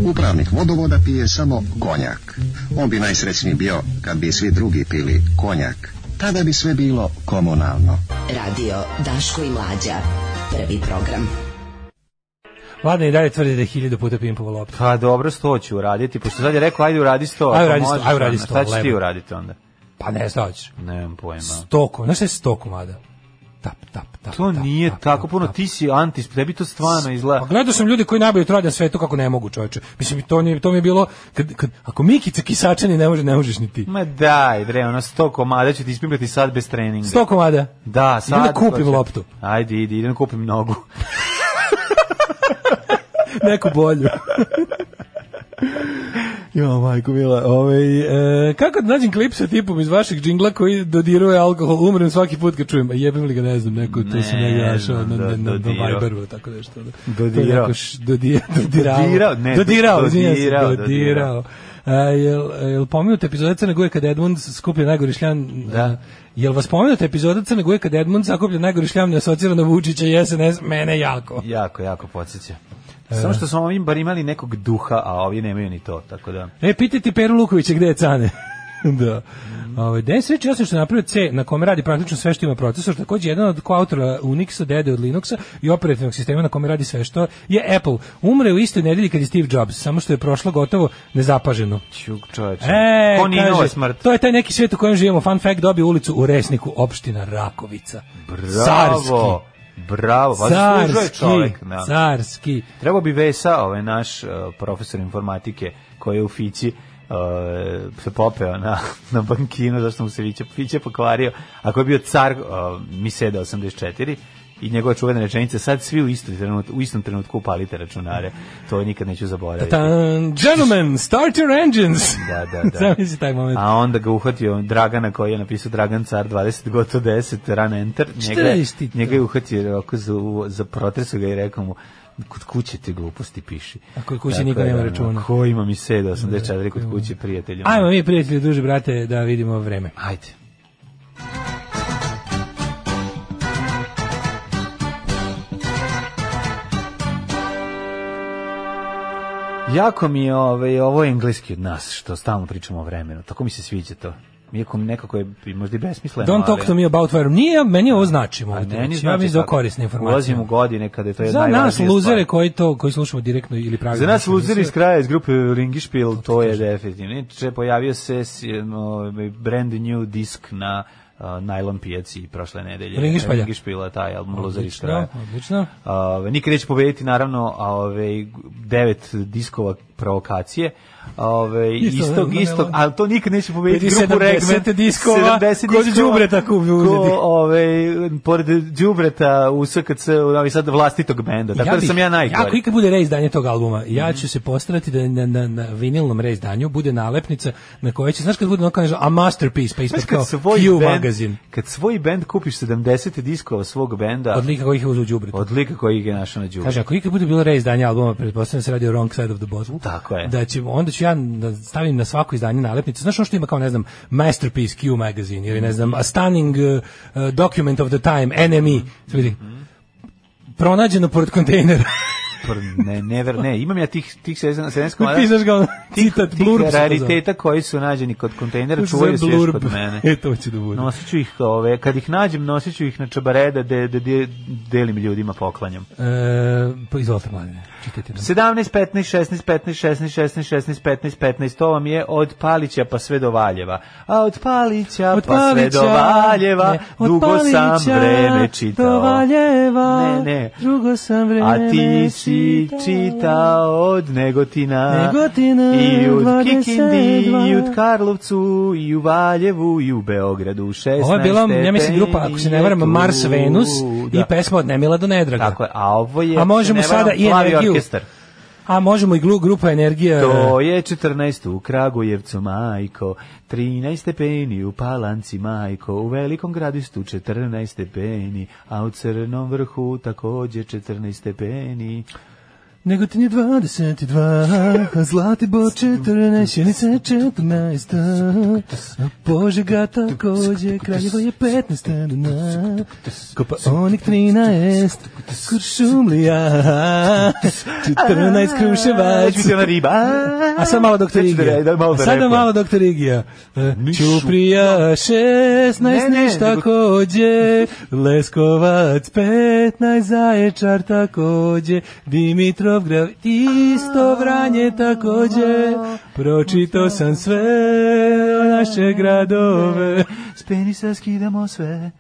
S4: Upravnik vodovoda pije samo konjak. On bi najsrećniji bio kad bi svi drugi pili konjak. Tada bi sve bilo komunalno.
S5: Radio Daško i Mlađa. Prvi program.
S6: Vlada i dalje tvrdi da je hiljadu puta pimpovala loptu.
S7: Pa dobro, sto ću uraditi, pošto sad je rekao, ajde uradi sto.
S6: Ajde
S7: ako
S6: uradi sto,
S7: možeš,
S6: ajde uradi
S7: ono,
S6: sto,
S7: Šta ćeš ti
S6: levo.
S7: uraditi onda?
S6: Pa ne, šta hoćeš?
S7: Nemam pojma.
S6: Sto komada, znaš šta je sto komada? Tap, tap, tap.
S7: To
S6: tap,
S7: nije
S6: tap,
S7: tako
S6: tap,
S7: puno,
S6: tap.
S7: ti si antis, tebi to stvarno
S6: Pa
S7: izgleda.
S6: gledao sam ljudi koji nabiju trade na svetu kako ne mogu, čoveče. Mislim to nije to mi je bilo kad, kad ako Mikica Kisačani ne može, ne možeš ni ti.
S7: Ma daj, bre, ono sto komada ću ti ispimljati sad bez treninga.
S6: 100 komada.
S7: Da, sad.
S6: Idem da kupim
S7: hoće.
S6: loptu.
S7: Ajde, idi, idem da kupim nogu. <laughs>
S6: Neku bolju. Jo, majko mila, ovaj, e, kako da nađem klip sa tipom iz vašeg džingla koji dodiruje alkohol, umrem svaki put kad čujem, a jebem li ga, ne znam, neko, to
S7: Ne
S6: sam negdje našao
S7: znam,
S6: na, na, na,
S7: do-
S6: na
S7: dodirao.
S6: Viberu, tako nešto. Da.
S7: Dodirao.
S6: To je neko š- dodi- dodirao.
S7: <laughs> Dodirao, ne,
S6: dodirao, izvinjam se,
S7: dodirao,
S6: dodirao.
S7: dodirao.
S6: A, jel, jel pomenuta epizoda Crne Guje kada Edmund skuplja najgori šljan?
S7: Da.
S6: a, Jel vas pomenuta epizoda Crne Guje kada Edmund sakuplja najgori šljan ne asocira na Vučića i SNS? Mene jako.
S7: Jako, jako podsjeća.
S6: E.
S7: Samo što smo ovim bar imali nekog duha, a ovi nemaju ni to, tako da...
S6: E, pitati Peru Lukovića gde je cane. <laughs> da. Ovaj Denis Rečić osim što je napravio C na kome radi praktično sve što ima procesor, takođe jedan od koautora Unixa, dede od Linuxa i operativnog sistema na kome radi sve što je Apple. Umre u istoj nedelji kad je Steve Jobs, samo što je prošlo gotovo nezapaženo.
S7: Čuk čoveče.
S6: E,
S7: Ko nije
S6: kaže,
S7: nova smrt?
S6: To je taj neki svet u kojem živimo. Fun fact, dobio ulicu u Resniku, opština Rakovica.
S7: Bravo. Bravo, pa zaslužuje
S6: Carski,
S7: čovek. Da.
S6: carski.
S7: Trebao bi Vesa, ovaj naš eh, profesor informatike koji je u Fići eh, se popeo na, <laughs> na bankinu zašto mu se Fiće, Fiće pokvario ako je bio car uh, Miseda 84 i njegova čuvena rečenica sad svi u, isti trenut, u istom trenutku upalite računare to nikad neću zaboraviti
S6: Tan, gentlemen, start your engines.
S7: da, da, da.
S6: Zamisli taj moment.
S7: A onda ga uhvatio Dragana koji je napisao Dragan Car 20 goto 10 run enter. Njega, je-
S6: 40 ti to.
S7: njega je uhvatio oko za, za protresu ga i rekao mu kod kuće te gluposti piši.
S6: A kod kuće
S7: Tako
S6: niko
S7: je,
S6: nema
S7: ono,
S6: računa.
S7: Ko ima mi sede 84 kod kuće prijatelju?
S6: Ajmo mi, prijatelji, duže, brate, da vidimo vreme.
S7: Ajde. Jako mi je ovaj, ovo je engleski od nas, što stalno pričamo o vremenu. Tako mi se sviđa to. Iako mi nekako je i možda i besmisleno.
S6: Don't talk to me about where. Nije, meni ovo znači, značimo.
S7: A
S6: ja
S7: Pa meni
S6: mislim da je ovo
S7: tako.
S6: korisna informacija.
S7: Ulazimo u godine kada je to jedna
S6: Za nas
S7: najvažnija
S6: luzere
S7: stvar.
S6: koji to koji slušamo direktno ili pravi.
S7: Za nas luzeri iz kraja iz grupe Ringišpil, to je definitivno. Inače, pojavio se s- ovaj, brand new disk na uh, najlon pijaci prošle nedelje.
S6: Ringišpalja.
S7: Ringišpila, taj album Luzeri iz kraja.
S6: Odlično.
S7: Ove, nikad neće pobediti naravno a ove, devet diskova provokacije ove,
S6: Isto,
S7: istog,
S6: ne,
S7: istog,
S6: ne,
S7: ali to nikad neće pobediti
S6: Vidi,
S7: grupu
S6: 70
S7: Regmen
S6: diskova, kod đubreta kup- uzetih.
S7: ko, ove, pored đubreta u SKC u Novi Sad vlastitog benda tako da
S6: bih-
S7: sam ja najgori Mhm.
S6: Ako ikad bude reizdanje tog albuma, ja ću se postarati da na, na, na vinilnom reizdanju bude nalepnica na kojoj će, znaš kad bude ono kao nešto, a masterpiece, pa ispod
S7: Znaš,
S6: kao
S7: kad svoj,
S6: Q
S7: band,
S6: magazin.
S7: kad svoj band kupiš 70 diskova svog benda
S6: Od lika kojih je uzeo đubret.
S7: od lika koji ga je našao na đubretu
S6: Kaže, ako ikad bude bilo reizdanje albuma, pretpostavljam da se radi o Wrong Side of the Bottle.
S7: Tako je.
S6: Da ćemo, onda ću ja da stavim na svako izdanje nalepnicu. Znaš ono što ima kao, ne znam, Masterpiece Q magazine ili ne znam, A Stunning uh, uh, Document of the Time, NME. Sve vidi. Pronađeno pored kontejnera.
S7: Pr- ne, ne, ver- ne, imam ja tih, tih 70 komada
S6: <laughs> Pisaš ga ono,
S7: tih,
S6: citat,
S7: tih
S6: blurb. se to zove.
S7: rariteta koji su nađeni kod kontejnera
S6: To se
S7: čuvaju se
S6: zove
S7: još
S6: blurb.
S7: kod
S6: <laughs>
S7: mene.
S6: E, to će da bude.
S7: Nosit ću ih, ove, kad ih nađem, nosit ću ih na čabareda de, de, de, delim ljudima poklanjam.
S6: E, pa izvolite, mladine, čitajte nam.
S7: 17, 15, 16, 15, 16, 16, 16, 15, 15, to vam je od Palića pa sve do Valjeva. A od Palića
S6: Od
S7: pa sve do
S6: Palića,
S7: Valjeva,
S6: ne, od
S7: dugo sam
S6: Palića
S7: vreme
S6: do
S7: čitao.
S6: Valjeva,
S7: ne, ne.
S6: dugo sam
S7: A ti
S6: vreme
S7: si
S6: čitao.
S7: čitao od Negotina,
S6: Negotina,
S7: i od Kikindi,
S6: 22.
S7: i od Karlovcu, i u Valjevu, i u Beogradu, 16
S6: Ovo je bila, ja mislim, grupa, ako se ne varam,
S7: stepeni je
S6: Mars
S7: tu.
S6: Venus
S7: Da.
S6: i pesma od Nemila do Nedraga.
S7: Tako je, a ovo je,
S6: A
S7: ako se
S6: možemo
S7: ne varam,
S6: sada i
S7: Plavi
S6: energiju.
S7: orkestar.
S6: A možemo i glu, grupa Energija.
S7: To je 14 u Kragujevcu, majko, 13 stepeni u Palanci, majko, u Velikom gradistu 14 stepeni, a u Crnom vrhu takođe 14 stepeni.
S6: Nego ti je 22, a Zlatibor 14, Jenica je 14, a Požega takođe, Kraljevo je 15, na, Kopaonik 13,
S7: <laughs>
S6: Kuršumlija, 14,
S7: Neće
S6: Kruševac.
S7: biti ona riba.
S6: A sad malo doktor
S7: Neću da
S6: Igija.
S7: re- da malo da
S6: A sada
S7: repujem.
S6: malo doktor Igija. E,
S7: Nišu.
S6: Ćuprija 16,
S7: Ne, ne,
S6: niš
S7: nego-
S6: takođe, Leskovac 15, Zaječar takođe, Dimitrov grav isto vranje takođe, pročito sam sve o naše gradove.
S7: S penisa skidamo sve.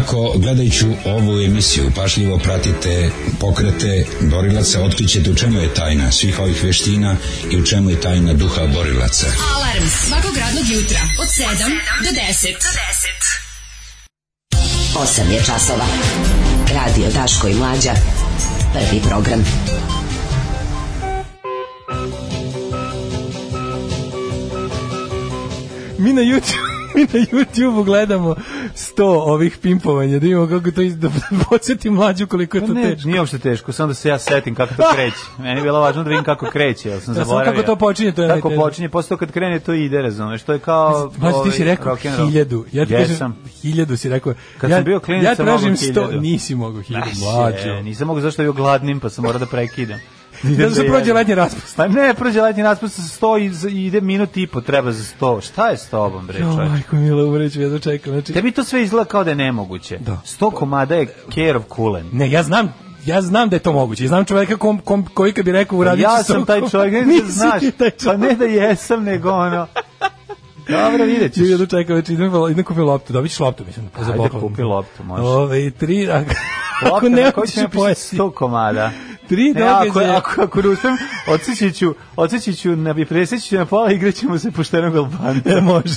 S9: Ako gledajući ovu emisiju pašljivo pratite pokrete borilaca, otkrićete u čemu je tajna svih ovih veština i u čemu je tajna duha borilaca.
S5: Alarm svakog radnog jutra od 7 do 10.
S10: 8 je časova. Radio Daško i Mlađa. Prvi program.
S6: mi na YouTube <laughs> mi na YouTubeu gledamo 100 ovih pimpovanja, da imamo kako to iz, da <laughs> podsjeti mlađu koliko je to
S7: Pa ne,
S6: teško.
S7: nije uopšte teško, samo da se ja setim kako to kreće. Meni je bilo važno da vidim kako kreće, jel sam
S6: Da, samo
S7: zaboravio.
S6: kako to počinje, to je
S7: Kako
S6: najteže.
S7: počinje, posle to kad krene, to ide, razumeš, to je kao...
S6: Mlađe, ti si
S7: ovaj,
S6: rekao
S7: rock and roll.
S6: hiljadu. Ja ti kažem,
S7: Jesam.
S6: hiljadu si rekao.
S7: Kad
S6: ja,
S7: sam bio klinac,
S6: ja
S7: sam mogao
S6: tražim sto,
S7: hiljadu.
S6: nisi mogao hiljadu.
S7: Znaš, je,
S6: Mlađo.
S7: nisam mogu zašto je bio gladnim, pa sam morao da prekidam.
S6: <laughs> Zato što
S7: Da
S6: prođe
S7: jedem.
S6: letnji raspust.
S7: Pa ne, prođe letnji raspust sa 100 i za- i ide minut i po, treba za 100. Šta je s tobom, bre,
S6: Jo,
S7: E, čovječe?
S6: majko mila, umreću, jedno čekam. Znači,
S7: Tebi to sve izgleda kao da je nemoguće.
S6: Da.
S7: 100 komada je Kerov kulen.
S6: Ne, ja znam ja znam da je to moguće. Ja Znam čoveka kom, kom, koji kad bi rekao uradit ću
S7: Ja
S6: sto
S7: sam taj
S6: komada. <laughs>
S7: čovjek, ne
S6: Nisi
S7: da znaš.
S6: ti taj
S7: Pa
S6: čovjek.
S7: ne da jesam, nego
S6: <laughs>
S7: ono. Dobro, vidjet ćeš.
S6: Ju jedno čekam, već znači, idem, idem kupim loptu. Dobit ćeš loptu, mislim. za
S7: Pa, Ajde,
S6: poklon.
S7: kupi loptu, može.
S6: Ove, i tri, <laughs> ako, ako
S7: Lopta
S6: ne,
S7: na
S6: ako
S7: kojoj ću
S6: ćeš
S7: napisati
S6: pojesti.
S7: 100 komada.
S6: Tri
S7: Ne, ako,
S6: događaja.
S7: ako, ako ne uspem, odseći ću, odseći ću, na, preseći ću na pola, igraćemo se poštenog Albanca.
S6: E, može.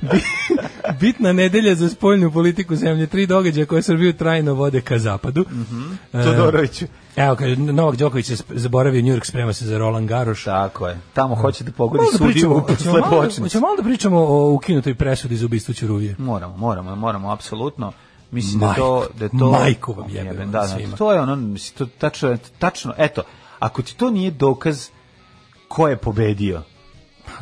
S6: Bi- Bitna nedelja za spoljnu politiku zemlje. Tri događaja koje Srbiju trajno vode ka zapadu.
S7: Mhm.
S6: E,
S7: Todoroviću.
S6: Evo, kad Novak Đoković je sp- zaboravio Njurk, sprema se za Roland Garroš.
S7: Tako je. Tamo hoće da pogodi
S6: Malo da
S7: sudiju
S6: pričamo,
S7: u <laughs>
S6: hoćemo malo, da-
S7: slepočnicu.
S6: hoćemo malo da pričamo o ukinutoj presudi za ubistvo Ćuruvije.
S7: Moramo, moramo, moramo, apsolutno. Mislim da
S6: Majku,
S7: to... Da to
S6: majku vam jebem,
S7: Jebem,
S6: ono,
S7: da, da,
S6: svima.
S7: to je ono, mislim, to tačno, tačno, eto, ako ti to nije dokaz ko je pobedio,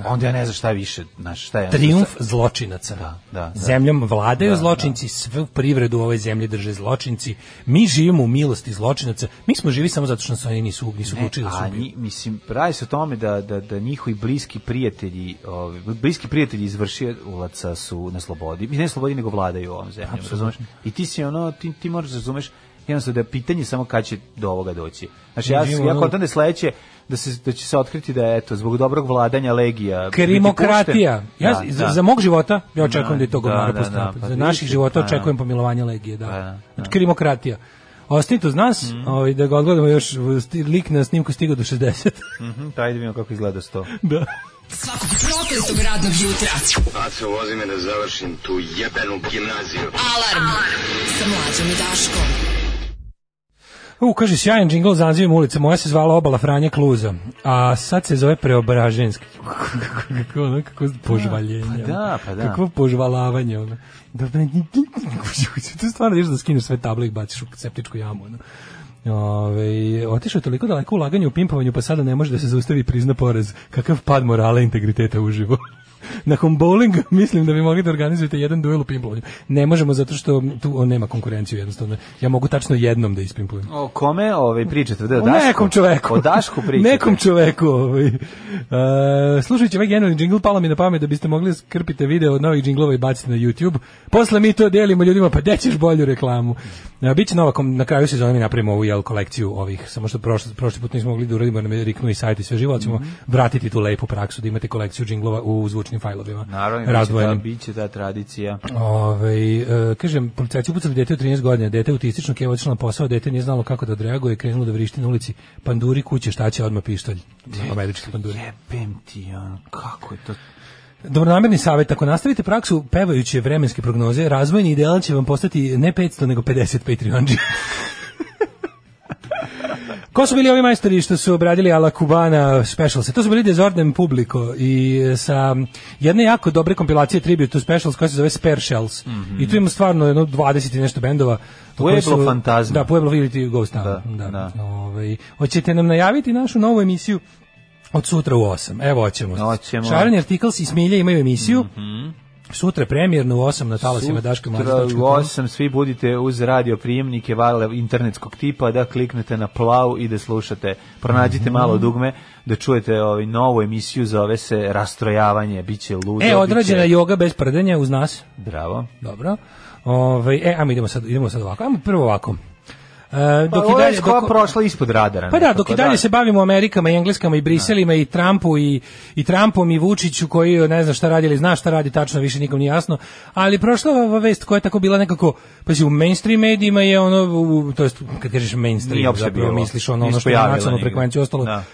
S7: onda ja ne znam šta je više, znaš, šta je...
S6: Triumf zločinaca.
S7: Da, da, da.
S6: Zemljom vladaju zločinci, svu privredu u ovoj zemlji drže zločinci. Mi živimo u milosti zločinaca. Mi smo živi samo zato što nas oni nisu, nisu
S7: Ne,
S6: učili da su
S7: E, a
S6: ubili.
S7: nji, mislim, radi se o tome da, da, da njihovi bliski prijatelji, ovi, bliski prijatelji izvršilaca su na slobodi. Mi ne slobodi, nego vladaju ovom zemljom, razumeš? I ti si ono, ti, ti moraš da razumeš jednostavno da je pitanje samo kad će do ovoga doći. Znači,
S6: Mi
S7: ja,
S6: živimo
S7: ja
S6: ono-
S7: kontam da je sledeće, da, se, da će se otkriti da je, eto, zbog dobrog vladanja legija... biti
S6: Krimokratija.
S7: pušten.
S6: Ja, za, za mog života, ja očekujem
S7: Da,
S6: da je to
S7: da,
S6: govara
S7: da,
S6: postoje.
S7: da, pa
S6: za
S7: vidite,
S6: naših života
S7: pa da. Pa
S6: očekujem pomilovanje legije, da.
S7: da, Mhm.
S6: Znači, Krimokratija. Ostanite uz nas, ovaj, da ga odgledamo još, sti- lik na snimku stigao do 60.
S7: Mhm, pa ajde vidimo kako izgleda sto.
S6: <laughs> da.
S5: Svakog prokletog radnog jutra.
S2: Aco, vozi me da završim tu jebenu gimnaziju.
S5: Alarm. Sa mlađom i Daškom.
S6: U, kaže, sjajan džingl za nazivom ulica. Moja se zvala Obala Franje Kluza, a sad se zove Preobraženski. <laughs> kako, ono, kako požvaljenje. ono.
S7: Pa da, pa da.
S6: Kako požvalavanje, ono. Dobro, tu stvarno ideš da skineš sve table i baciš u septičku jamu, ono. Ove, otišao je toliko daleko ulaganje u pimpovanju, pa sada ne može da se zaustavi i prizna porez. Kakav pad morala i integriteta uživo. <laughs> Nakon bowlinga mislim da bi mogli da organizujete jedan duel u pimplovanju. Ne možemo zato što tu on nema konkurenciju jednostavno. Ja mogu tačno jednom da ispimplujem.
S7: O kome ove, pričate? Da, o
S6: O
S7: Dašku?
S6: nekom čoveku.
S7: O
S6: <laughs>
S7: Dašku pričate.
S6: Nekom čoveku. Ovaj. Uh, slušajući ovaj genijalni džingl, palo mi na pamet da biste mogli skrpite video od novih džinglova i baciti na YouTube. Posle mi to delimo ljudima, pa gde ćeš bolju reklamu. Uh, Biće nova, kom- na kraju sezone mi napravimo ovu jel, kolekciju ovih, samo što prošli, prošli put nismo mogli da uradimo, jer nam je riknuo i sajt i sve živo, ali ćemo
S7: Mhm.
S6: vratiti tu lepu praksu da imate kolekciju džinglova u zvučnim fajlovima.
S7: Naravno, biće ta,
S6: razdvojenim.
S7: biće ta tradicija.
S6: Ove, e, kažem, policajci upucali dete od 13 godina, dete je autistično, keva odšla na posao, dete nije znalo kako da odreaguje, krenulo da vrišti na ulici, panduri kuće, šta će odmah pištolj, američki panduri.
S7: Jebem ti, ono, kako je to
S6: Dobronamerni savjet, ako nastavite praksu pevajuće vremenske prognoze, razvojni ideal će vam postati ne 500, nego 50
S7: <laughs>
S6: Patreonđi. Ko su bili ovi majstori što su obradili Ala Kubana Specials? To su bili Desordem Publico i e, sa jedne jako dobre kompilacije Tribute to Specials koja se zove Spare Shells. I tu ima stvarno jedno 20 i nešto bendova. koji su-
S7: Mhm. Pueblo Fantasma.
S6: Da, Pueblo ili Ghost Town.
S7: Da,
S6: Da,
S7: da.
S6: Ovaj, hoćete nam najaviti našu novu emisiju od sutra u 8. Evo, hoćemo.
S7: Hoćemo. Mhm.
S6: Šarani Articles i Smilje imaju emisiju. Sutra premijerno u 8 na talasima Daška
S7: Sutra
S6: Mlađa.
S7: u 8 svi budite uz radio prijemnike vale internetskog tipa da kliknete na plav i da slušate. Pronađite
S6: Mhm.
S7: malo dugme da čujete ovaj novu emisiju zove se Rastrojavanje, biće ludo.
S6: E,
S7: biće-
S6: odrađena joga bez prdenja uz nas.
S7: Bravo.
S6: Dobro. Ove, e, ajmo idemo sad, idemo sad ovako. Ajmo prvo ovako. E,
S7: Pa,
S6: dok i dalje, dok,
S7: prošla ispod radara.
S6: pa da,
S7: nekako,
S6: dok i dalje se bavimo Amerikama i Engleskama i Briselima i Trumpu i, i Trumpom i Vučiću koji ne zna šta radi ili zna šta radi, tačno više nikom nije jasno, ali prošla ova vest koja je tako bila nekako, pa si u mainstream medijima je ono, u, to jest kad kažeš mainstream,
S7: Nije uopšte
S6: zapravo
S7: bilo.
S6: misliš ono, ono
S7: Nisu
S6: što je na
S7: pojavila
S6: nacionalnu
S7: nigde.
S6: frekvenciju ostalo,
S7: Da.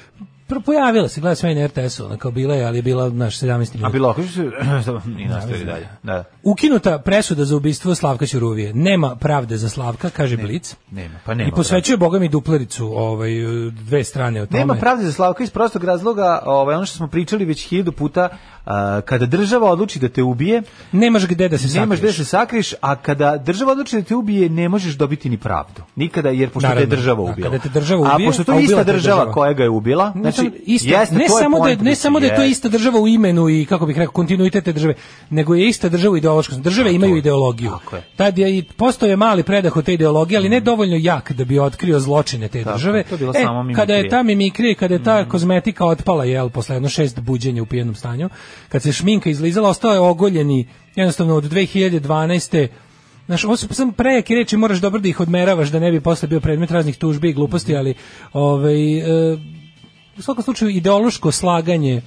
S6: Prvo pojavila se, gleda sve na RTS-u, ona kao bila je, ali je bila, znaš, 17
S7: A
S6: minuta.
S7: bilo ako se <laughs> i nastavi
S6: znam.
S7: dalje. Da,
S6: Ukinuta presuda za ubistvo Slavka Ćuruvije. Nema pravde za Slavka, kaže Blic.
S7: nema, pa nema.
S6: I posvećuje Boga mi duplericu ovaj, dve strane o tome.
S7: Nema pravde za Slavka iz prostog razloga, ovaj, ono što smo pričali već hiljadu puta, a, kada država odluči da te ubije,
S6: Nemaš gde da se sakriješ.
S7: nemaš gde se sakriš, a kada država odluči da te ubije, ne možeš dobiti ni pravdu. Nikada, jer pošto
S6: Naravno,
S7: te država
S6: da,
S7: ubila.
S6: kada te država ubije,
S7: a pošto to
S6: a
S7: je
S6: ubila
S7: ista
S6: te
S7: država,
S6: država.
S7: koja ga je ubila,
S6: Ne
S7: znači,
S6: samo- isto,
S7: jeste,
S6: ne
S7: to je
S6: samo da je,
S7: poenta
S6: ne
S7: priče.
S6: samo da je to
S7: Jeste.
S6: ista država u imenu i kako bih rekao kontinuitet te države, nego je ista država ideološka. Države imaju ideologiju.
S7: tako je.
S6: Tad je i postoje mali predah od te ideologije, ali ne dovoljno jak da bi otkrio zločine te države.
S7: to je bila
S6: E,
S7: samo mimikrija. Mm.
S6: kada je ta mimikrija, i kada je ta kozmetika otpala, jel, posle jedno šest buđenja u pijenom stanju, kad se šminka izlizala, ostao je ogoljeni jednostavno od 2012. Znaš, ovo su samo prejake reči, moraš dobro da ih odmeravaš, da ne bi posle bio predmet raznih tužbi i gluposti,
S7: Mm.
S6: ali ovaj, e, u svakom slučaju ideološko slaganje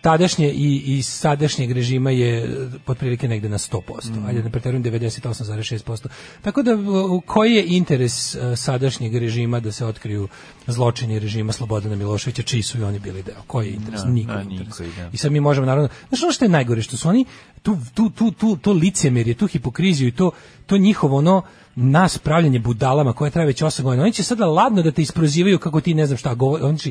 S6: tadašnje i, i sadašnjeg režima je e, otprilike negde na 100%,
S7: Mm.
S6: ajde ne preterujem 98,6%. Tako da u- u koji je interes e, sadašnjeg režima da se otkriju zločini režima Slobodana Miloševića, čiji su i oni bili deo? Koji je interes?
S7: Da,
S6: Niko
S7: da,
S6: interes.
S7: niko, da.
S6: I sad mi možemo naravno, znaš ono što je najgore, što su oni tu, tu, tu, tu, to licemerje, tu hipokriziju i to, to njihovo ono nas pravljanje budalama koje traje već 8 godina. Oni će sada ladno da te isprozivaju kako ti ne znam šta govori.
S7: Pa
S6: Oni će,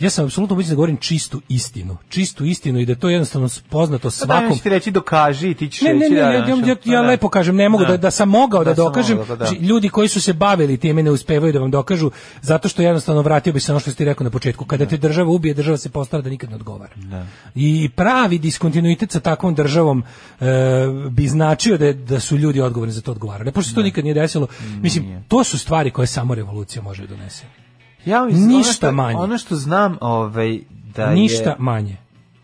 S6: ja sam apsolutno ubeđen da govorim čistu istinu. Čistu istinu i da je to jednostavno poznato
S7: Pa da,
S6: svakom.
S7: neću ti reći dokaži i ti ćeš
S6: Ne, ne,
S7: reći
S6: ne,
S7: da,
S6: ne,
S7: znaš,
S6: ja, ja,
S7: pa
S6: ja
S7: da.
S6: lepo kažem, ne mogu da, da sam mogao da,
S7: Da sam
S6: dokažem.
S7: mogao, da, da.
S6: Znači, Ljudi koji su se bavili time ne uspevaju da vam dokažu, zato što jednostavno vratio bi se ono što si ti rekao na početku. Kada te država ubije, država se postara da nikad ne odgovara. I pravi diskontinuitet sa takvom državom e, bi značio da, je- da su ljudi odgovorni za to odgovarali. Pošto se to nikad nije desilo, mislim, to su stvari koje samo revolucija može donese.
S7: Ja mislim, ono
S6: Ništa
S7: što-
S6: manje.
S7: Ono što znam, ovaj, da
S6: Ništa
S7: je,
S6: manje.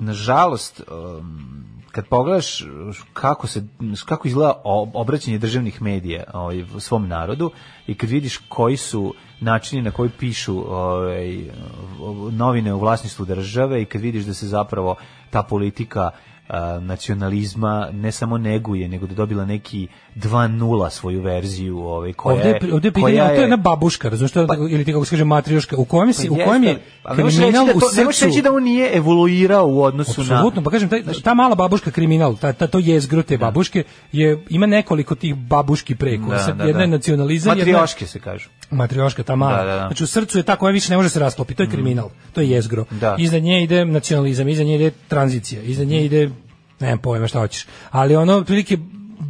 S7: nažalost, um, kad pogledaš kako se kako izgleda o- obraćanje državnih medija ovaj svom narodu i kad vidiš koji su načini na koji pišu ovaj novine u vlasništvu države i kad vidiš da se zapravo ta politika a, nacionalizma ne samo neguje nego da je dobila neki 2.0 svoju verziju ovaj koja
S6: Ovde je, pri- ovde je pitanje,
S7: koja Pa
S6: a to je jedna babuška, razumiješ, to je tako- ili ti kako se kaže matrioška, u kojem, si, u
S7: Jeste,
S6: kojem je
S7: ali ne možeš reći
S6: kriminal
S7: da
S6: u
S7: to- Ne možeš
S6: srcu.
S7: reći da on nije evoluirao u odnosu na...
S6: Apsolutno, pa kažem, taj, ta mala babuška kriminal, ta, ta, to jezgro te babuške, je, ima nekoliko tih babuški preko. Sad, jedna je nacionalizam, jedna
S7: Matrioške se kažu.
S6: matrioška, ta mala.
S7: Da, da, da.
S6: Znači u srcu je ta koja više ne može se rasklopi, to je kriminal, to je jezgro.
S7: Da. Mm.
S6: Iza nje ide nacionalizam, iza nje ide tranzicija, iza nje ide, nemam pojma šta hoćeš, ali ono, otprilike,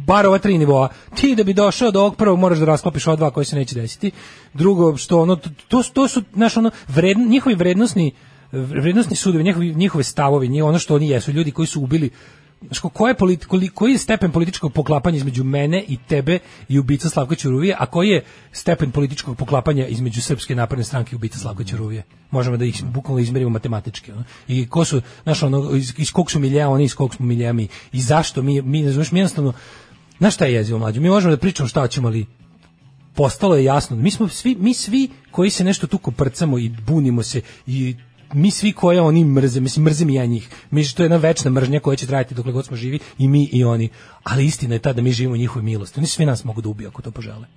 S6: bar ova tri nivoa. Ti da bi došao do ovog prvog moraš da rasklopiš ova dva koji se neće desiti. Drugo, što ono, to- to, su- to su, znaš, ono, vredn- njihovi vrednostni vrednostni sudovi, njihovi, njihove stavovi, njihovo, ono što oni jesu, ljudi koji su ubili Znaš, ko- koje politi- koli- koji je stepen političkog poklapanja između mene i tebe i ubica Slavka Ćuruvije, a koji je stepen političkog poklapanja između Srpske napredne stranke i ubica Slavka Ćuruvije? Možemo da ih bukvalno izmerimo matematički. Ono. I ko su, znaš, ono, iz, iz kog su milija oni, iz kog smo milija mi. I zašto mi, mi, znaš, mi jednostavno, znaš šta je jezivo mlađo? Mi možemo da pričamo šta ćemo, ali postalo je jasno. Mi smo svi, mi svi koji se nešto tu koprcamo i bunimo se i mi svi koje oni mrze, mislim, mrzim i ja njih. Mi što je jedna večna mržnja koja će trajati dokle god smo živi i mi i oni. Ali istina je ta da mi živimo u njihovoj milosti. Oni sve nas mogu da ubiju ako to požele.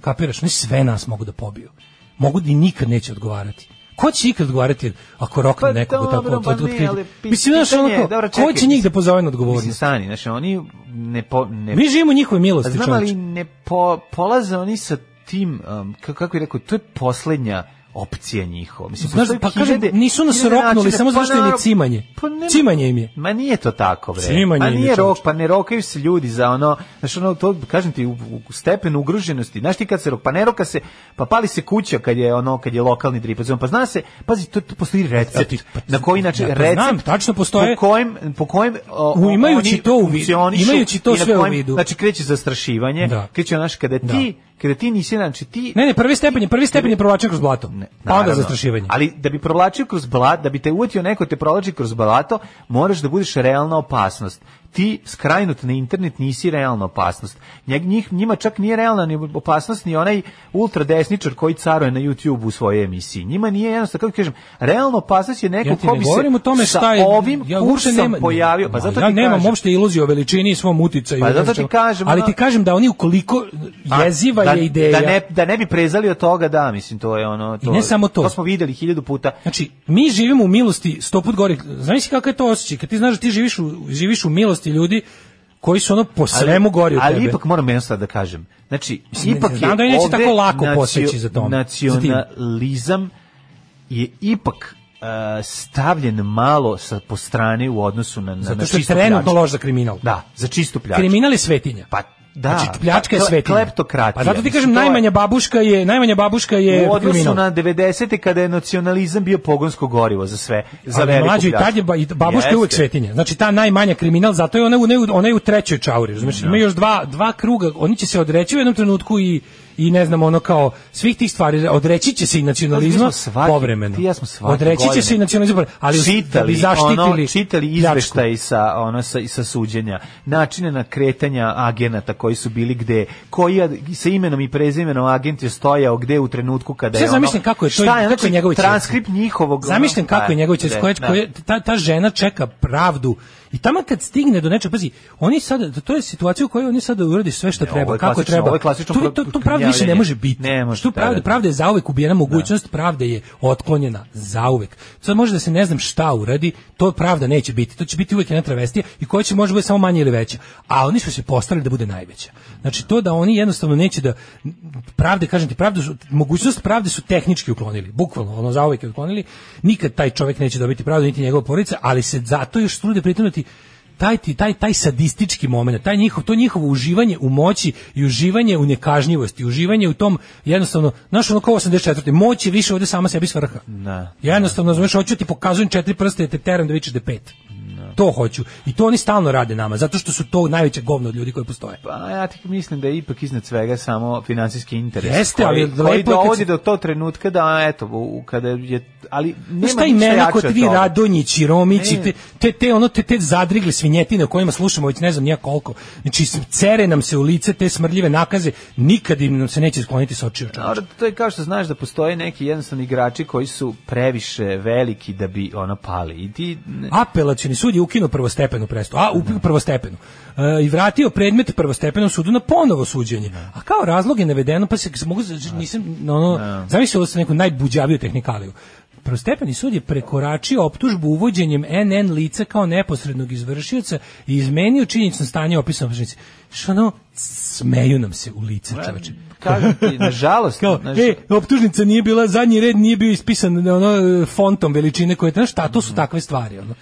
S6: Kapiraš? Oni sve nas mogu da pobiju. Mogu da i nikad neće odgovarati. Ko će ikad odgovarati ako rokne
S7: Pa
S6: nekog
S7: dobro,
S6: tako?
S7: pa
S6: to- to-
S7: ne,
S6: to-
S7: ali pi-
S6: Mislim, znaš,
S7: pitanje
S6: ono
S7: je-
S6: kao,
S7: dobro,
S6: ko će
S7: čekaj,
S6: njih da pozove na
S7: Mislim,
S6: odgovornost?
S7: stani, znači oni ne... Po, ne
S6: Mi živimo u njihovoj
S7: A
S6: milosti,
S7: znam,
S6: čoveče.
S7: ali ne po, polaze oni sa tim, um, ka- kako je rekao, to je poslednja opcija njihova. Mislim,
S6: Znaš,
S7: postoji
S6: pa kažem,
S7: hiljade-
S6: nisu nas
S7: hiljade
S6: roknuli
S7: načina- pa
S6: samo zato što im je
S7: naravno,
S6: cimanje.
S7: nema-
S6: Cimanje im je.
S7: Ma nije to tako, bre.
S6: Cimanje
S7: pa
S6: im je,
S7: nije rok,
S6: čoveče.
S7: pa ne rokaju se ljudi za ono, znaš, ono, to, kažem ti, u, u stepen ugroženosti. Znaš ti kad se rok, pa ne roka se, pa pali se kuća kad je ono, kad je lokalni dripac. Pa zna se, pazi, to, to postoji recept.
S6: ti- pa-
S7: na koji način,
S6: Ja to
S7: recept.
S6: znam, tačno postoje-
S7: Po kojem, po kojem o,
S6: U, imajući
S7: oni
S6: to u vidu,
S7: funkcionišu
S6: imajući to
S7: i na
S6: sve u
S7: kojem-
S6: vidu.
S7: Znači kreće zastrašivanje,
S6: Da.
S7: kreće naš kada ti, kada ti nisi znači ti
S6: Ne, ne, prvi stepen je, prvi stepen je provlačen kroz blato.
S7: Ne,
S6: pa onda
S7: naravno.
S6: zastrašivanje.
S7: Ali da bi provlačio kroz blato, da bi te uvatio neko te provlači kroz blato, moraš da budeš realna opasnost. ti skrajnut na internet nisi realna opasnost. Njeg, njih, njima čak nije realna ni opasnost ni onaj ultradesničar koji caruje na YouTube u svojoj emisiji. Njima nije jednostavno, kako kažem, realna opasnost je neko
S6: Ja ti
S7: ko
S6: ne
S7: bi se
S6: govorim o tome
S7: sa
S6: šta je,
S7: ovim
S6: ja uopšte
S7: kursom
S6: nema-
S7: pojavio. Pa zato
S6: ja
S7: ti
S6: nemam
S7: kažem,
S6: uopšte iluziju o veličini i svom uticaju.
S7: Pa
S6: ne znam
S7: zato ti
S6: čemu.
S7: kažem,
S6: Ali
S7: ono-
S6: ti kažem da oni ukoliko
S7: A,
S6: jeziva
S7: da,
S6: je ideja...
S7: Da ne, da ne bi prezali od toga, da, mislim, to je ono... To,
S6: I ne samo to.
S7: To smo videli hiljadu puta.
S6: Znači, mi živimo u milosti sto put gore. Znaš si kako je to osjećaj? Kad ti znaš da ti živiš u, živiš u milosti ljudi koji su ono po svemu gori od
S7: ali
S6: tebe.
S7: ipak moram jedno sad da kažem. Znači,
S6: Mislim,
S7: ipak
S6: ne
S7: je
S6: znam da li neće
S7: ovde
S6: tako lako poseći za tom, za tim.
S7: Nacionalizam je ipak e, stavljen malo sa, po strane u odnosu na, na, na
S6: zato što je
S7: čistu
S6: trenutno
S7: pljačku.
S6: loš za kriminal.
S7: Znači, Da, za čistu pljačku.
S6: Kriminal je svetinja.
S7: Pa, da.
S6: Znači, pljačka je
S7: Pa, kle-
S6: svetinja.
S7: Kleptokratija.
S6: Pa zato ti
S7: Mislim,
S6: kažem,
S7: to je-
S6: najmanja babuška je, najmanja babuška je
S7: u odnosu
S6: E, kriminal.
S7: na 90. kada je nacionalizam bio pogonsko gorivo za sve, za
S6: ali
S7: veliku
S6: mlađo i tad je
S7: pljačku.
S6: ba- i babuška je uvek
S7: Jeste.
S6: svetinja. Znači ta najmanja kriminal, zato je ona u, ne, ona je u trećoj čauri, razumiješ? Ima još dva, dva kruga, oni će se odreći u jednom trenutku i i ne znam ono kao svih tih stvari odreći će se i nacionalizma
S7: Ali mi smo svake-
S6: povremeno.
S7: ti i ja smo svake
S6: odreći će
S7: godine
S6: se i nacionalizma, povremeno, ali da bi
S7: čitali,
S6: zaštitili
S7: ono, čitali
S6: pljačku.
S7: izveštaj sa, ono, sa, i sa suđenja, načine na kretanja agenata koji su bili gde, koji je sa imenom i prezimenom agent je stojao gde u trenutku kada
S6: Sve
S7: je ono...
S6: zamišljam kako je to
S7: šta je,
S6: kako je
S7: znači,
S6: njegov
S7: transkript njihovog... ono,
S6: Zamišljam kako
S7: pa,
S6: je njegov ćelijski
S7: da,
S6: koja,
S7: da.
S6: koja- ta, ta žena čeka pravdu i tamo kad stigne do nečega, pazi, oni sad, to je situacija u kojoj oni sad uradi sve što
S7: Ne, ovo
S6: treba,
S7: je
S6: kako
S7: klasično-
S6: treba.
S7: ovo je klasično
S6: to, to, to pravda više ne
S7: proganjavanje.
S6: može biti.
S7: Ne može,
S6: što
S7: da,
S6: pravda,
S7: da.
S6: pravda je zauvek ubijena mogućnost, pravda je otklonjena zauvek. Sad može da se ne znam šta uradi, to pravda neće biti. To će biti uvek jedna travestija i koja će možda bude samo manje ili veća. A oni su se postavili da bude najveća. Znači to da oni jednostavno neće da pravde, kažem ti, pravdu su, mogućnost pravde su tehnički uklonili, bukvalno, ono zauvek je uklonili. Nikad taj čovjek neće dobiti pravdu niti njegova porodica, ali se zato još trude pritimnuti taj, ti- taj, taj sadistički moment, taj njihov, to njihovo uživanje u moći i uživanje u nekažnjivosti, uživanje u tom jednostavno, znaš ono kao 84. moć je više ovde sama sebi svrha.
S7: Da.
S6: Ja jednostavno, znaš, hoću da ti pokazujem četiri prste i te teram da vičeš da je pet. To hoću. I to oni stalno rade nama, zato što su to najveće govno od ljudi koji postoje.
S7: Pa ja ti mislim da je ipak iznad svega samo finansijski interes.
S6: Jeste,
S7: koji,
S6: ali lepo je
S7: koji
S6: kad
S7: dovodi
S6: se-
S7: do tog trenutka da eto, u, u- kada je ali nema
S6: Znaš šta
S7: ništa
S6: imena
S7: jače
S6: kod
S7: od
S6: vi
S7: toga.
S6: Radonjići, Romići,
S7: Ne.
S6: te, te, te, ono, te, te zadrigle svinjetine o kojima slušamo već ne znam nija koliko. Znači, s- cere nam se u lice te smrljive nakaze, nikad im nam se neće skloniti s očiju. čoveče.
S7: Naravno, to je kao što znaš da postoje neki jednostavni igrači koji su previše veliki da bi ono pali. I ti ne-
S6: Apelacioni sud je ukinuo prvostepenu prestu, a u prvostepenu. E, I vratio predmet prvostepenom sudu na ponovo suđenje. A kao razlog je navedeno, pa se mogu, nisam, ono, zamislio sam neku najbuđaviju tehnikaliju. Prvostepeni sud je prekoračio optužbu uvođenjem NN lica kao neposrednog izvršioca i izmenio činjenično stanje opisano u optužnici. Što ono, smeju nam se u lice, čoveče.
S7: kažem ti,
S6: <laughs>
S7: nažalost,
S6: Kao,
S7: znaš,
S6: e, optužnica nije bila, zadnji red nije bio ispisan ono, fontom veličine koje, znaš šta, to su takve stvari, ono.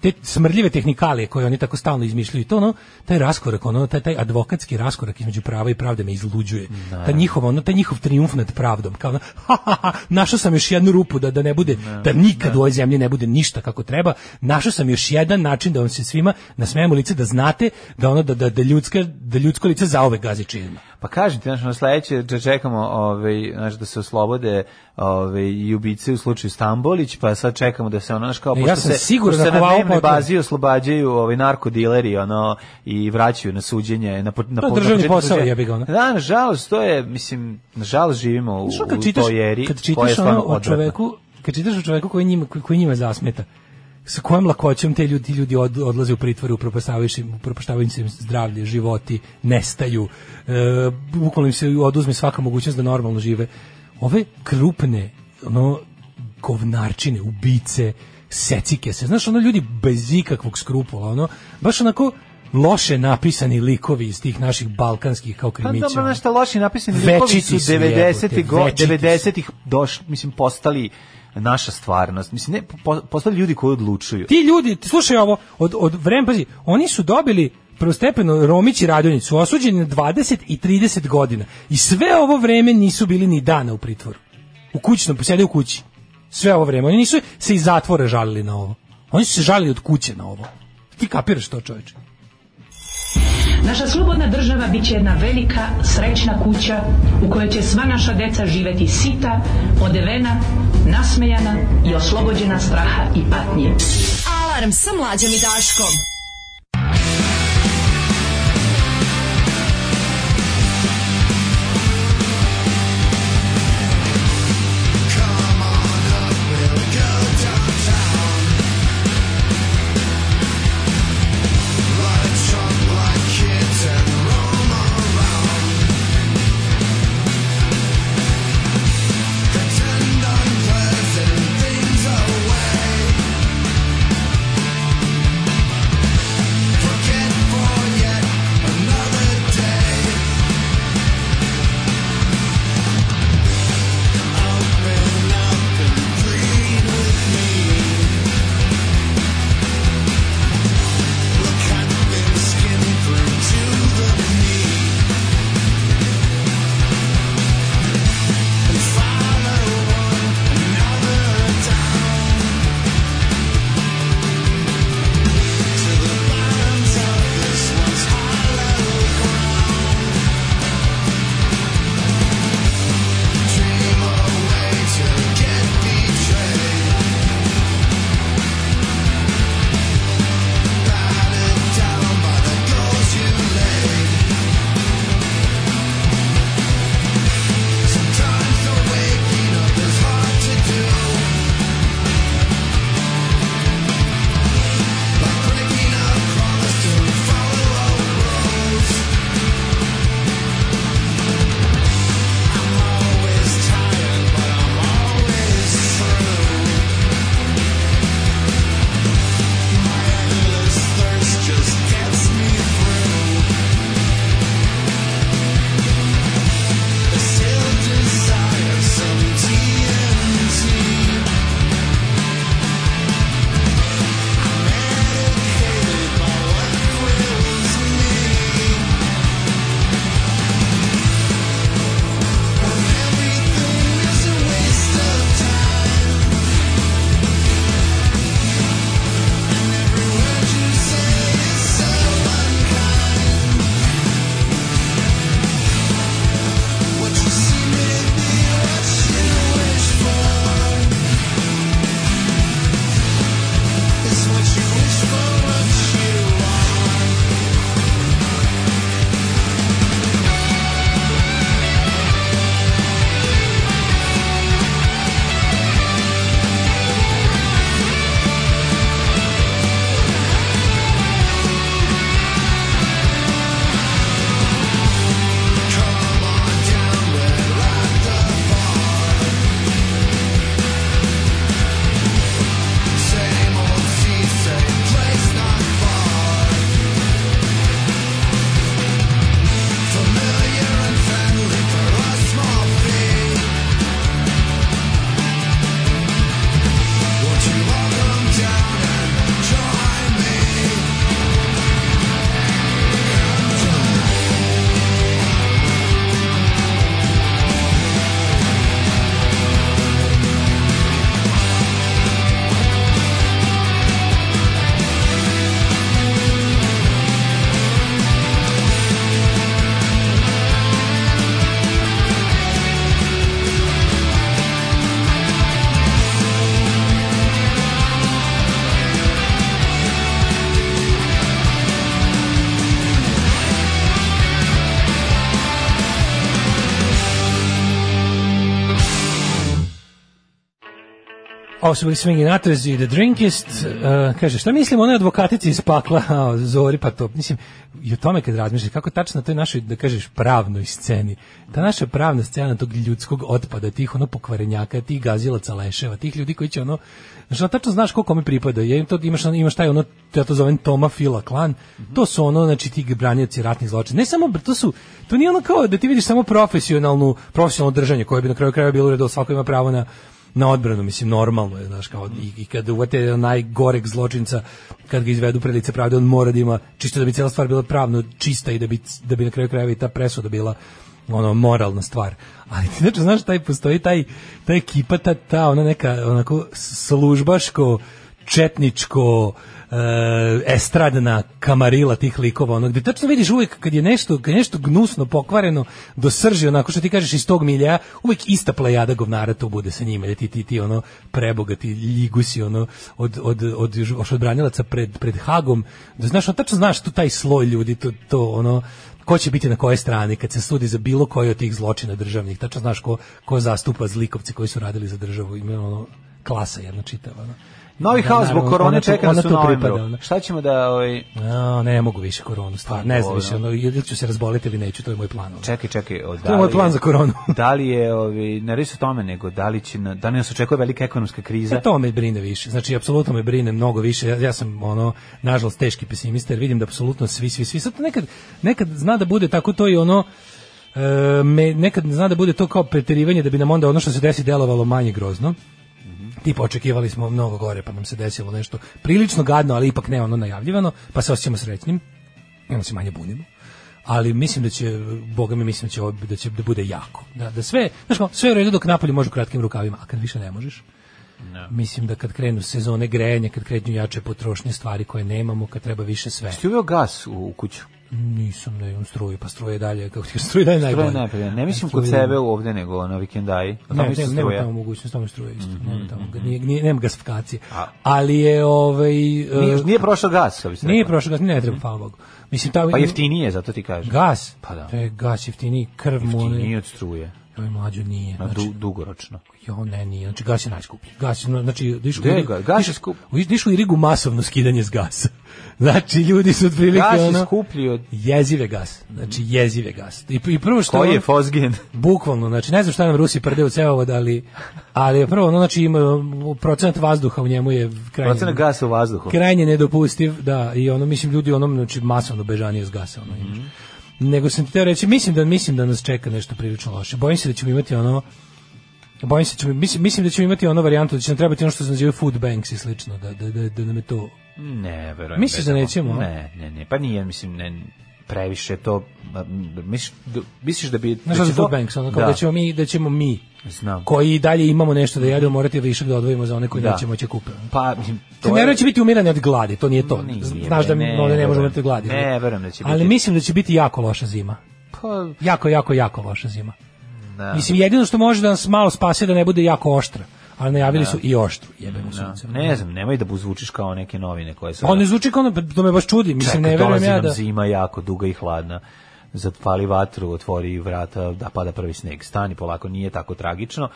S6: Te smrdljive tehnikalije koje oni tako stalno izmišljaju, to ono, taj raskorak, ono, taj, taj advokatski raskorak između prava i pravde me izluđuje. Ta njihova, ono, taj njihov trijumf nad pravdom, kao ono, ha, ha, ha, našao sam još jednu rupu da, da ne bude, da nikad u ovoj zemlji ne bude ništa kako treba, našao sam još jedan način da vam se svima nasmejemo u lice, da znate da ono, da, da, da, ljudska, da ljudsko lice zaovek gazi činima.
S7: pa kažem ti, znaš, ono sledeće, da čekamo ovaj, znaš, da se oslobode ovaj, i ubice u slučaju Stambolić, pa sad čekamo da se ono, znaš, kao,
S6: Ne, E, ja
S7: pošto
S6: sam
S7: se,
S6: siguran
S7: pošto se
S6: da
S7: na
S6: Kovaopo
S7: dnevnoj
S6: o tome.
S7: bazi oslobađaju ovaj, narkodileri, ono, i vraćaju na suđenje, na, po- na,
S6: To je
S7: po- na
S6: državni
S7: početku
S6: posao,
S7: suđenja.
S6: jebi ga, ono.
S7: Da, nažalost, to je, mislim, nažalost živimo u,
S6: Znaš, ono
S7: u
S6: kad čitaš,
S7: tojeri,
S6: kad
S7: koja je
S6: čitaš ono
S7: stvarno
S6: o
S7: odvratna.
S6: čoveku, kad čitaš o čoveku koji njima, koji, koji njima zasmeta, sa kojom lakoćom te ljudi, ti ljudi od, odlaze u pritvore, upropaštavaju se im upropaštavaju im se zdravlje, životi, nestaju, e, bukvalno im se oduzme svaka mogućnost da normalno žive. Ove krupne, ono, govnarčine, ubice, secike se, znaš, ono ljudi bez ikakvog skrupula, ono, baš onako loše napisani likovi iz tih naših balkanskih kao
S7: Pa
S6: krimića.
S7: dobro,
S6: ono.
S7: nešto loši napisani
S6: Večiti
S7: likovi su
S6: su, jebote,
S7: 90. go,
S6: večiti su.
S7: 90-ih došli, mislim, postali naša stvarnost. Mislim, ne, po- postali ljudi koji odlučuju.
S6: Ti ljudi, ti slušaj ovo, od, od vremena, pazi, oni su dobili prvostepeno Romić i Radonjić su osuđeni na 20 i 30 godina. I sve ovo vreme nisu bili ni dana u pritvoru. U kućnom, posede u kući. Sve ovo vreme. Oni nisu se iz zatvora žalili na ovo. Oni su se žalili od kuće na ovo. Ti kapiraš to, čoveče?
S11: Naša slobodna država bit će jedna velika, srećna kuća u kojoj će sva naša deca živeti sita, odevena, nasmejana i oslobođena straha i patnje.
S5: Alarm sa mlađom i Daškom.
S6: Ovo su bili Swingin' Atres i The Drinkist. Uh, kaže, šta mislim, ona je advokatica iz pakla, <laughs> a, Zori, pa to, mislim, i o tome kad razmišljaš, kako tačno na toj našoj, da kažeš, pravnoj sceni, ta naša pravna scena tog ljudskog otpada, tih ono pokvarenjaka, tih gazilaca leševa, tih ljudi koji će ono, znaš, ono tačno znaš koliko mi pripada, je, to, imaš, on- imaš taj ono, ja to zovem Toma Fila klan, to su ono, znači, ti branioci ratnih zločina, ne samo, br- to su, to nije ono kao da ti vidiš samo profesionalnu, profesionalno držanje, koje bi na kraju krajeva bilo u redu, svako ima pravo na na odbranu, mislim, normalno je, znaš, kao i, i kada uvate najgoreg zločinca, kad ga izvedu pred lice pravde, on mora da ima, čisto da bi cijela stvar bila pravno čista i da bi, da bi na kraju krajeva i ta presuda bila ono moralna stvar. Ali <laughs> ti znači, znaš, taj postoji taj, taj ekipa, ta, ta ona neka onako službaško četničko e, estradna kamarila tih likova, ono gde tačno vidiš uvijek kad je nešto, kad je nešto gnusno pokvareno do srži, onako što ti kažeš iz tog milja, uvijek ista plejada govnara tu bude sa njima, jer ti, ti, ti ono prebogati ljigusi ono od, od, od, još od branilaca pred, pred Hagom, da znaš, ono, tačno znaš tu taj sloj ljudi, to, to ono ko će biti na kojoj strani kad se sudi za bilo koji od tih zločina državnih, tačno znaš ko, ko zastupa zlikovci koji su radili za državu, ima ono klasa jedna čitava. Ono.
S7: Novi
S6: Da,
S7: haos zbog
S6: naravno,
S7: korone
S6: ona tu-
S7: čeka nas
S6: ona
S7: u
S6: tu
S7: novembru.
S6: pripada, ona.
S7: Šta ćemo da... Ovaj...
S6: A, ne mogu više koronu, stvarno. Ne znam
S7: Dobro.
S6: više, ono, ili ću se razboliti ili neću, to je moj plan. ono.
S7: Čekaj, čekaj. O, da
S6: je moj
S7: li
S6: plan za koronu.
S7: <laughs> da li je, ovi, ne radi se o tome, nego da li će, na, da li nas očekuje velika ekonomska
S6: <laughs>
S7: kriza?
S6: E, to me brine više. Znači, apsolutno me brine mnogo više. Ja, ja sam, ono, nažalost, teški pesimista, jer vidim da apsolutno svi, svi, svi. Sad nekad, nekad zna da bude tako to i ono, e, me, nekad zna da bude to kao preterivanje da bi nam onda ono što se desi delovalo manje grozno.
S7: Mhm.
S6: tipa očekivali smo mnogo gore, pa nam se desilo nešto prilično gadno, ali ipak ne ono najavljivano, pa se osjećamo srećnim, i onda se manje bunimo. Ali mislim da će, boga mi mislim da će, ovo- da će da bude jako. Da, da sve, znaš kao, sve je u redu dok napolje može u kratkim rukavima, a kad više ne možeš, mislim da kad krenu sezone grejanja, kad krenu jače potrošnje stvari koje nemamo, kad treba više sve.
S7: Ti uveo gas u, u kuću.
S6: Nisam, ne imam struje, pa struje dalje, kako ti kažem, struje dalje
S7: Struje
S6: najbolje.
S7: najbolje. Ne mislim
S6: Struje
S7: kod
S6: dalje.
S7: sebe ovde, nego na vikendaji.
S6: Ne,
S7: Tamo
S6: ne,
S7: isto Mhm,
S6: nema
S7: struje.
S6: tamo mogućnost, tamo je struje isto. Nema tamo, nije, nije, nema gasifikacije. Ali je ovaj
S7: Nije,
S6: e,
S7: nije prošao gas, kako bi se
S6: nije
S7: reklo.
S6: prošao gas, ne treba, hvala Bogu. Mislim, tamo,
S7: Pa jeftinije, zato ti kažem.
S6: Gas?
S7: Pa da.
S6: To je gas jeftiniji, krv mu
S7: Nije
S6: ne...
S7: od struje.
S6: Joj, mlađo nije.
S7: Na
S6: Znači,
S7: du, dugoročno.
S6: jo, ne, nije. Znači, gas je najskuplji. Gas, je, znači, dišu,
S7: Gde ga? Gas je skup.
S6: dišu i rigu masovno skidanje s gasa. <laughs> Znači, ljudi su otprilike
S7: Gas je
S6: ono...
S7: skuplji od...
S6: Jezive gas. Znači, jezive gas. I, i prvo što...
S7: Koji je
S6: ono-
S7: Fosgen?
S6: Bukvalno, znači ne znam šta nam Rusi prde u cevovod, ali, ali je prvo, ono, znači ima um, procenat vazduha u njemu je krajnje,
S7: Procena gasa u vazduhu.
S6: krajnje nedopustiv, da, i ono, mislim, ljudi onom, znači, masovno bežanije s gasa, ono,
S7: Mhm.
S6: inače. Nego sam ti teo reći, mislim da, mislim da nas čeka nešto prilično loše. Bojim se da ćemo imati ono, bojim se da ćemo, mislim, mislim da ćemo imati ono varijantu, da će nam trebati ono što se nazivaju food banks i slično, da, da, da, da nam je to
S7: Ne, verujem.
S6: Misliš da
S7: ne
S6: nećemo, a?
S7: Ne, ne, ne. Pa nije, mislim, ne, previše to... a, m, Misliš, d- misliš da bi...
S6: Znaš šta
S7: da će
S6: su
S7: to-
S6: food banks, ono kao da. ćemo mi, da ćemo mi,
S7: Znam.
S6: koji i dalje imamo nešto da jedemo, morati više da odvojimo za one koji
S7: Da.
S6: neće moći kupiti.
S7: Pa, mislim,
S6: To ne verujem da će biti umiranje od gladi, to nije to.
S7: Nije,
S6: Znaš da
S7: ne,
S6: ne, ne,
S7: verujem.
S6: može umirati od gladi.
S7: Ne, verujem da će
S6: Ali
S7: biti.
S6: mislim da će biti jako loša zima.
S7: Pa,
S6: Jako, jako, jako loša zima.
S7: da.
S6: Mislim, jedino što može da nas malo spase je da ne bude jako oštra. Ali najavili su i oštru, jebemo
S7: Da.
S6: sunce.
S7: Ne znam, nemoj da bu- zvučiš kao neke novine koje su...
S6: On ne zvuči kao ono, to me baš čudi. Mislim, ne
S7: Čekaj,
S6: verujem
S7: dolazi
S6: ja
S7: nam
S6: da...
S7: zima jako duga i hladna. Zapali vatru, otvori vrata, da pada prvi sneg. Stani polako, nije tako tragično.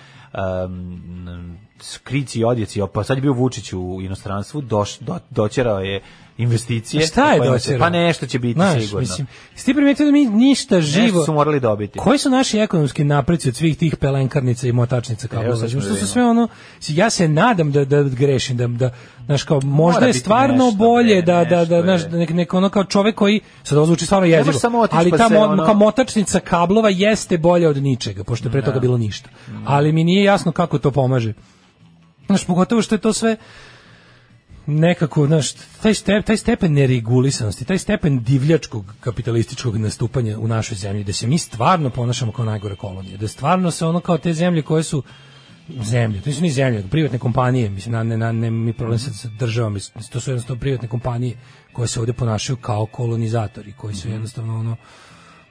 S7: Um, skrici i odjeci, pa sad je bio Vučić u inostranstvu, doš, do, doćerao je investicije.
S6: Šta je
S7: Kojima se-
S6: doćerao?
S7: Pa nešto će biti
S6: Znaš,
S7: sigurno.
S6: mislim, si ti primetio da mi ništa živo...
S7: Nešto su morali dobiti.
S6: Koji su naši ekonomski napreci od svih tih pelenkarnica i motačnica kao
S7: Evo, sad ćemo
S6: Što su
S7: da vidimo.
S6: sve ono ja se nadam da da grešim da da znaš kao možda je
S7: biti
S6: stvarno
S7: nešto,
S6: bolje
S7: bre,
S6: da da
S7: nešto,
S6: da znaš
S7: bre.
S6: da nek, nek ono kao čovek koji sad ovo zvuči stvarno jezivo.
S7: samo otići
S6: ali
S7: pa
S6: ta
S7: se
S6: mo-
S7: ono-
S6: kao motačnica kablova jeste bolja od ničega pošto je pre toga bilo ništa.
S7: Mm.
S6: Ali mi nije jasno kako to pomaže. Znaš, pogotovo što je to sve nekako, znaš, taj, step, taj stepen neregulisanosti, taj stepen divljačkog kapitalističkog nastupanja u našoj zemlji, da se mi stvarno ponašamo kao najgore kolonije, da stvarno se ono kao te zemlje koje su zemlje, to nisu ni zemlje, nego privatne kompanije, mislim, na, ne, na, ne, mi problem sad sa državom, mislim, to su jednostavno privatne kompanije koje se ovde ponašaju kao kolonizatori, koji
S7: Mhm.
S6: su jednostavno ono,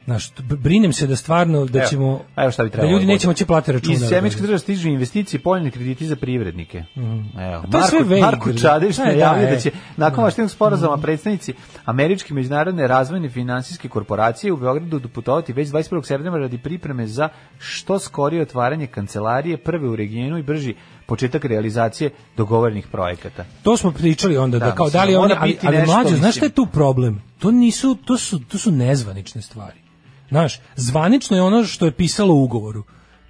S6: znaš, t- brinem se da stvarno, da
S7: Evo,
S6: ćemo,
S7: evo šta bi
S6: da
S7: trebalo
S6: ljudi
S7: da
S6: neće
S7: bude.
S6: moći plati račune.
S7: Iz sjemičke države stižu investicije i poljene krediti za privrednike. Evo,
S6: Mm. to je sve
S7: Marko,
S6: vague,
S7: Marko
S6: da.
S7: Čadević
S6: E,
S7: najavio
S6: da,
S7: da
S6: e. Mm.
S7: će nakon vaštenog sporazuma predstavnici Američke međunarodne razvojne finansijske korporacije u Beogradu doputovati već 21. septembra radi pripreme za što skorije otvaranje kancelarije prve u regionu i brži početak realizacije dogovorenih projekata.
S6: To smo pričali onda da,
S7: Da,
S6: kao
S7: mislim,
S6: da li
S7: da
S6: oni
S7: mora
S6: ali,
S7: biti
S6: ali
S7: nešto,
S6: mlađe, znaš
S7: mislim.
S6: šta je tu problem? To nisu to su to su nezvanične stvari. Znaš, zvanično je ono što je pisalo u ugovoru.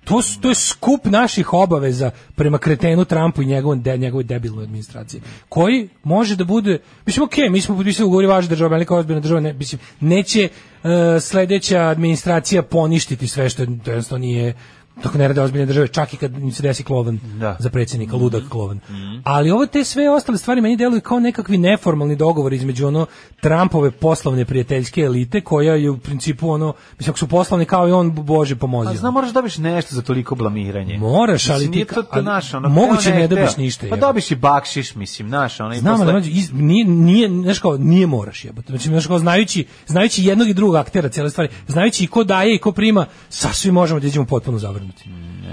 S6: To, su, to je skup naših obaveza prema kretenu Trumpu i njegovom de, njegovoj debilnoj administraciji, koji može da bude, mislim, okej, mi smo potpisali ugovor i važna država, velika ozbiljna država, ne, mislim, neće uh, sledeća administracija poništiti sve što je, to jednostavno nije, tako ne rade ozbiljne države, čak i kad im se desi klovan
S7: Da.
S6: za predsjednika,
S7: Mhm.
S6: ludak klovan. Ali ovo te sve ostale stvari meni deluju kao nekakvi neformalni dogovor između ono Trumpove poslovne prijateljske elite koja je u principu ono, mislim ako su poslovni kao i on, bože pomozi.
S7: A
S6: ono.
S7: znam, moraš dobiš nešto za toliko blamiranje.
S6: Moraš, ali
S7: Mislim,
S6: ti
S7: nije
S6: ka-
S7: to, to
S6: ali
S7: naš, ono,
S6: moguće
S7: hteo,
S6: ne dobiš
S7: hteo.
S6: ništa,
S7: Pa
S6: jebote.
S7: dobiš i bakšiš, mislim, naš, ono, i
S6: Znam,
S7: posle-
S6: ali mlađe, iz- nije, nije, znaš kao, nije moraš jebote. Znači, znaš kao, znajući, znajući jednog i drugog aktera cijele stvari, znajući i ko daje i ko prima, sasvim možemo da iđemo potpuno zavrnuti.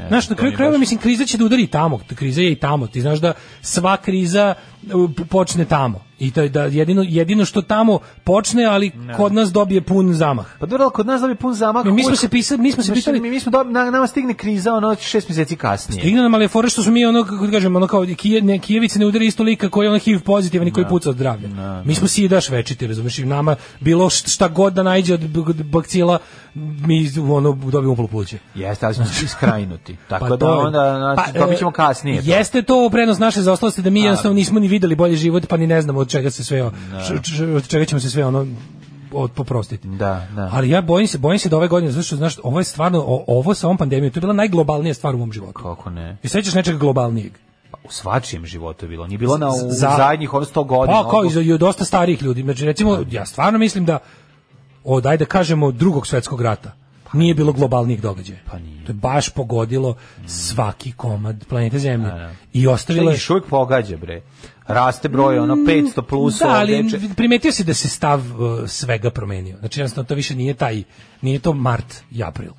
S6: znaš, na kraju krajeva, mislim, kriza će da udari i tamo, kriza je i tamo, ti znaš da sva kriza uh, p- počne tamo. I to je da jedino, jedino što tamo počne, ali kod nas dobije pun zamah.
S7: Pa dobro, ali kod nas dobi pun zamah.
S6: Mi- mi smo
S7: uvek-
S6: se pisali- mi smo se
S7: Znaš,
S6: pitali-
S7: Pa Mi, mi smo dobi, na, nama stigne kriza, ono, šest mjeseci kasnije.
S6: Stigne nam, ali je fora što su mi ono, kako da kažem, ono kao kije, ne, Kijevice ne udari isto lika koji je ono HIV pozitivan i koji puca od zdravlja. Mi smo si i daš večiti, razumiješ, i nama bilo št- šta god da najđe od b- od bakcila, mi ono dobijemo polo pluće.
S7: Jeste, ali smo iskrajnuti. Tako
S6: Pa
S7: da
S6: to je-
S7: onda, znači,
S6: pa,
S7: dobit
S6: e,
S7: ćemo kasnije. to.
S6: Jeste to prednost naše zaostalosti da mi jednostavno nismo ni videli bolji život, pa ni ne znamo od čega se sve, o- č- č- od čega ćemo se sve ono od poprostiti.
S7: Da, da.
S6: Ali ja bojim se, bojim se da ove godine, zato što znaš, ovo je stvarno o- ovo sa ovom pandemijom, to je bila najglobalnija stvar u mom životu.
S7: Kako ne?
S6: I sećaš nečega globalnijeg?
S7: Pa, u svačijem životu je bilo. Nije bilo na u,
S6: Za-
S7: zadnjih ovih sto godina. ono,
S6: Pa kao i za i od dosta starijih ljudi. Znači recimo ja stvarno mislim da od ajde da kažemo od drugog svetskog rata nije bilo globalnih događaja.
S7: Pa nije. Mm.
S6: To je baš pogodilo svaki komad planete Zemlje. I ostavilo
S7: Ili
S6: je
S7: još uvijek pogađa, bre. Raste broj, ono, 500 plus.
S6: Mm, da, ali
S7: ovdje, če-
S6: primetio si da se stav uh, svega promenio. Znači, jednostavno, to više nije taj, nije to mart i april.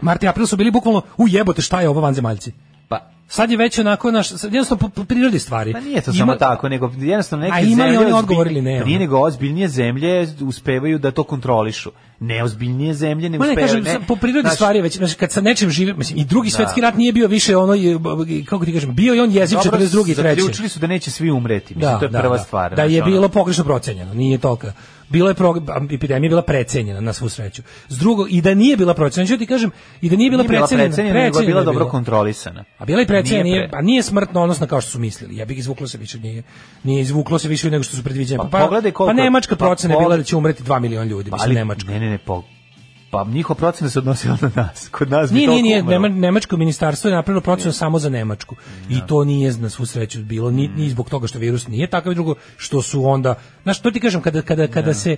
S6: Mart i april su bili bukvalno, u jebote, šta je ovo vanzemaljci?
S7: Pa,
S6: Sad je već onako, naš, sad jednostavno, po, po prirodi stvari.
S7: Pa nije to
S6: Ima-
S7: samo tako, nego jednostavno neke
S6: A imali
S7: zemlje...
S6: oni
S7: ozbilj-
S6: odgovor ili ne,
S7: Pa Nije
S6: ono?
S7: nego ozbiljnije zemlje uspevaju da to kontrolišu. Neozbiljnije zemlje ne
S6: Ma ne
S7: uspevaju.
S6: kažem, sa- po prirodi
S7: Znaš,
S6: stvari je već, znači kad sa nečim živim, mislim, i drugi svetski rat nije bio više ono, je, b- b- kako ti kažem, bio je on jeziv
S7: dobro,
S6: 42. i 3.
S7: Zaključili su da neće svi umreti. Mislim, to je prva stvar.
S6: Da
S7: znaš,
S6: je
S7: ono.
S6: bilo pogrešno procenjeno, nije toliko. Bilo je prog- epidemija je bila precenjena na svu sreću. S drugog i da nije bila procenjena, ću ti kažem, i da nije bila
S7: Nije bila
S6: precenjena,
S7: precenjena, nego je
S6: precenjena
S7: bila
S6: je
S7: dobro
S6: bila.
S7: kontrolisana.
S6: A bila i precenjena,
S7: Nije
S6: nije,
S7: pre-
S6: a nije smrtno odnosno kao što su mislili. Ja bih izvuklo se više, nije, nije izvuklo se više nego što su predviđali.
S7: Pa pogledaj koliko-
S6: pa nemačka
S7: pa
S6: procena je bila
S7: pogledaj-
S6: da će umreti 2 miliona ljudi, mislim nemačka.
S7: Ne, ne, ne, po, pa njihov procena se odnosila na nas. Kod nas bi
S6: Nije, nije,
S7: toliko
S6: nije,
S7: umrlo.
S6: Nema- nemačko ministarstvo je napravilo procenu samo za Nemačku. I to nije na svu sreću bilo, ni,
S7: Mm.
S6: ni zbog toga što virus nije takav, i drugo što su onda, znaš, to ti kažem, kada, kada, kada se,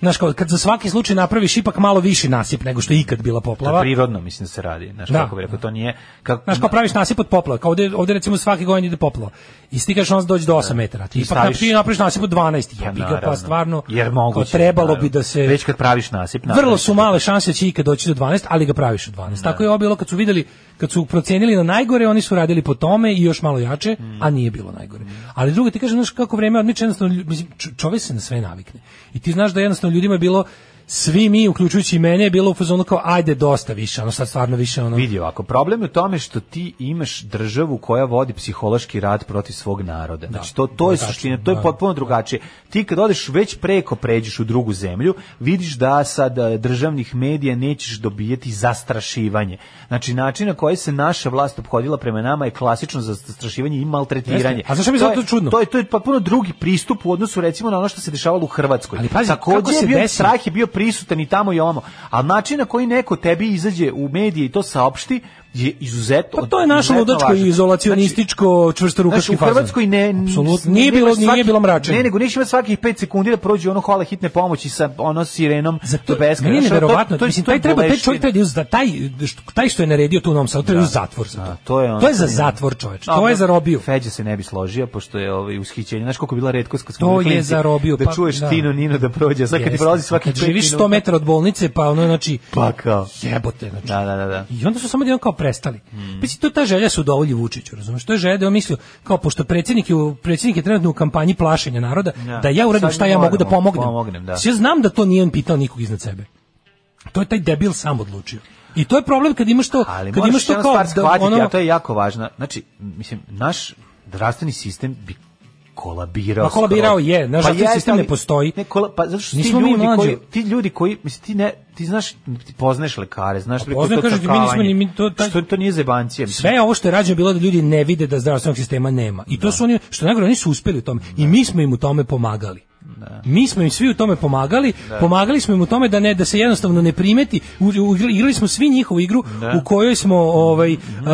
S6: znaš, kao, kad za svaki slučaj napraviš ipak malo viši nasip nego što je ikad bila
S7: To je
S6: poplava,
S7: prirodno, mislim, se radi. Znaš,
S6: Da.
S7: kako bi rekao, to nije... Kako,
S6: Znaš, kao praviš nasip od poplava, kao ovde, ovde recimo svake godine ide poplava. I stigaš onda dođe do 8 metara. Ti ipak
S7: staviš-
S6: napraviš, napraviš nasip od 12. Jebi ga, pa
S7: naravno.
S6: stvarno,
S7: Jer
S6: kao
S7: moguće,
S6: trebalo bi
S7: naravno.
S6: da se...
S7: Već kad praviš nasip,
S6: Vrlo
S7: napraviš.
S6: su male šanse da će ikad doći do 12, ali ga praviš od 12. Tako je ovo bilo kad su videli, kad su procenili na najgore, oni su radili po tome i još malo jače,
S7: Mm.
S6: a nije bilo najgore. Ali drugo ti kažem, znaš kako vreme odmiče, jednostavno, lju- mislim, čo- čovek se na sve navikne. I ti znaš da jednostavno ljudima je bilo, svi mi, uključujući i mene, je bilo u fazonu kao, ajde, dosta više, ono sad stvarno više, ono...
S7: Vidi ovako, problem je u tome što ti imaš državu koja vodi psihološki rat protiv svog naroda. Znači to, to je
S6: tačno,
S7: suština, to je
S6: da.
S7: potpuno drugačije. Ti kad odeš već preko pređeš u drugu zemlju, vidiš da sad e, državnih medija nećeš dobijeti zastrašivanje. Znači način na koji se naša vlast obhodila prema nama je klasično zastrašivanje i maltretiranje.
S6: Jeste. A zašto mi je
S7: To
S6: zato čudno?
S7: To je, to je potpuno drugi pristup u odnosu recimo na ono što se dešavalo u Hrvatskoj.
S6: Ali pazi,
S7: Takođe
S6: kako
S7: je
S6: se
S7: bio
S6: desi?
S7: strah strah je bio prisutan i tamo i ovamo. A način na koji neko tebi izađe u medije i to saopšti je izuzetno
S6: Pa to je naše
S7: izuzetno
S6: ludačko
S7: važno.
S6: i izolacionističko
S7: Znači,
S6: čvrstorukački
S7: znači, u
S6: fazon.
S7: Hrvatskoj ne... n-
S6: Apsolutno,
S7: ne-
S6: nije
S7: nemaš
S6: bilo- nije
S7: svaki-
S6: bilo mračenja.
S7: Ne, nego nisi imao svakih 5 sekundi da prođe ono kola hitne pomoći sa ono sirenom
S6: Za to,
S7: do beskraja.
S6: meni je
S7: Znaš, ono,
S6: neverovatno,
S7: to je-
S6: mislim,
S7: to je
S6: taj treba, taj
S7: boleština.
S6: čovjek treba da ide za taj, što- taj što je naredio tu u Novom Sadu, treba da, ide u zatvor za to.
S7: Da, to je ono
S6: to je za
S7: što je-
S6: zatvor čoveč,
S7: A,
S6: to je za robiju.
S7: Feđa se ne bi složio, pošto je ovaj, ushićenje. Znaš koliko je bila redkost kad smo
S6: To je
S7: bili klinci,
S6: za robiju,
S7: Da
S6: pa-
S7: čuješ
S6: da.
S7: Tino Nino da prođe, a sad kad ti
S6: Jeste.
S7: prolazi svaki
S6: Kad
S7: pet
S6: živiš 100
S7: minuta-
S6: metara od bolnice, pa ono, znači,
S7: Pa kao.
S6: jebote, znači,
S7: Da, Hmm. da, da, da.
S6: I onda su samo jedan kao prestali. Mm. Mislim, to je ta želja su dovolji Vučiću, razumiješ? To je želja da je on mislio, kao pošto predsjednik je, u- predsjednik je trenutno u kampanji plašenja naroda,
S7: Ja.
S6: da ja uradim
S7: Sad
S6: šta ja
S7: moramo,
S6: mogu da pomognem.
S7: pomognem, da.
S6: Ja znam da to nije on pitao nikog iznad sebe. To je taj debil sam odlučio. I to je problem kad imaš to,
S7: Ali
S6: kad
S7: moraš
S6: imaš to
S7: jednu
S6: kao
S7: stvar
S6: da
S7: shvatiti,
S6: ono-
S7: a to je jako važno. Znači, mislim, naš zdravstveni sistem bi kolabirao.
S6: Ma kolabirao
S7: skroz.
S6: je, naš zdravstveni
S7: jeste,
S6: sistem
S7: ali-
S6: ne postoji.
S7: Ne, kola, pa zato što ti
S6: Nismo mi
S7: ljudi, koji,
S6: mlađi.
S7: ti ljudi koji, mislim, ti, ne, ti znaš, ti poznaš lekare, znaš preko
S6: poznajem,
S7: to
S6: kažem ti, Pa mi nismo
S7: čakavanje,
S6: ni- mi to- taj-
S7: što to nije zebancija. mislim.
S6: Sve je ovo što je rađeno bilo da ljudi ne vide da zdravstvenog sistema nema. I to su oni što je najgore oni su uspeli u tome i mi smo im u tome pomagali. Mi smo im svi u tome pomagali, pomagali smo im u tome da ne da se jednostavno ne primeti. U, u- igrali smo svi njihovu igru u kojoj smo ovaj e,
S7: Mhm.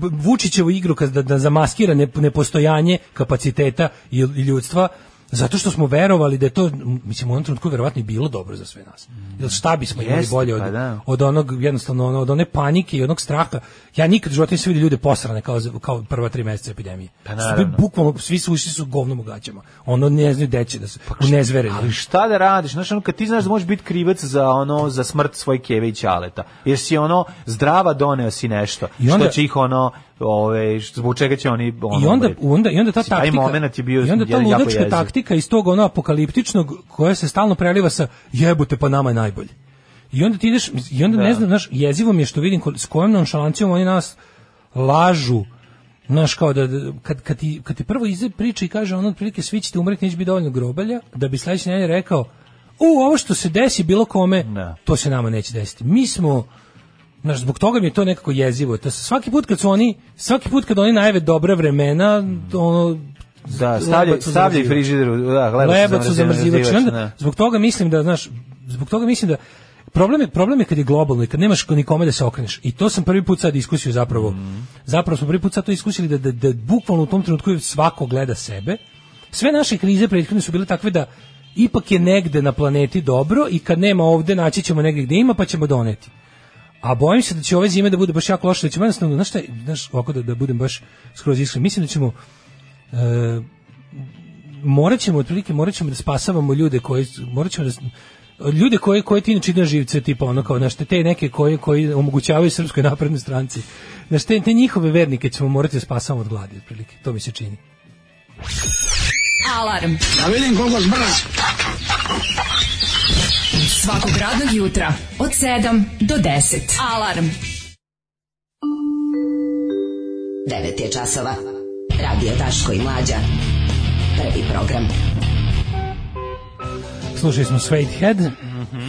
S6: b- Vučićevu igru kad da, da zamaskira ne- nepostojanje kapaciteta i, i ljudstva zato što smo verovali da je to mislim u onom trenutku verovatno i bilo dobro za sve nas. Jer šta bismo imali
S7: Jeste,
S6: bolje
S7: pa
S6: od,
S7: da.
S6: od onog jednostavno ono, od one panike i onog straha. Ja nikad u životu nisam vidio ljude posrane kao za- kao prva tri meseca epidemije.
S7: Pa
S6: Svi
S7: naravno.
S6: bukvalno svi su ušli su govnom u gaćama. Ono ne znaju deći da su unezvereni.
S7: Pa Ali šta da radiš? Znaš, ono, kad ti znaš da možeš biti krivac za ono za smrt svoje keve i ćaleta, jer si ono zdrava doneo si nešto,
S6: I onda-
S7: što će ih ono, ove, što- zbog čega će oni ono,
S6: I onda,
S7: bre-
S6: onda, i onda ta
S7: Mislim, taj
S6: taktika,
S7: momenat je bio
S6: i onda ta
S7: jedan jako
S6: ludačka
S7: jeziv.
S6: taktika iz tog ono apokaliptičnog koja se stalno preliva sa jebote pa nama je najbolje. I onda ti ideš, i onda ne znam, znaš, jezivo mi je što vidim ko- s kojom nonšalancijom oni nas lažu Znaš, kao da, da- kad, kad, ti, kad ti prvo iza priča i kaže ono otprilike svi ćete umreti, neće biti dovoljno grobalja, da bi sledeći nedelje rekao, u, ovo što se desi bilo kome,
S7: Da.
S6: to se nama neće desiti. Mi smo, Znaš, zbog toga mi je to nekako jezivo. To se- svaki put kad su oni, svaki put kad oni najave dobra vremena, ono
S7: Da, stavljaj,
S6: lebac u
S7: stavljaj
S6: zamrzivač.
S7: frižider, u- da,
S6: lebac u zamrzivač. I onda
S7: da.
S6: zbog toga mislim da, znaš, zbog toga mislim da Problem je, problem je kad je globalno i kad nemaš ko- nikome da se okreneš. I to sam prvi put sad iskusio zapravo. Zapravo smo prvi put sad to iskusili da, da, da bukvalno u tom trenutku svako gleda sebe. Sve naše krize prethodne su bile takve da ipak je negde na planeti dobro i kad nema ovde naći ćemo negde gde ima pa ćemo doneti. A bojim se da će ove zime da bude baš jako loše, da ćemo jednostavno, znaš šta, je, znaš, ovako da, da budem baš skroz iskren, mislim da ćemo e, morat ćemo otprilike, morat ćemo da spasavamo ljude koji, morat ćemo da s- ljude koje, koje ti inače ide na živce, tipa ono kao, znaš, te neke koje, koji omogućavaju srpskoj naprednoj stranci, znaš, te, te njihove vernike ćemo morati da spasavamo od gladi, otprilike, to mi se čini.
S5: Alarm.
S10: Da vidim koliko zbrz.
S5: Svakog radnog jutra od 7 do 10. Alarm.
S10: 9 je časova. Radio Daško i Mlađa. Prvi program.
S6: Slušali smo Suede Head,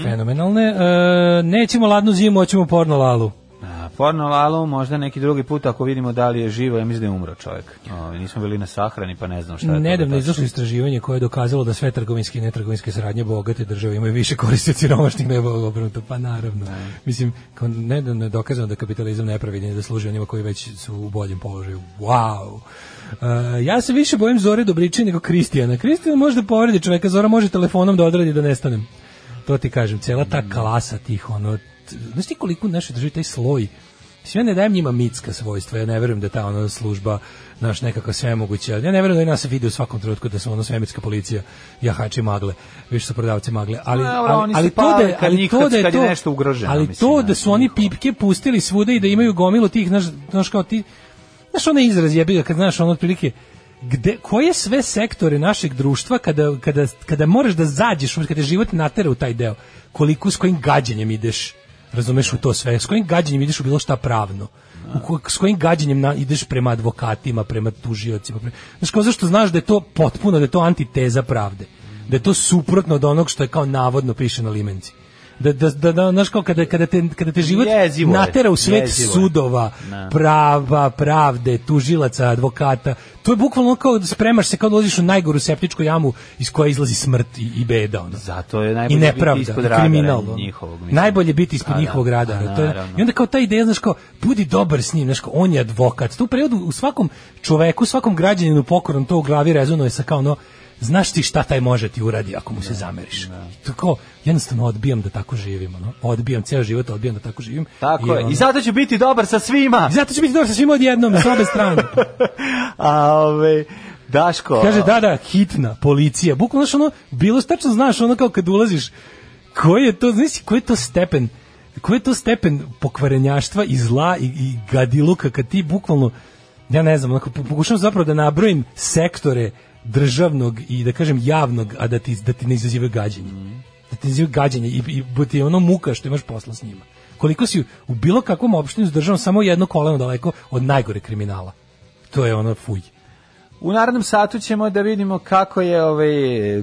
S6: fenomenalne, E, nećemo ladnu zimu, hoćemo porno lalu.
S7: A, Porno lalo, možda neki drugi put ako vidimo da li je živo, ja mislim da je umro čovjek. O, nismo bili na sahrani, pa ne znam šta je to.
S6: Nedavno
S7: da
S6: je izašlo istraživanje koje je dokazalo da sve trgovinske i netrgovinske saradnje bogate države imaju više koristi od siromašnih nego obrnuto. Pa naravno. Mislim, kao nedavno je dokazano da je kapitalizam nepravedan i da služi onima koji već su u boljem položaju. Wow! E, ja se više bojim Zore Dobriče nego Kristijana. Kristijan može da povredi čoveka, Zora može telefonom da odradi da nestanem. To ti kažem, cela ta klasa tih, ono, t- znaš ti koliko u našoj državi taj sloj Mislim, ja ne dajem njima mitska svojstva, ja ne verujem da je ta ona služba naš nekako sve moguće. Ja ne verujem da je nas vidi u svakom trenutku da su ono svemirska policija, jahači magle, više su prodavci magle. Ali,
S7: Dobro,
S6: ali,
S7: oni su
S6: ali to da,
S7: pali
S6: je-
S7: kad
S6: ali
S7: njih-
S6: to da je
S7: kad je
S6: to,
S7: nešto ugroženo,
S6: ali
S7: mislim,
S6: to da
S7: znaš,
S6: su oni pipke pustili svuda i da imaju gomilu tih, znaš, znaš kao ti, znaš onaj izraz jebi ga kad znaš ono otprilike, gde, koje sve sektore našeg društva kada, kada, kada moraš da zađeš, kada te život natera u taj deo, koliko s kojim gađanjem ideš, razumeš u to sve, s kojim gađanjem ideš u bilo šta pravno, u ko, s kojim gađanjem na, ideš prema advokatima, prema tužiocima, pre, znaš kao zašto znaš da je to potpuno, da je to antiteza pravde, da je to suprotno od onog što je kao navodno piše na limenci. Da, da, da, da, znaš kao kada, kada, te, kada te život
S7: Jezivo je,
S6: natera u svet
S7: jezivo je.
S6: sudova,
S7: Da.
S6: prava, pravde, tužilaca, advokata. To je bukvalno kao da spremaš se kao da ulaziš u najgoru septičku jamu iz koje izlazi smrt i, i beda. Ono.
S7: Zato je
S6: I
S7: najbolje biti
S6: nepravda,
S7: ispod
S6: i
S7: radara
S6: kriminal. ono.
S7: njihovog. mislim.
S6: Najbolje biti ispod
S7: A da,
S6: njihovog radara.
S7: a
S6: To je,
S7: naravno.
S6: I onda kao ta ideja, znaš kao, budi dobar s njim, znaš kao, on je advokat. To u prevodu u svakom čoveku, u svakom građaninu pokorom to u glavi rezonuje sa kao ono, znaš ti šta taj može ti uradi ako mu se zameriš. I To kao, jednostavno odbijam da tako živim. Ono. Odbijam, ceo život odbijam da tako živim.
S7: Tako je.
S6: ono-
S7: I zato ću biti dobar sa svima.
S6: i zato će biti dobro sa svima odjednom, s obe
S7: <laughs>
S6: strane.
S7: A, ove, Daško.
S6: Kaže, da, da, hitna, policija. Bukvalno, znaš, ono, bilo stačno znaš, ono kao kad ulaziš, koji je to, znaš, koji je to stepen, koji je to stepen pokvarenjaštva i zla i, i gadiluka kad ti bukvalno, ja ne znam, onako, po- pokušavam zapravo da nabrojim sektore državnog i da kažem javnog, a da ti, da ti ne izazivaju gađenje. Da ti ne izazivaju gađenje i, i, i ono muka što imaš posla s njima. koliko si u bilo kakvom opštinu s državom samo jedno koleno daleko od najgore kriminala. To je ono fuj.
S7: U narednom satu ćemo da vidimo kako je ovaj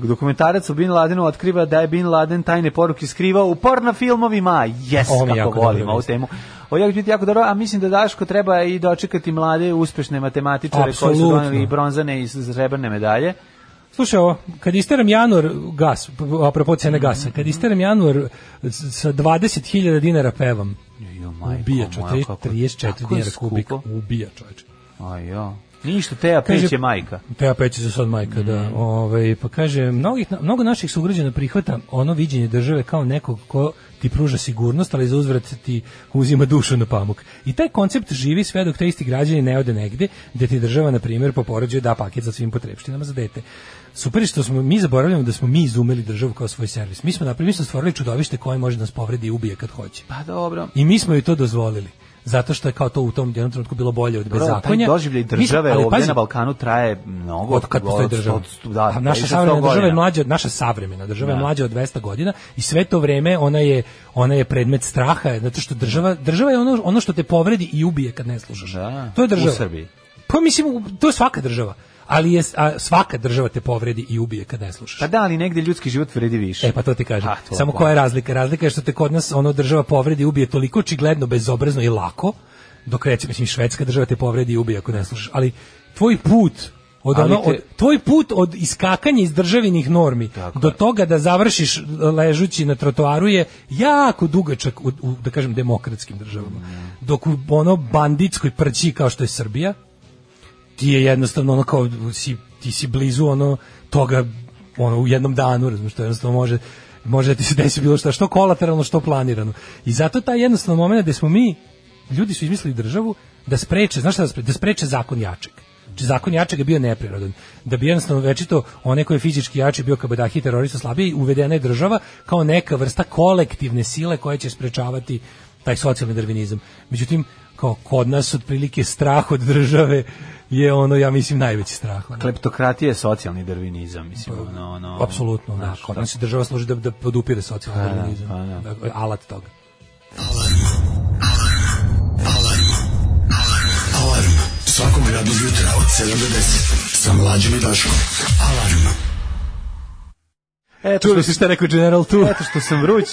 S7: dokumentarac o Bin Ladenu otkriva da je Bin Laden tajne poruke skrivao u porno filmovima. Jes,
S6: Ovo mi je jako
S7: kako volim
S6: dobro
S7: ovu
S6: vest.
S7: temu. Ovo će biti jako dobro, a mislim da Daško treba i dočekati mlade uspešne matematičare koji su
S6: Apsolutno.
S7: doneli i bronzane i srebrne medalje.
S6: Slušaj ovo, kad isteram januar gas, p- p- apropo cene gasa, kad isteram januar s- sa 20.000 dinara pevam. Ubija
S7: moja,
S6: čovječe,
S7: kako-
S6: 34
S7: tako je
S6: dinara kubik.
S7: skupo.
S6: Ubija čovječe.
S7: Ajo. Ništa, Teja
S6: Kaže-
S7: peće majka. Mm.
S6: Teja peći za sad majka, da. Ovaj, pa kaže, mnogih, mnogo naših sugrađana prihvata ono viđenje države kao nekog ko ti pruža sigurnost, ali za uzvrat ti uzima dušu na pamuk. I taj koncept živi sve dok te isti građani ne ode negde, gde ti država, na primjer, po porođaju da paket za svim potrebštinama za dete. Super je što smo mi zaboravljamo da smo mi izumeli državu kao svoj servis. Mi smo napravili, mi smo stvorili čudovište koje može da nas povredi i ubije kad hoće.
S7: Pa dobro.
S6: I mi smo joj to dozvolili. Zato što je kao to u tom jednom trenutku bilo bolje od
S7: Dobro,
S6: bezakonja.
S7: Taj pa doživljaj države
S6: Mi smo- ali
S7: ovdje
S6: pazi,
S7: na Balkanu traje mnogo.
S6: od kad postoji država.
S7: od sto- da,
S6: A
S7: više
S6: naša
S7: od sto
S6: savremena država je
S7: godina.
S6: mlađa, od- naša savremena država je
S7: Da.
S6: mlađa od 200 godina i sve to vrijeme ona je ona je predmet straha, zato što država država je ono ono što te povredi i ubije kad ne slušaš.
S7: Da,
S6: To je država.
S7: U Srbiji.
S6: Pa mislim u- to je svaka država, ali je s- a svaka država te povredi i ubije kad ne slušaš.
S7: Pa da, ali negdje ljudski život vredi više.
S6: E pa to ti kažem.
S7: Ah, to,
S6: Samo
S7: da.
S6: koja je razlika? Razlika je što te kod nas ono država povredi i ubije toliko očigledno, bezobrazno i lako, dok reći, mislim, švedska država te povredi i ubije ako ne slušaš. Ali tvoj put od
S7: Ali
S6: ono,
S7: te-
S6: od, tvoj put od iskakanja iz državinih normi do toga da završiš ležući na trotoaru je jako dugačak u, u, da kažem demokratskim državama.
S7: Mm.
S6: Dok u ono banditskoj prći kao što je Srbija, ti je jednostavno ono kao si, ti si blizu ono toga ono u jednom danu, razumiješ, to jednostavno može može da ti se desi bilo šta, što kolateralno, što planirano. I zato taj jednostavno moment gde smo mi, ljudi su izmislili državu da spreče, znaš šta da spreče, da spreče zakon jačeg. Znači, zakon jačeg je bio neprirodan. Da bi jednostavno večito onaj koji je fizički jači bio kabadahi terorista slabiji, uvedena je država kao neka vrsta kolektivne sile koja će sprečavati taj socijalni darvinizam. Međutim, kao kod nas otprilike strah od države je ono, ja mislim, najveći strah. ono.
S7: Kleptokratija je socijalni darvinizam, mislim, ono, ono...
S6: Pa, Apsolutno, da. Kod nas je država služi da, da podupire socijalni
S7: Pa da,
S6: darvinizam.
S7: pa da.
S6: Dakle, Alat toga.
S12: Alarm. Svakog radnog jutra od 7 do 10. Sa mlađom i Daškom. Alarm.
S7: Eto,
S6: Čuli ste šta je rekao General Tu?
S7: Eto što sam vruć.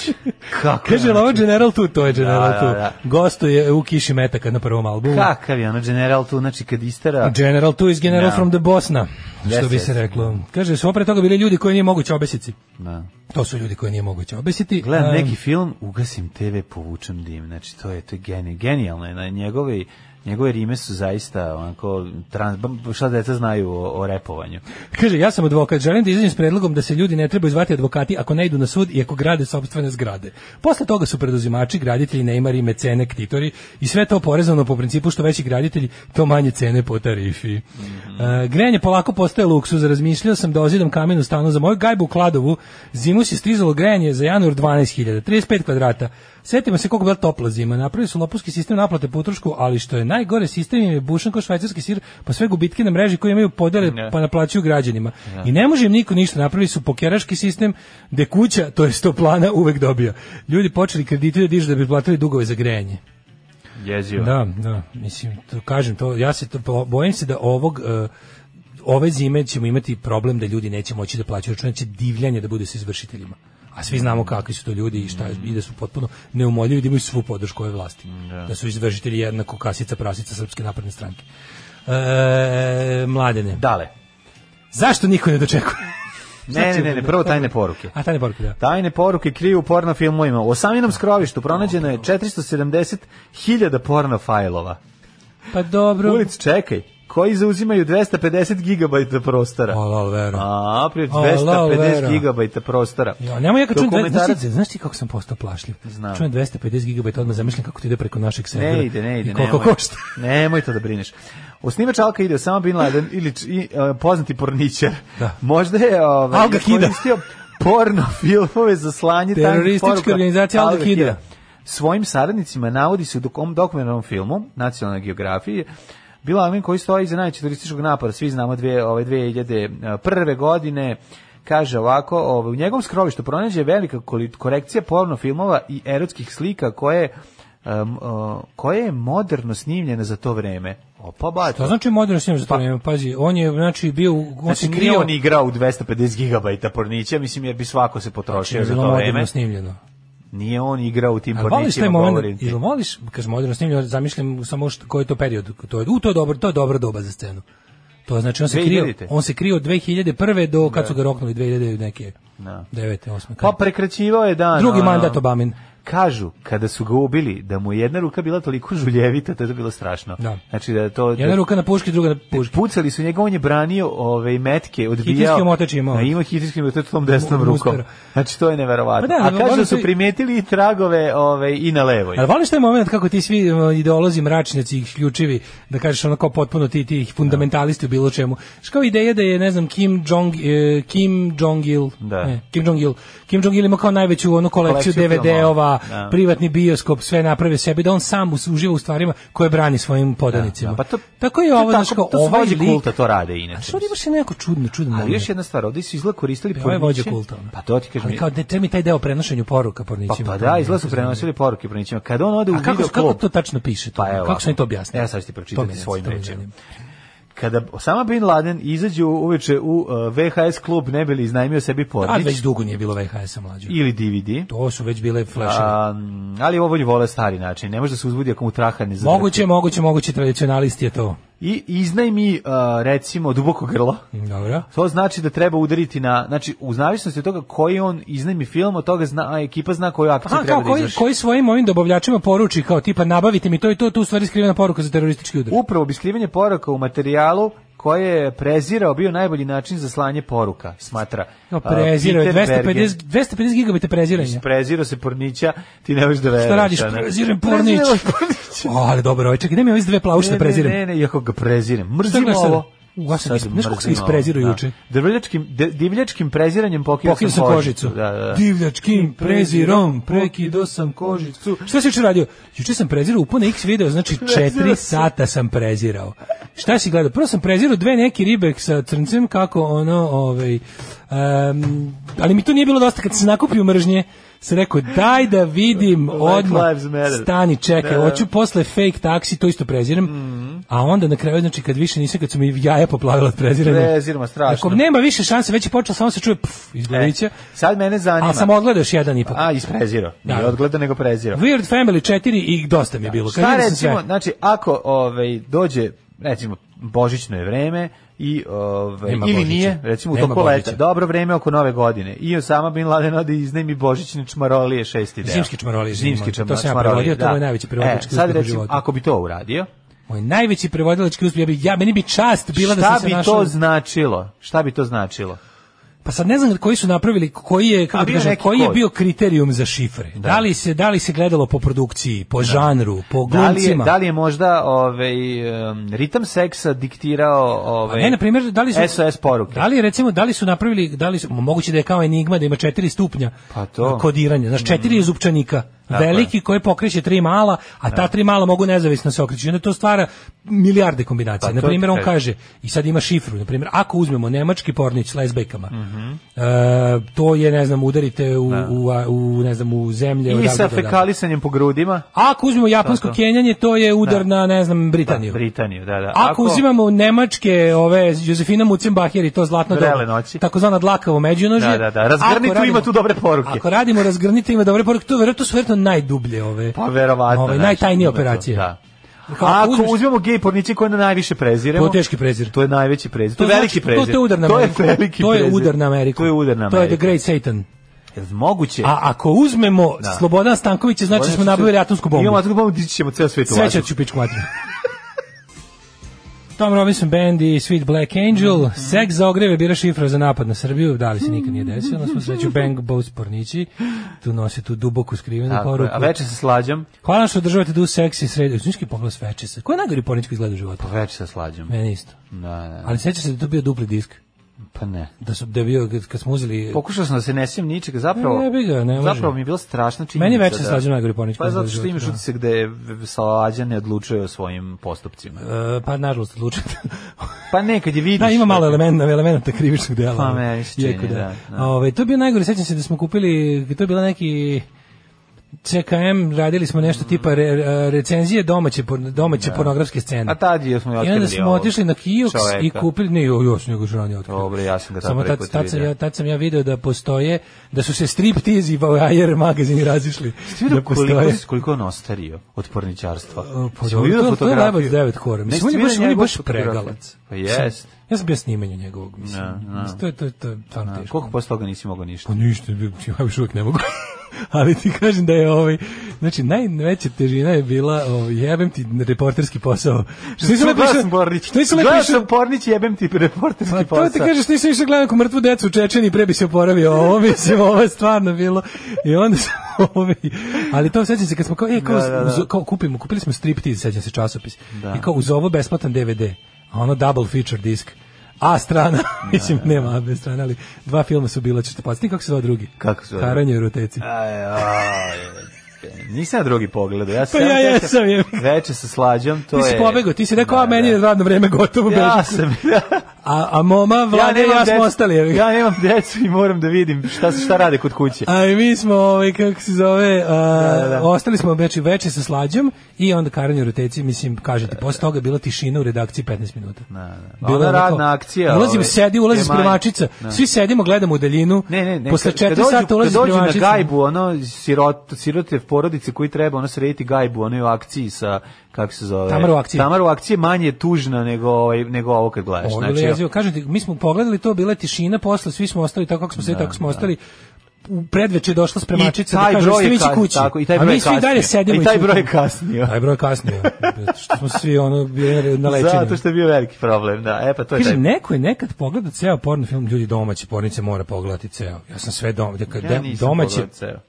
S7: Kako
S6: <laughs> Kaže,
S7: je
S6: jel ovo General Tu, to je General
S7: Da,
S6: Tu.
S7: da, da.
S6: Gostuje u Kiši Metaka na prvom albumu.
S7: Kakav je ono general tu, znači kad istara...
S6: General Tu is General
S7: Da.
S6: from the Bosna, što
S7: Jeste,
S6: bi se
S7: jeste.
S6: reklo. Kaže, su opre toga bili ljudi koji nije moguće obesiti.
S7: Da.
S6: To su ljudi koji nije moguće obesiti.
S7: Gledam
S6: Um,
S7: neki film, ugasim TV, povučem dim. Znači, to je, to je geni, genijalno. je. Na njegove, njegove rime su zaista onako, trans, bam- šta deca znaju o, o repovanju.
S6: Kaže, ja sam advokat, želim da izađem s predlogom da se ljudi ne trebaju zvati advokati ako ne idu na sud i ako grade sobstvene zgrade. Posle toga su preduzimači, graditelji, neimari, mecene, ktitori i sve to porezano po principu što veći graditelji, to manje cene po tarifi.
S7: Mhm.
S6: E, grejanje polako postaje luksuz, razmišljao sam da ozidam kamen u stanu za moju gajbu u Kladovu, zimu se stizalo grejanje za januar 12.000, 35 kvadrata. Sjetimo se koliko je bila topla zima, napravili su lopovski sistem naplate po utrošku, ali što je najgore, sistem im je bušan kao švajcarski sir, pa sve gubitke na mreži koje imaju podele
S7: Ne.
S6: pa naplaćuju građanima. I ne može im niko ništa, napravili su pokeraški sistem gde kuća, to je sto plana, uvek dobija. Ljudi počeli kredite da dižu da bi platili dugove za grejanje.
S7: Jezivo.
S6: Da, da, mislim, to kažem to, ja se to po- bojim se da ovog e, ove zime ćemo imati problem da ljudi neće moći da plaćaju račune, će divljanje da bude sa izvršiteljima. A svi znamo kakvi su to ljudi i šta i da su potpuno neumoljivi i da imaju svu podršku ove vlasti. Da. su izvršitelji jednako kasica prasica Srpske napredne stranke. E, mladene.
S7: Dale.
S6: Zašto niko ne dočekuje?
S7: Ne, ne, ne, ne, prvo tajne poruke.
S6: Znači, A tajne poruke, da.
S7: Tajne poruke kriju u porno filmovima. U osamljenom skrovištu pronađeno je 470.000 porno fajlova.
S6: Pa dobro.
S7: Ulic, čekaj, koji zauzimaju 250 gigabajta prostora.
S6: Alal vero.
S7: A, prije
S6: Alal,
S7: 250
S6: vera.
S7: gigabajta prostora.
S6: Ja, nemoj ja kad čujem, dve- znaš,
S7: Dokumentarac-
S6: ti, znaš ti kako sam postao plašljiv?
S7: Znam.
S6: Čujem 250 GB, odmah zamišljam kako ti ide preko našeg servera.
S7: Ne ide, ne ide.
S6: I koliko
S7: nemoj.
S6: košta.
S7: <laughs> Nemoj to da brineš. Osnivač Alka ide samo Bin Laden ili č- i, e, poznati porničar. Možda je ovaj,
S6: Al Qaida.
S7: koristio porno filmove za slanje tajnih
S6: Teroristička
S7: poruka.
S6: organizacija Al
S7: Al Qaida.
S6: Qaida.
S7: Svojim saradnicima navodi se u dokom- dokumentarnom filmu Nacionalne geografije Bila Laden koji stoji za najveći turističkog napada, svi znamo dve, ove 2001. godine, kaže ovako, ovaj, u njegovom skrovištu pronađe velika koli- korekcija porno filmova i erotskih slika koje um, uh, koja je moderno snimljena za to vreme. Opa, ba,
S6: To znači moderno snimljeno za to vreme, pazi, on je znači bio, u- on
S7: Pa- Znači,
S6: se
S7: nije
S6: krio,
S7: on igrao u 250 GB pornića, mislim, jer bi svako se potrošio
S6: Znači,
S7: za
S6: bilo
S7: to
S6: moderno
S7: vreme.
S6: snimljeno.
S7: Nije on igrao u tim
S6: Ali voliš taj
S7: pornićima, govorim
S6: moment,
S7: ti.
S6: ili voliš, kaže moderno snimljeno, zamišljam samo što, koji je to period, to je, u, to je dobro, to je dobra doba za scenu. To je, znači on se krio,
S7: 2000-te.
S6: on se krio od 2001. do kad su ga roknuli 2000 neke.
S7: Da.
S6: 9. 8.
S7: Pa prekraćivao je dan.
S6: Drugi
S7: ono.
S6: mandat Obamin.
S7: Kažu, kada su ga ubili, da mu je jedna ruka bila toliko žuljevita, da je to bilo strašno.
S6: Da.
S7: Znači, da je to...
S6: Jedna
S7: da-
S6: ruka na puški, druga na puški.
S7: Pucali su njega, on je branio ove metke, odbijao.
S6: Hitijski omotač je imao.
S7: Da, ima hitijski omotač tom desnom
S6: Mu-
S7: rukom.
S6: muskara.
S7: Znači, to je
S6: Pa
S7: neverovatno.
S6: da,
S7: A kažu da
S6: volim
S7: su
S6: to i-
S7: primetili i tragove ove, i na levoj.
S6: Ali voliš taj moment kako ti svi uh, ideolozi, mračnjaci, ključivi, da kažeš ono kao potpuno ti, ti fundamentalisti u bilo čemu. Što kao ideja da je, ne znam, Kim Jong, eh, Kim Jong Il,
S7: Da.
S6: ne, Kim Jong Il, Kim Jong Il ima kao najveću onu kolekciju
S7: Kolekciju
S6: DVD-ova,
S7: filmova, da.
S6: privatni bioskop, sve naprave sebi, da on sam us- uživa u stvarima koje brani svojim podanicima.
S7: Da, pa to-
S6: tako je ovo,
S7: to
S6: znaš,
S7: tako-
S6: kao
S7: to su
S6: ovaj
S7: vođe
S6: lik-
S7: kulta to rade inače,
S6: A što ovdje imaš i neko čudno, čudno
S7: Ali još
S6: moment?
S7: jedna stvar, ovdje su izgleda koristili
S6: Ovo je vođa
S7: porniće.
S6: kulta. ono.
S7: Pa to ti kažem.
S6: Ali kao, de, treba mi taj deo prenošenju poruka
S7: Pa,
S6: pornićima.
S7: pa da, izgleda su prenosili poruke pronićima. Kada on ode u
S6: A kako,
S7: video
S6: kako to tačno piše? To?
S7: Pa evo.
S6: kako su oni to objasnili?
S7: Ja sad ću ti
S6: To me
S7: pročitati
S6: ne-
S7: svojim
S6: to me
S7: rečima.
S6: zanima.
S7: Kada Osama Bin Laden izađe uveče u uh, VHS klub, ne bi li iznajmio sebi
S6: A već
S7: pornić
S6: dugo nije bilo VHS-a mlađe.
S7: ili DVD,
S6: To su već bile flashe.
S7: a, ali ovo ljudi vole stari način, ne može da se uzbudi ako mu traha ne zadrti.
S6: Moguće, moguće, moguće, tradicionalisti je to.
S7: I iznajmi, uh, recimo, duboko grlo,
S6: Dobro.
S7: To znači da treba udariti na, znači u zavisnosti od toga koji on iznajmi film, od toga zna, a ekipa zna koju akciju
S6: Aha,
S7: treba
S6: kao
S7: da
S6: koji,
S7: izvrši.
S6: koji svojim ovim dobavljačima poruči, kao tipa nabavite mi to i to, tu u stvari skrivena poruka za teroristički udar.
S7: Upravo bi skrivanje poruka u materijalu koje je prezirao bio najbolji način za slanje poruka, smatra.
S6: Kao prezirao je,
S7: uh,
S6: 250,
S7: Peter Bergen.
S6: 250 gigabita preziranja.
S7: Prezirao se pornića, ti ne možeš da veruješ. ono.
S6: Šta radiš?
S7: a ne?
S6: Prezirem pornić.
S7: Prezirao je pornića.
S6: O, ali dobro, ovaj, čekaj, gde mi ove dve plavuše da prezirem?
S7: Ne, ne, ne, iako ga prezirem.
S6: Šta
S7: Mrzim
S6: gledaš sada?
S7: ovo.
S6: U, ja sam
S7: Sad
S6: isp- znaš kako sam
S7: mrzim
S6: isprezirao
S7: ovo, da.
S6: juče?
S7: Divljačkim, de- divljačkim preziranjem pokio,
S6: Pokio sam kožicu.
S7: Da, da, da.
S6: Divljačkim prezirom, prekido sam kožicu. Šta si juče radio? Juče sam prezirao u pune X video, znači četiri sata sam prezirao. Šta si gledao? Prvo sam prezirao dve neki ribe sa crncem, kako ono, ovaj, em, ali mi to nije bilo dosta kad sam nakupio mržnje. Sam rekao, daj da vidim odmah,
S7: lives matter.
S6: stani, čekaj,
S7: Da.
S6: hoću posle fake taksi, to isto prezirem, a onda na kraju, znači kad više nisam, kad su mi jaja poplavila od preziranja.
S7: Preziramo, strašno.
S6: Ako nema više šanse, već je počelo, samo se čuje pf, iz glavića.
S7: E, sad mene zanima.
S6: A sam odgledao još jedan ipak.
S7: A, isprezirao. Nije
S6: Da.
S7: odgledao, nego prezirao.
S6: Weird Family 4 i dosta mi je bilo.
S7: Šta
S6: Kažem sam sve.
S7: recimo, znači ako ovaj dođe recimo božićno je vreme i ovaj
S6: Nema
S7: ili
S6: Božića.
S7: nije, recimo u
S6: Nema
S7: toku leta,
S6: Božića.
S7: dobro vreme oko nove godine. I Osama bin Laden ode i iznajmi božićne čmarolije šesti deo.
S6: Zimske čmarolije, izvini,
S7: Zimske
S6: to
S7: čma-
S6: sam ja
S7: čmarolije,
S6: prevodio, to
S7: da.
S6: mu je najveći prevodilački
S7: E,
S6: uspeh
S7: sad
S6: u
S7: recimo,
S6: životu.
S7: ako bi to uradio,
S6: Moj najveći prevodilački uspjeh, ja bi, ja, meni bi čast bila da
S7: šta
S6: sam se
S7: bi
S6: našao.
S7: to značilo? Šta bi to značilo?
S6: Pa sad ne znam koji su napravili, koji je,
S7: A
S6: kako ti
S7: bio
S6: kažem,
S7: neki
S6: koji je
S7: kod.
S6: bio kriterijum za šifre. Da. li se, da li se gledalo po produkciji, po žanru, po
S7: Da li je,
S6: glumcima?
S7: da li je možda ovaj em, ritam seksa diktirao ovaj
S6: Ne, na primjer, da li su
S7: SOS poruke?
S6: Da li je, recimo, da li su napravili, da li su moguće da je kao enigma da ima četiri stupnja
S7: Pa to.
S6: kodiranja, znači četiri je zupčanika,
S7: Tako je.
S6: veliki koji pokreće tri mala, a ta tri mala mogu nezavisno se okreći. I onda to stvara milijarde kombinacija.
S7: Pa
S6: na
S7: to
S6: primjer,
S7: ti
S6: on kaže
S7: kažem.
S6: i sad ima šifru, na primjer, ako uzmemo nemački pornić s lezbejkama.
S7: Mhm.
S6: e, to je ne znam udarite u, u, a- u, ne znam u zemlje
S7: I
S6: odavde
S7: sa
S6: do odavde.
S7: fekalisanjem po grudima?
S6: Ako uzmemo japansko
S7: Tako.
S6: kenjanje, to je udar
S7: Da.
S6: na ne znam Britaniju.
S7: Britaniju, da, da.
S6: Ako, uzimamo nemačke ove Josefina Mucenbacher i to zlatno
S7: Vrele
S6: doba,
S7: noći.
S6: takozvana dlakavo međunožje.
S7: Da, da, da. Razgrni
S6: Ako
S7: tu, ima tu dobre poruke.
S6: Ako radimo razgrnite ima dobre poruke, to verovatno su verovatno najdublje ove.
S7: Pa verovatno.
S6: Ove
S7: znaš,
S6: Ovaj, najtajnije
S7: ima to,
S6: operacije.
S7: Da.
S6: Kao
S7: A ako
S6: uzmeš-
S7: uzmemo gej porniće koje na najviše preziremo.
S6: To je teški prezir.
S7: To je najveći prezir. To, je
S6: znači-
S7: veliki prezir.
S6: To, je udar na
S7: To je
S6: Ameriku.
S7: veliki
S6: To je
S7: prezir.
S6: udar na Ameriku.
S7: To je udar na
S6: To je
S7: Ameriku.
S6: the great Satan.
S7: Jel Moguće.
S6: A ako uzmemo
S7: Da.
S6: Slobodan Stanković, znači
S7: Moguće
S6: smo
S7: se-
S6: nabavili atomsku bombu.
S7: Imamo atomsku bombu, dići ćemo ceo svet u
S6: Sve
S7: vazduh.
S6: će ću pičku materinu. Tom Robinson Band i Sweet Black Angel,
S7: Mhm.
S6: Sex za ogreve bira šifra za napad na Srbiju, da li se nikad nije desilo, na svu
S7: <laughs>
S6: sreću Bang Bows pornići, tu nose tu duboku skrivenu
S7: Tako je.
S6: poruku.
S7: A veče se slađam.
S6: Hvala vam što održavate du seksi sredi, uznički pogled sveče se. Ko je najgori pornički izgleda u životu?
S7: Veče se slađam.
S6: Meni isto.
S7: Da, da.
S6: Ali sećaš se da je to bio dupli disk?
S7: Pa ne.
S6: Da su da je bio, kad- kad smo uzeli...
S7: Pokušao sam da se ne sjem ničega, zapravo.
S6: E. Ne, ne bi ga, ne može.
S7: Zapravo mi je bilo strašna činjenica.
S6: Meni veče
S7: da-
S6: se slađu najgori pornički
S7: Pa zato
S6: izgleda u
S7: što
S6: životu,
S7: imaš
S6: da.
S7: utisak da je slađa ne odlučuje o svojim postupcima.
S6: E, pa nažalost odlučite.
S7: Pa ne, kad je vidiš...
S6: Da, ima malo
S7: dakle,
S6: elemenata, elemenata krivičnog dela. ono,
S7: Pa meni se čini,
S6: Iako
S7: da, da.
S6: Ovaj, to je bio najgore, sećam se da smo kupili, to je bila neki CKM radili smo nešto tipa re, recenzije domaće porno- domaće pornografske scene.
S7: A tad je smo
S6: I onda
S7: otkrili
S6: smo
S7: ovog
S6: otišli na kiosk i
S7: čoveka.
S6: kupili ne jo, jo, sam nego što ranije otkrio.
S7: Dobro, ja sam ga tad
S6: Samo
S7: prvi
S6: tad,
S7: put
S6: tad, sam
S7: vidio.
S6: ja, tad sam ja video da postoje, da su se striptiz i voyeur magazini razišli.
S7: Ti vidio
S6: Da
S7: koliko,
S6: postoje.
S7: koliko je on ostario od porničarstva?
S6: Pa
S7: Si
S6: dobro,
S7: vidio
S6: to- to je
S7: fotografiju?
S6: najbolji devet kora.
S7: Ne,
S6: Mislim,
S7: si
S6: on je
S7: vidio
S6: baš, on je
S7: njegovu
S6: baš
S7: fotografiju?
S6: pregalac.
S7: Pa jest.
S6: Ja sam bio snimanju njegovog, mislim.
S7: Da, da.
S6: Mislim, To je, to je, to je stvarno
S7: Da,
S6: teško.
S7: Koliko posle toga nisi mogao ništa?
S6: ono- Pa ništa, ja još uvijek ne mogu. <laughs> Ali ti kažem da je ovaj, znači najveća težina je bila, ovaj, jebem ti reporterski posao. Što nisam lepo
S7: Gledao
S6: išao-
S7: sam Pornić.
S6: Što nisam lepo
S7: Gledao
S6: išao-
S7: sam Pornić, jebem ti reporterski
S6: Pa
S7: posao.
S6: to ti kažeš, što nisam išao gledao neku mrtvu decu u Čečeni i pre bi se oporavio. Ovo, mislim, ovo je stvarno bilo. I onda sam ovaj, ali to sećam se kad smo kao, e, kao,
S7: Da, da, da.
S6: uz- kao kupimo, kupili smo striptiz, sećam se časopis.
S7: Da.
S6: I kao uz ovo besplatan DVD, a ono double feature disk. A strana, <laughs> mislim, nema A B strana, ali dva filma su bila, ćeš te podsjetiti kako se zove drugi?
S7: Kako se zove?
S6: Haranje u roteci.
S7: Aj, aj, Nisam ja drugi pogledao. Ja
S6: <laughs>
S7: sam
S6: Pa ja
S7: veče-
S6: jesam, je.
S7: Veče sa slađom, to
S6: Ti si
S7: je...
S6: pobegao, ti si rekao, a meni je radno vreme gotovo.
S7: Ja
S6: beži."
S7: sam, <laughs> ja,
S6: A, a moma, vlade i
S7: nemam
S6: ja smo
S7: decu-
S6: ostali. evo ga.
S7: Ja nemam decu i moram da vidim šta, šta rade kod kuće.
S6: A i mi smo, ovaj, kako se zove, a,
S7: da, da.
S6: ostali smo veče, veče sa slađom i onda karanje u roteci, mislim, kažete, posle toga je bila tišina u redakciji 15 minuta.
S7: da. Ona
S6: onako,
S7: radna akcija,
S6: Ulazim,
S7: ovaj,
S6: sedi, ulazi
S7: je manje.
S6: spremačica.
S7: Da.
S6: Svi sedimo, gledamo u daljinu.
S7: Ne, ne, ne.
S6: Posle
S7: kad-
S6: 4
S7: kad dođu-
S6: sata ulazi
S7: Kad dođu na
S6: spremačica.
S7: gajbu, ono, sirot, sirote porodice koji treba, ono, srediti gajbu, ono je u akciji sa, kako se zove?
S6: Tamara u akciji.
S7: Tamara u akciji je manje tužna nego, ovaj, nego ovo kad gledaš. znači,
S6: Ovo je bilo jezivo. Kažem ti, mi smo pogledali to, bila je tišina, posle svi smo ostali tako kako smo sedeli,
S7: Da,
S6: tako smo
S7: da.
S6: ostali. U predveče je došla spremačica
S7: I
S6: da
S7: taj
S6: kaže,
S7: broj
S6: ste
S7: je
S6: vi ići
S7: kas-
S6: kući.
S7: tako, i taj
S6: A
S7: broj
S6: mi
S7: je
S6: svi dalje
S7: kasnio.
S6: sedimo
S7: I taj broj je
S6: ćutimo.
S7: kasnio.
S6: Taj broj je kasnio. Što smo svi ono bili na lečenju.
S7: Zato što je bio veliki problem, da. E, pa to je taj
S6: Kažem, neko je nekad pogleda ceo porno film, ljudi domaći pornice mora pogledati ceo. Ja sam sve doma, kad
S7: Ja
S6: de-
S7: nisam
S6: domaće,
S7: pogledao ceo.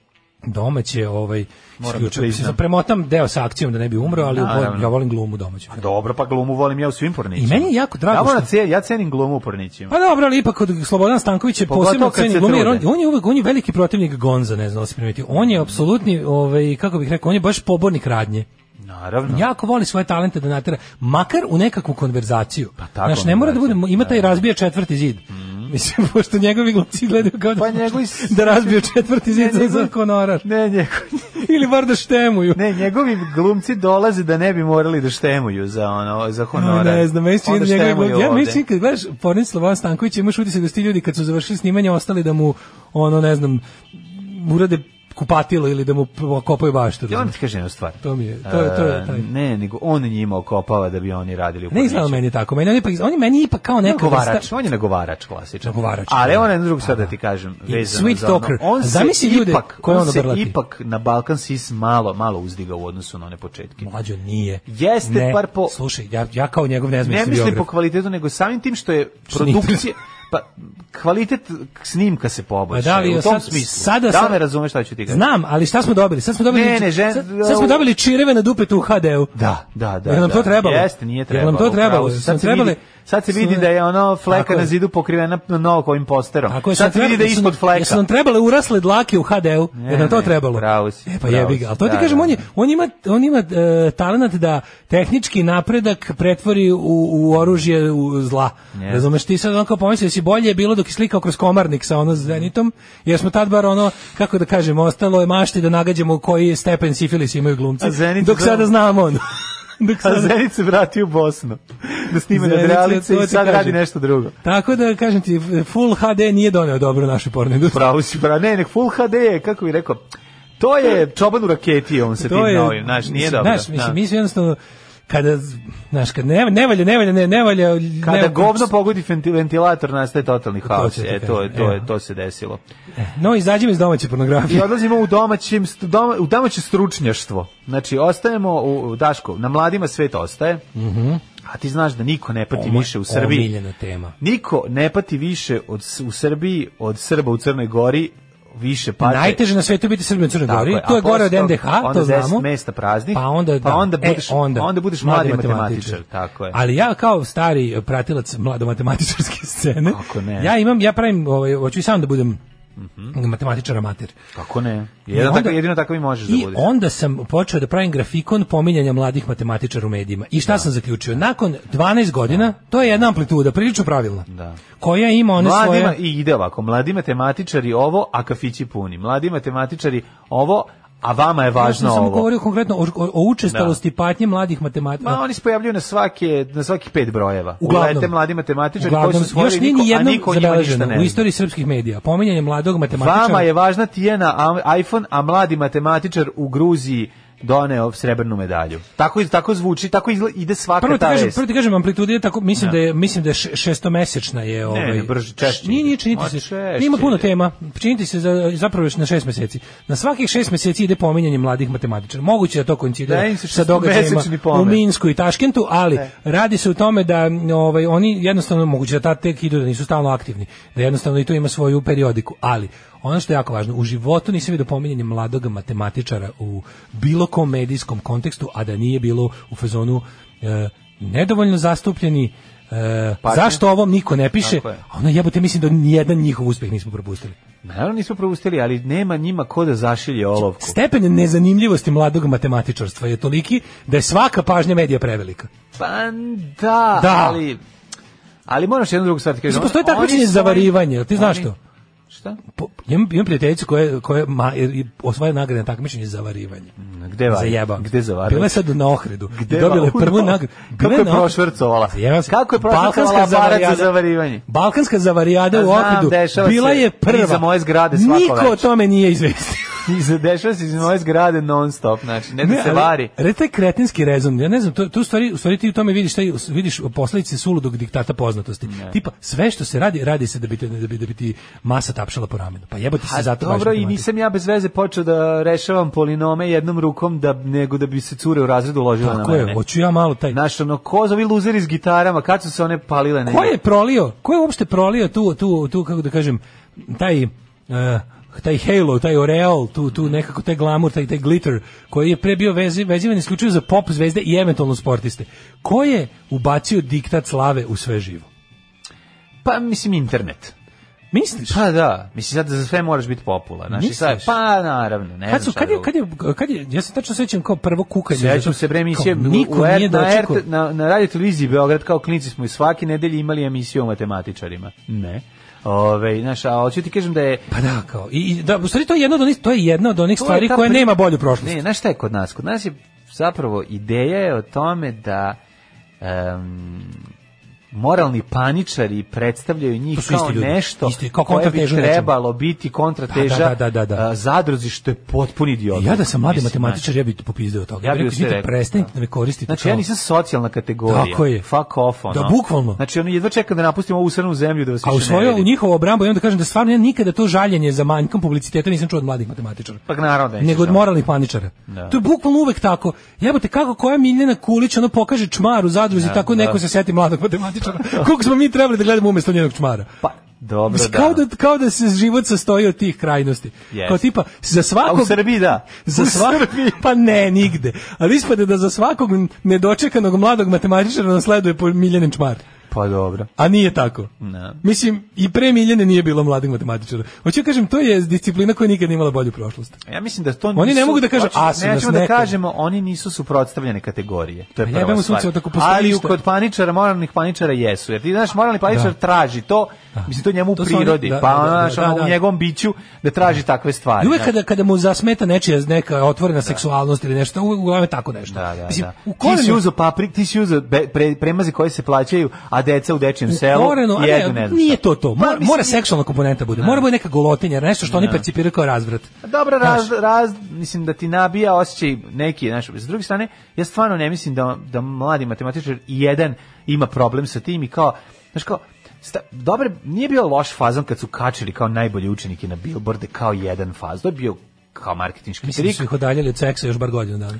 S6: domaće ovaj,
S7: Moram da
S6: isključio, mislim,
S7: priznam.
S6: premotam deo sa akcijom da ne bi umro, ali u por-
S7: Naravno.
S6: ja volim glumu domaću.
S7: A Dobro, pa glumu volim ja u svim pornićima.
S6: I meni je jako drago
S7: Ja, moram
S6: što-
S7: ce- ja cenim glumu u pornićima.
S6: Pa dobro, ali ipak od Slobodan Stanković je
S7: Pogotovo
S6: posebno
S7: kad
S6: ceni
S7: se
S6: glumi, jer on,
S7: trude.
S6: on je uvek on je veliki protivnik Gonza, ne znam da li si primetio. On je apsolutni, ovaj, kako bih rekao, on je baš pobornik radnje.
S7: Naravno.
S6: Jako voli svoje talente da natera, makar u nekakvu konverzaciju. Pa
S7: tako,
S6: Znaš, ne mora da bude,
S7: konverzaciju.
S6: ima taj razbija četvrti zid. Mislim, <laughs> pošto njegovi glumci gledaju kao da,
S7: Pa njegovi s-
S6: <laughs> da razbiju četvrti zid za, za
S7: njegovi-
S6: honorar.
S7: Ne, njegovi,
S6: <laughs> Ili bar da štemuju.
S7: ne, njegovi glumci dolaze da ne bi morali da štemuju za ono za
S6: A,
S7: honorar.
S6: Ne znam, meni se čini
S7: Onda
S6: da njegovi
S7: štemuju
S6: glumci- Ja
S7: ovde.
S6: meni se čini kad gledaš Pornić Slobodan Stanković, imaš utisak da su ti ljudi kad su završili snimanje ostali da mu, ono, ne znam, urade kupatilo ili da mu p- kopaju baštu.
S7: Ja vam
S6: razumeš?
S7: ti kažem jednu stvar.
S6: To mi je- to je- to je
S7: E,
S6: taj.
S7: Ne, nego on njima okopava da bi oni radili u
S6: Ne izgleda meni tako. Meni on, ipak, on je meni ipak kao neka
S7: Nagovarač,
S6: vrsta-
S7: on je nagovarač klasičan.
S6: Nagovarač,
S7: Ali
S6: da.
S7: evo na drugu stvar da ti kažem.
S6: I
S7: vezano
S6: sweet
S7: za ono.
S6: talker.
S7: On
S6: A
S7: se
S6: zamisli ljude
S7: ipak,
S6: koje
S7: on
S6: ono
S7: se
S6: brlati.
S7: ipak na Balkan Sis malo, malo uzdiga u odnosu na one početke.
S6: Mlađo nije.
S7: Jeste,
S6: Ne,
S7: par po-
S6: Slušaj, ja, ja kao njegov ne znam
S7: ne
S6: jesi
S7: mislim po
S6: biograf.
S7: kvalitetu, nego samim tim što je
S6: <laughs> Što nije
S7: produkcija... Pa, kvalitet snimka se poboljša.
S6: Pa da, ali
S7: u tom
S6: sad-
S7: smislu.
S6: sada
S7: da
S6: sam-
S7: me razumeš šta ću ti kažem?
S6: Znam, ali šta smo dobili? Sad smo dobili,
S7: Ne, ne, žen-
S6: sad, sad smo dobili čireve na dupetu u HD-u.
S7: Da, da, da.
S6: Jel nam
S7: da.
S6: to trebalo?
S7: Jeste, nije
S6: Jel
S7: trebalo.
S6: nam to trebalo?
S7: upravo si.
S6: Sam
S7: Sad se,
S6: trebali-
S7: vidi, sad se vidi
S6: Sam-
S7: da je ono
S6: Tako
S7: fleka
S6: je.
S7: na zidu pokrivena mnogo ovim posterom.
S6: Ako je
S7: sad se vidi da je ispod fleka.
S6: Jesu
S7: <laughs>
S6: nam trebale urasle dlake u HD-u, jer nam to
S7: ne,
S6: trebalo.
S7: pravo si,
S6: E pa
S7: pravo
S6: jebi
S7: si,
S6: ga. Ali to ti
S7: da,
S6: kažem,
S7: da.
S6: on, je, on ima, on ima e, talenat da tehnički napredak pretvori u, u oružje u zla.
S7: Jeste.
S6: Razumeš, ti sad onako pomisli da si bolje je bilo dok je slikao kroz komarnik sa ono zenitom, jer smo tad bar ono, kako da kažem, ostalo je mašti da nagađamo koji stepen sifilis imaju glumci.
S7: A Zenit
S6: Dok
S7: znam.
S6: sada znamo ono. <laughs> dok
S7: A
S6: sada
S7: Zenit se vrati u Bosnu. Da snima
S6: Zenica,
S7: nadrealice
S6: to
S7: i
S6: ti
S7: sad radi
S6: kažem.
S7: nešto drugo.
S6: Tako da kažem ti, Full HD nije doneo dobro našoj porno industriji.
S7: Pravo si, bra. Ne, nek Full HD je, kako bih rekao, to je čoban u raketi, on se tim novim, znaš, nije
S6: mislim,
S7: dobro.
S6: Znaš, mislim,
S7: da.
S6: mi smo jednostavno kada znaš, kad ne, ne valja, ne valja, ne, ne valja.
S7: Kada
S6: ne,
S7: govno pogodi venti- ventilator, nastaje totalni haos.
S6: ću ti
S7: E, to, je, to,
S6: kažem,
S7: je, to se desilo.
S6: No, izađemo iz domaće pornografije.
S7: I odlazimo u domaćim st- doma, u domaće stručnjaštvo. Znači ostajemo u u Daško, na mladima svet ostaje. A ti znaš da niko ne pati
S6: Mhm. Oma-
S7: više u Srbiji.
S6: Omiljena tema.
S7: Niko ne pati više od S- u Srbiji od Srba u Crnoj Gori, više pate.
S6: Najteže na svetu je biti Srbin u Crnoj
S7: Pa Tako
S6: Gori.
S7: je, a
S6: To je gore od
S7: posle toga
S6: NDH,
S7: onda
S6: to
S7: 10
S6: znamo.
S7: mesta praznih,
S6: Pa onda,
S7: pa
S6: da.
S7: onda
S6: E,
S7: budeš- onda budeš mladi matematičar, tako je.
S6: Ali ja kao stari pratilac mlado matematičarske scene,
S7: Kako ne? Mhm.
S6: ja imam, ja pravim, ovaj, hoću i sam da budem matematičar amater.
S7: Kako ne?
S6: I
S7: Jedan
S6: onda-
S7: tako, jedino tako i možeš da
S6: I
S7: budeš.
S6: onda sam počeo da pravim grafikon pominjanja mladih matematičara u medijima. I šta sam zaključio? Nakon 12 godina, to je jedna amplituda, prilično pravilna,
S7: Da.
S6: koja ima one
S7: Mladi ma-
S6: svoje...
S7: i ide ovako, mladi matematičari ovo, a kafići puni. Mladi matematičari ovo, A vama je važno
S6: ja sam samo
S7: ovo.
S6: govorio konkretno o, o, o učestalosti patnje mladih matematičara.
S7: Ma oni se pojavljuju na svake na svaki pet brojeva.
S6: Uglavnom.
S7: Ulete mladi matematičari koji
S6: Uglavnom,
S7: su svojili
S6: još nije
S7: niko,
S6: ni
S7: a
S6: jednom
S7: niko o njima ništa
S6: zabeleženo
S7: ne
S6: u
S7: zna.
S6: istoriji srpskih medija. Pominjanje mladog matematičara.
S7: Vama je važna Tijena a- iPhone, a mladi matematičar u Gruziji doneo srebrnu medalju. Tako i- tako zvuči, tako izgl- ide svaka
S6: Prvo ti
S7: ta
S6: kažem,
S7: vest.
S6: prvo ti kažem amplituda je tako mislim
S7: Da.
S6: da je mislim da je še- šestomesečna je ovaj.
S7: ne, brže, češće
S6: Nije, nije
S7: ide.
S6: činiti
S7: Ma,
S6: se.
S7: češće
S6: Ima puno tema. Činiti se za, zapravo još na šest meseci. Na svakih šest meseci ide pominjanje mladih matematičara. Moguće je da to
S7: Da,
S6: koincidira
S7: im se
S6: sa događajima
S7: šestomesečni
S6: u
S7: pomen.
S6: Minsku i Taškentu, ali radi se o tome da m, ovaj oni jednostavno moguće da ta tek idu da nisu stalno aktivni, da jednostavno i to ima svoju periodiku, ali ono što je jako važno, u životu nisam vidio pominjanje mladog matematičara u bilo kom medijskom kontekstu, a da nije bilo u fazonu e, nedovoljno zastupljeni e,
S7: Pažnje.
S6: zašto ovom niko ne piše,
S7: Tako je.
S6: a ono jebote mislim da nijedan njihov uspeh nismo propustili.
S7: Naravno nisu propustili, ali nema njima ko da zašilje olovku.
S6: Stepen nezanimljivosti mladog matematičarstva je toliki da je svaka pažnja medija prevelika.
S7: Pa da,
S6: Da.
S7: ali... Ali moraš jednu drugu stvar ti kažem.
S6: Mislim, postoji
S7: Oni-
S6: takmičenje
S7: oni
S6: za
S7: svoji-
S6: varivanje, ti znaš
S7: oni-
S6: to?
S7: Šta?
S6: Po, imam, imam prijateljicu koja, koja ma, i osvaja nagrade na takmičenje za varivanje.
S7: Gde var?
S6: Zajebao.
S7: Gde za var?
S6: Bila je sad na Ohridu.
S7: Gde
S6: Gde dobila je
S7: var-
S6: prvu
S7: Uno.
S6: nagradu.
S7: Kako
S6: Bila
S7: je Pa
S6: na Ohridu.
S7: prošvercovala?
S6: Zajebao se.
S7: Kako je prošvercovala
S6: Balkanska
S7: aparat za
S6: zavarijada-
S7: zavarivanje?
S6: Balkanska zavarijada u
S7: A znam,
S6: Ohridu
S7: dešava
S6: bila
S7: se
S6: je prva.
S7: iza moje zgrade svako
S6: Niko o
S7: veče.
S6: tome nije izvestio.
S7: Iza- Dešava se iz moje zgrade non stop, znači, ne <laughs> da se
S6: ali,
S7: vari.
S6: re, taj kretinski rezon, ja ne znam, to, to u stvari, u stvari ti u tome vidiš, taj, vidiš posledice suludog diktata poznatosti. Tipa, sve što se radi, radi se da bi, te, da bi, da bi ti masa tapšala po ramenu. Pa jebote se
S7: A
S6: zato baš
S7: dobro, i
S6: matematika.
S7: nisam ja bez veze počeo da rešavam polinome jednom rukom da nego da bi se cure u razredu uložile na
S6: Tako
S7: mene.
S6: je, hoću ja malo taj...
S7: Znaš, ono, ko za ovi luzeri s gitarama, kad su se one palile? Ne,
S6: Ko je prolio? Ko je uopšte prolio tu, tu, tu kako da kažem, taj... eh, taj halo, taj oreol, tu, tu nekako taj glamur, taj, taj glitter, koji je pre bio vezi, vezivan isključivo za pop zvezde i eventualno sportiste. Ko je ubacio diktat slave u sve živo?
S7: Pa, mislim, internet.
S6: Misliš?
S7: Pa da, mislim sad da za sve moraš biti popularan. Znači,
S6: Misliš?
S7: sad, pa naravno, ne
S6: Kad
S7: znam
S6: su,
S7: šta
S6: kad je,
S7: drugo.
S6: kad je, kad je, ja se tačno sećam kao prvo kukanje.
S7: Sećam se bre emisije
S6: Kao,
S7: u-
S6: niko
S7: u R-
S6: nije
S7: na,
S6: dočekao.
S7: RT na, na radio televiziji Beograd kao klinici smo i svake nedelje imali emisiju o matematičarima. Ne. Ove, znaš, a hoću ti kažem da je...
S6: Pa da, kao. I, i da, u stvari to je jedna od onih, to je jedna od onih
S7: To je
S6: stvari
S7: ta
S6: koja
S7: pri-
S6: nema bolju prošlost.
S7: Ne, znaš šta je kod nas? Kod nas je zapravo ideja je o tome da em, moralni paničari predstavljaju
S6: To
S7: njih
S6: su
S7: kao
S6: isti ljudi.
S7: nešto
S6: Isti, kao
S7: koje bi
S6: kontratežu nečemu.
S7: trebalo biti kontrateža
S6: Da, da, da, da, da.
S7: a, zadruzi što je potpuni idiot.
S6: Ja da sam mladi
S7: Mislim,
S6: matematičar, ja bih popizdeo od toga.
S7: Ja
S6: Ja
S7: bi
S6: bih rekao,
S7: sve
S6: izvinite,
S7: rekao,
S6: prestanite
S7: da.
S6: da me koristite.
S7: Znači, ja
S6: kao-
S7: nisam socijalna kategorija.
S6: Tako je.
S7: Fuck off, ono.
S6: Da, bukvalno.
S7: Znači, ono, jedva čekam da napustim ovu usrnu zemlju da vas
S6: A u
S7: više ne
S6: svoju, u
S7: vidim.
S6: njihovu obrambu, imam da kažem da stvarno ja nikada to žaljenje za manjkom publiciteta nisam čuo od mladih matematičara.
S7: Pa naravno da nećeš,
S6: nego od
S7: da.
S6: moralnih paničara.
S7: Da.
S6: To je bukvalno uvek tako. Jebote, kako koja Miljana Kulić ono pokaže čmar u zadruzi,
S7: Da,
S6: tako
S7: da.
S6: neko se seti mladog matematičara. Koliko smo mi trebali da gledamo umjesto njenog čmara?
S7: Pa, dobro,
S6: Mislim,
S7: da.
S6: Kao da, kao da se život sastoji od tih krajnosti.
S7: Jeste.
S6: Kao tipa, za
S7: A
S6: svakog...
S7: u Srbiji, da.
S6: Za
S7: U
S6: svakog, pa ne, nigde. Ali ispade da za svakog nedočekanog mladog matematičara nasleduje po Miljanin čmar.
S7: Pa dobro.
S6: A nije tako.
S7: Ne.
S6: Mislim, i pre Miljane nije bilo mladih matematičara. Hoću da kažem, to je disciplina koja nikad nije imala bolju prošlost.
S7: Ja mislim da to
S6: Oni ne mogu da kažu,
S7: Hoću-
S6: a, su
S7: ne,
S6: nas
S7: ćemo da
S6: nekad.
S7: kažemo, oni nisu suprotstavljene kategorije. To je
S6: Pa
S7: prva
S6: jebemo
S7: stvar.
S6: sunce, ako postoji
S7: Ali
S6: ništa.
S7: kod paničara, moralnih paničara jesu. Jer ti znaš, moralni paničar
S6: Da.
S7: traži to, mislim to njemu u
S6: To su oni-
S7: prirodi,
S6: da,
S7: pa
S6: da,
S7: ono,
S6: da,
S7: znaš,
S6: da,
S7: ono,
S6: da.
S7: u njegovom biću da traži takve stvari.
S6: I uvek
S7: znaš.
S6: kada, kada mu zasmeta nečija neka otvorena seksualnost ili nešto, u- uglavnom je tako nešto.
S7: Da, da,
S6: Mislim,
S7: da.
S6: u
S7: Ti si
S6: korenu,
S7: uzeo paprik, ti si uzeo be- pre- premazi koje se plaćaju, a deca u dečijem selu
S6: u korenu, a ne,
S7: jedu ne znam
S6: nije
S7: šta.
S6: to to.
S7: Pa,
S6: Mora,
S7: mislim,
S6: mora seksualna komponenta bude. Mora bude neka golotinja, nešto što oni percipiraju kao razvrat.
S7: Dobro,
S6: Znaš.
S7: raz, raz, mislim da ti nabija osjećaj neki, znaš, s druge strane, ja stvarno ne mislim da, da mladi matematičar i jedan ima problem sa tim i kao, znaš kao, sta, dobre, nije bio loš fazan kad su kačili kao najbolji učenike na billboarde kao jedan faz, to je bio kao marketinški
S6: Mislim da
S7: trik,
S6: su ih odaljali od seksa još bar godinu dana.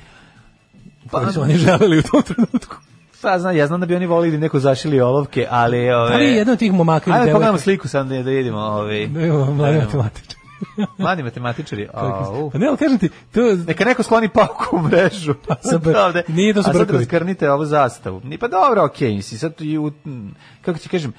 S7: Pa-
S6: Pa, su oni želeli u tom trenutku.
S7: pa znam, ja znam da bi oni volili neko zašili olovke, ali...
S6: Ali
S7: Ove,
S6: Pa jedan od tih momaka ili
S7: Ajde, pogledamo
S6: devojka.
S7: sliku sam da, da vidimo, ove,
S6: Mladi matematičar.
S7: mladi
S6: <laughs>
S7: matematičari, au.
S6: Pa ne, ali kažem ti, to,
S7: Neka neko skloni pauku u mrežu.
S6: Sad,
S7: <laughs> Odavde.
S6: nije to su
S7: A sad
S6: brkovi.
S7: razgrnite ovu zastavu. Ni pa dobro, okej, mislim, sad i u, m, kako ti kažem,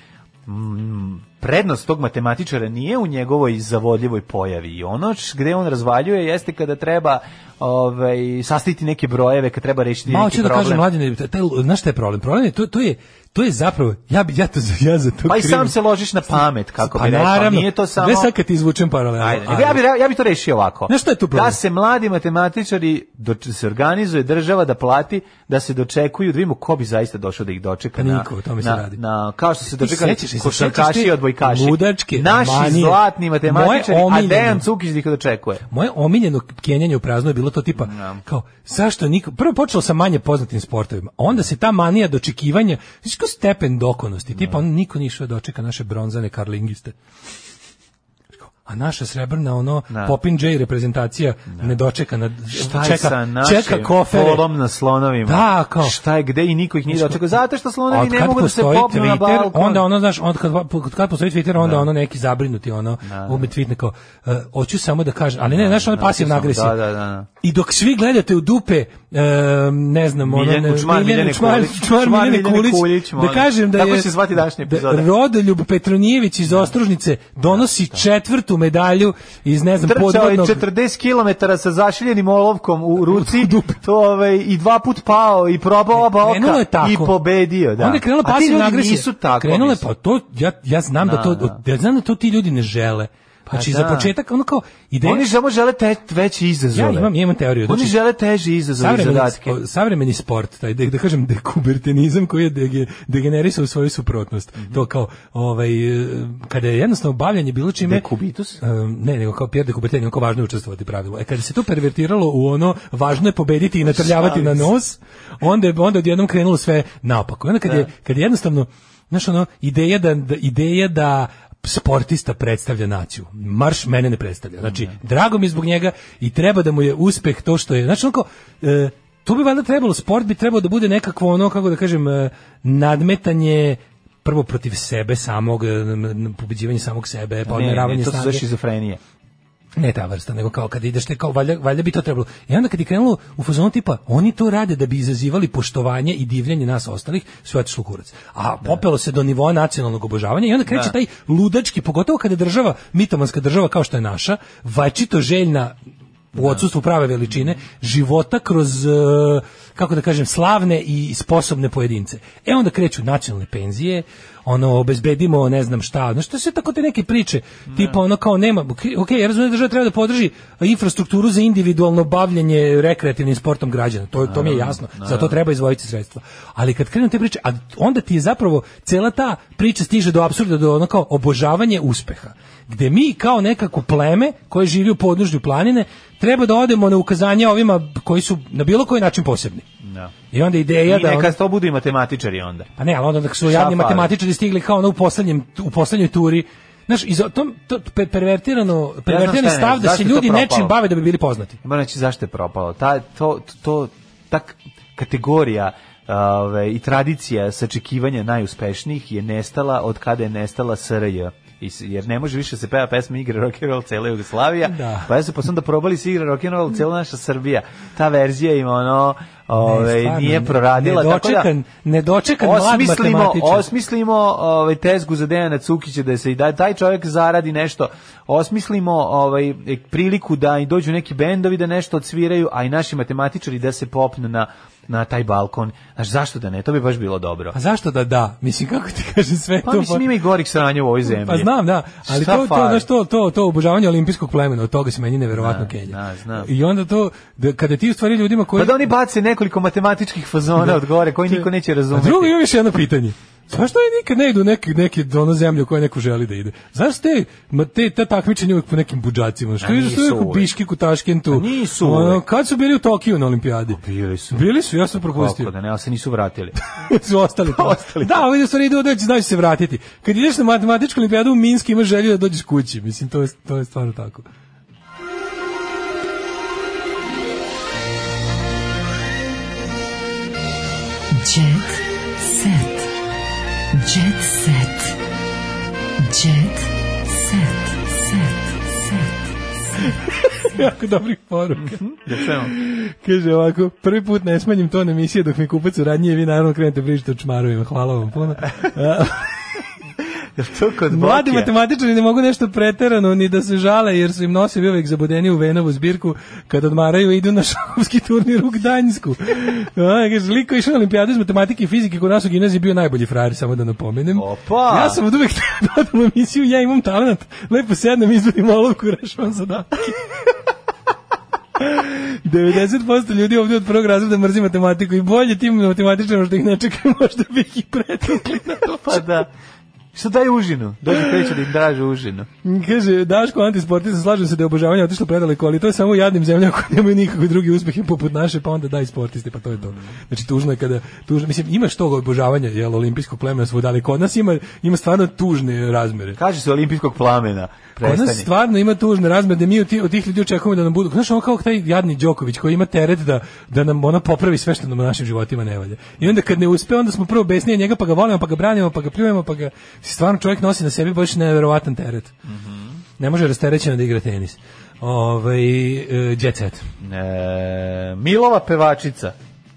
S7: mm, prednost tog matematičara nije u njegovoj zavodljivoj pojavi i ono š- gde on razvaljuje jeste kada treba ovaj sastaviti neke brojeve, kada treba rešiti
S6: Ma
S7: neki
S6: hoću da
S7: problem.
S6: kažem mlađe, taj znaš šta je problem? Problem je to to je to je zapravo ja bi ja to za- ja za to
S7: pa i sam
S6: krivim.
S7: se ložiš na pamet, kako
S6: Pa
S7: bi rekao.
S6: naravno,
S7: Nije to samo...
S6: Gde sad kad ti izvučem paralelu?
S7: Ajde, nego ja, bi, re- ja bi to rešio ovako.
S6: Znaš šta je tu problem?
S7: Da se mladi matematičari doč- se organizuje država da plati da se dočekuju, da vidimo ko bi zaista došao da ih dočeka. na-
S6: Pa Niko, o tome se
S7: na,
S6: radi.
S7: Na, kao što
S6: Ti
S7: se dočekali
S6: sećaš se, sećaš
S7: košarkaši
S6: te
S7: i odbojkaši.
S6: ludačke
S7: Naši
S6: manije?
S7: zlatni matematičari,
S6: Moje
S7: a
S6: omiljeno.
S7: Dejan Cukić da ih dočekuje.
S6: Moje omiljeno kenjanje u prazno je bilo to tipa kao zašto niko prvo počelo sa manje poznatim sportovima, a onda se ta manija dočekivanja, znaš kao stepen dokonosti, tipa on niko nije išao da dočeka naše bronzane karlingiste. A naša srebrna ono Popin J reprezentacija ne dočeka na
S7: Šta je
S6: čeka
S7: sa našim
S6: čeka kofere.
S7: polom na slonovima?
S6: Da, kao.
S7: Šta je gde i niko ih nije
S6: Znaš,
S7: dočekao? Zato što
S6: a
S7: slonovi
S6: od
S7: ne
S6: kad
S7: mogu da se
S6: postoji
S7: popnu na
S6: Twitter,
S7: balkon.
S6: Onda ono, znaš, onda kad, od kad postoji Twitter, onda ono neki zabrinuti, ono, ume tweetne kao, e, hoću samo da kažem, ali ne, znaš, ono je pasivna
S7: Da,
S6: agresija.
S7: da, da, da.
S6: I dok svi gledate u dupe, e, ne znam, ono,
S7: Miljan
S6: ne-
S7: Kučmar, Miljane
S6: Kučmar,
S7: Kulić,
S6: Kučmar,
S7: Kučmar,
S6: Miljane
S7: Miljane
S6: Kulić,
S7: Kulić,
S6: da
S7: molim.
S6: kažem da
S7: Tako
S6: je
S7: će se zvati današnja
S6: da
S7: epizoda.
S6: Rodoljub Petronijević iz Ostružnice donosi četvrtu medalju iz, ne znam,
S7: trčao je
S6: podvodnog
S7: 40 km sa zašiljenim olovkom u ruci to, ovaj, i dva put pao i probao oba
S6: krenulo
S7: oka
S6: je tako.
S7: i pobedio. Da.
S6: Onda je krenula
S7: A ti ljudi
S6: pasivna agresija.
S7: nisu tako.
S6: Krenula je
S7: mislim.
S6: pa to ja ja znam da,
S7: Da,
S6: to
S7: da. Pa
S6: ja znam da to ti ljudi ne žele. Znači
S7: da.
S6: za početak ono kao ideja
S7: Oni samo žele te, veći izazove.
S6: Ja imam, ja imam teoriju. znači,
S7: Oni žele teži izazove i
S6: savremeni,
S7: zadatke.
S6: spo- savremeni sport, taj, da, da kažem dekubertenizam koji je dege, degenerisao u svoju suprotnost.
S7: Mhm.
S6: To kao, ovaj, e, kada je jednostavno bavljanje bilo čime...
S7: Dekubitus?
S6: Em, ne, nego kao Pierre Dekuberten, on kao važno je učestvovati pravilo. E kada se to pervertiralo u ono, važno je pobediti i
S7: Pa
S6: natrljavati na nos, onda je onda je odjednom krenulo sve naopako. I Onda kad je, kad je jednostavno, znaš ono, ideja da, da- ideja da sportista predstavlja naciju. Marš mene ne predstavlja. Znači, drago mi je zbog njega i treba da mu je uspeh to što je. Znači, onako, e, tu bi valjda trebalo, sport bi trebao da bude nekakvo ono, kako da kažem, e, nadmetanje prvo protiv sebe samog, e, m, m, pobeđivanje samog sebe, pa
S7: ne,
S6: odmeravanje
S7: ne, to su za
S6: snage.
S7: šizofrenije.
S6: Ne ta vrsta, nego kao kad ideš te kao valjda, valjda bi to trebalo. I onda kad je krenulo u fazonu tipa oni to rade da bi izazivali poštovanje i divljenje nas ostalih, sve je otišlo u kurac. A popelo se do nivoa nacionalnog obožavanja i onda kreće
S7: Da.
S6: taj ludački, pogotovo kada je država, mitomanska država kao što je naša, vačito željna u odsustvu prave veličine života kroz e, kako da kažem slavne i sposobne pojedince. E onda kreću nacionalne penzije, ono obezbedimo ne znam šta, no što se tako te neke priče, tipa ono kao nema, ok, ja razumijem da država treba da podrži infrastrukturu za individualno bavljenje rekreativnim sportom građana, to, to mi je jasno, za to treba izvojiti sredstva. Ali kad krenu te priče, a onda ti je zapravo cela ta priča stiže do apsurda, do ono kao obožavanje uspeha, gde mi kao nekako pleme koje živi u podnožju planine, treba da odemo na ukazanje ovima koji su na bilo koji način posebni.
S7: Da.
S6: I onda ideja
S7: I
S6: da...
S7: neka
S6: ono-
S7: to budu i matematičari onda.
S6: pa ne, ali onda dok su
S7: Šta
S6: jadni
S7: fali?
S6: matematičari stigli kao ono u, poslednjem, u poslednjoj turi, Znaš, iz tom to pe- pervertirano, pervertirani
S7: šta je,
S6: stav da
S7: zašto
S6: se
S7: je to
S6: ljudi nečim
S7: propalo?
S6: bave da bi bili poznati.
S7: Moram reći zašto je propalo. Ta, to, to, ta k- kategorija ove, i tradicija sačekivanja najuspešnijih je nestala od kada je nestala SRJ. I s- Jer ne može više se peva pesma igre rock and roll cela Jugoslavija.
S6: Da.
S7: Pa ja se posledno da probali se igra rock and roll cela naša Srbija. Ta verzija im ono ove,
S6: Ne, stvarno,
S7: nije proradila tako
S6: nedočekan-
S7: da
S6: nedočekan mlad
S7: osmislimo,
S6: matematičar.
S7: osmislimo ovaj tezgu za Dejana Cukića da se i da taj čovjek zaradi nešto. Osmislimo ovaj priliku da i dođu neki bendovi da nešto odsviraju, a i naši matematičari da se popnu na na taj balkon. Znaš, zašto da ne? To bi baš bilo dobro.
S6: A zašto da da? Mislim, kako ti kažem sve
S7: Pa
S6: to...
S7: mislim ima i gorih sranja u ovoj zemlji.
S6: Pa znam, da, ali
S7: Šta
S6: to, to,
S7: fali?
S6: znaš, to, to, to obožavanje olimpijskog plemena, od toga se meni neverovatno
S7: Da,
S6: kenja.
S7: da, znam.
S6: I onda to, da, kada ti u stvari ljudima koji...
S7: Pa da oni bace nekoliko matematičkih fazona od gore koji niko neće
S6: A
S7: razumeti.
S6: drugo imam još jedno pitanje. Zašto oni nikad ne idu u neke, neke ono zemlje u koje neko želi da ide? Zašto te, ma te ta takmičenja uvek po nekim buđacima? Što
S7: A
S6: ideš
S7: nisu
S6: uvek u
S7: uvek.
S6: Biškiku, Taškentu? ono,
S7: A nisu uvek.
S6: kad su bili u Tokiju na olimpijadi?
S7: Bili su.
S6: Bili su, ja sam propustio.
S7: Kako da ne, ali se
S6: <laughs>
S7: nisu vratili.
S6: su ostali tamo.
S7: Ostali
S6: Da, ovi stvari idu da će znači se vratiti. Kad ideš na matematičku olimpijadu u Minsk imaš želju da dođeš kući. Mislim, to je, to je stvarno tako.
S5: Jet set. Jet set. Jet set.
S6: <laughs>
S5: Set.
S6: jako dobrih poruka.
S7: Da čujemo.
S6: Kaže ovako, prvi put ne smanjim ton emisije dok mi kupac u radnji, vi naravno krenete pričati o čmarovima. Hvala vam puno.
S7: to kod
S6: Mladi
S7: Bokija?
S6: matematičari ne mogu nešto preterano ni da se žale jer su im nosevi uvek zabudeni u Venovu zbirku kad odmaraju i idu na <laughs> šahovski turnir u Gdańsku. A, kaže, liko je išao na olimpijadu iz matematike i fizike kod nas u gimnaziji bio najbolji frajer, samo da napomenem.
S7: Opa!
S6: Ja sam od uvek <laughs> teo da odem u emisiju, ja imam talent, lepo sednem, izvodim olovku, <laughs> rešavam zadatke. 90% ljudi ovdje od prvog razreda mrzi matematiku i bolje tim matematičarima što ih ne čekaju, <laughs> možda bi ih i pretukli na to.
S7: Pa da. Što daj užinu? Dođi kreće da im draže užinu.
S6: Kaže, Daško, antisportista, slažem se da je obožavanje otišlo predaleko, ali to je samo u jadnim zemljama koje nemaju nikakve drugi uspehe poput naše, pa onda daj sportiste, pa to je to. Znači, tužno je kada, tužno, mislim, imaš tog obožavanja, jel, olimpijskog plemena svuda, ali kod nas ima, ima stvarno tužne razmere.
S7: Kaže se olimpijskog plamena.
S6: Kod nas
S7: Prestani.
S6: stvarno ima tužne razmere da mi od ti- od tih ljudi očekujemo da nam budu. Znaš, on kao taj jadni Đoković koji ima teret da, da nam ono popravi sve što nam u našim životima ne valja. I onda kad ne uspe, onda smo prvo besnije od njega, pa ga volimo, pa ga branimo, pa ga pljujemo, pa ga... Stvarno čovjek nosi na sebi baš neverovatan teret.
S7: Mhm.
S6: Ne može rasterećeno da igra tenis. Ovaj e, jet set.
S7: E, Milova pevačica.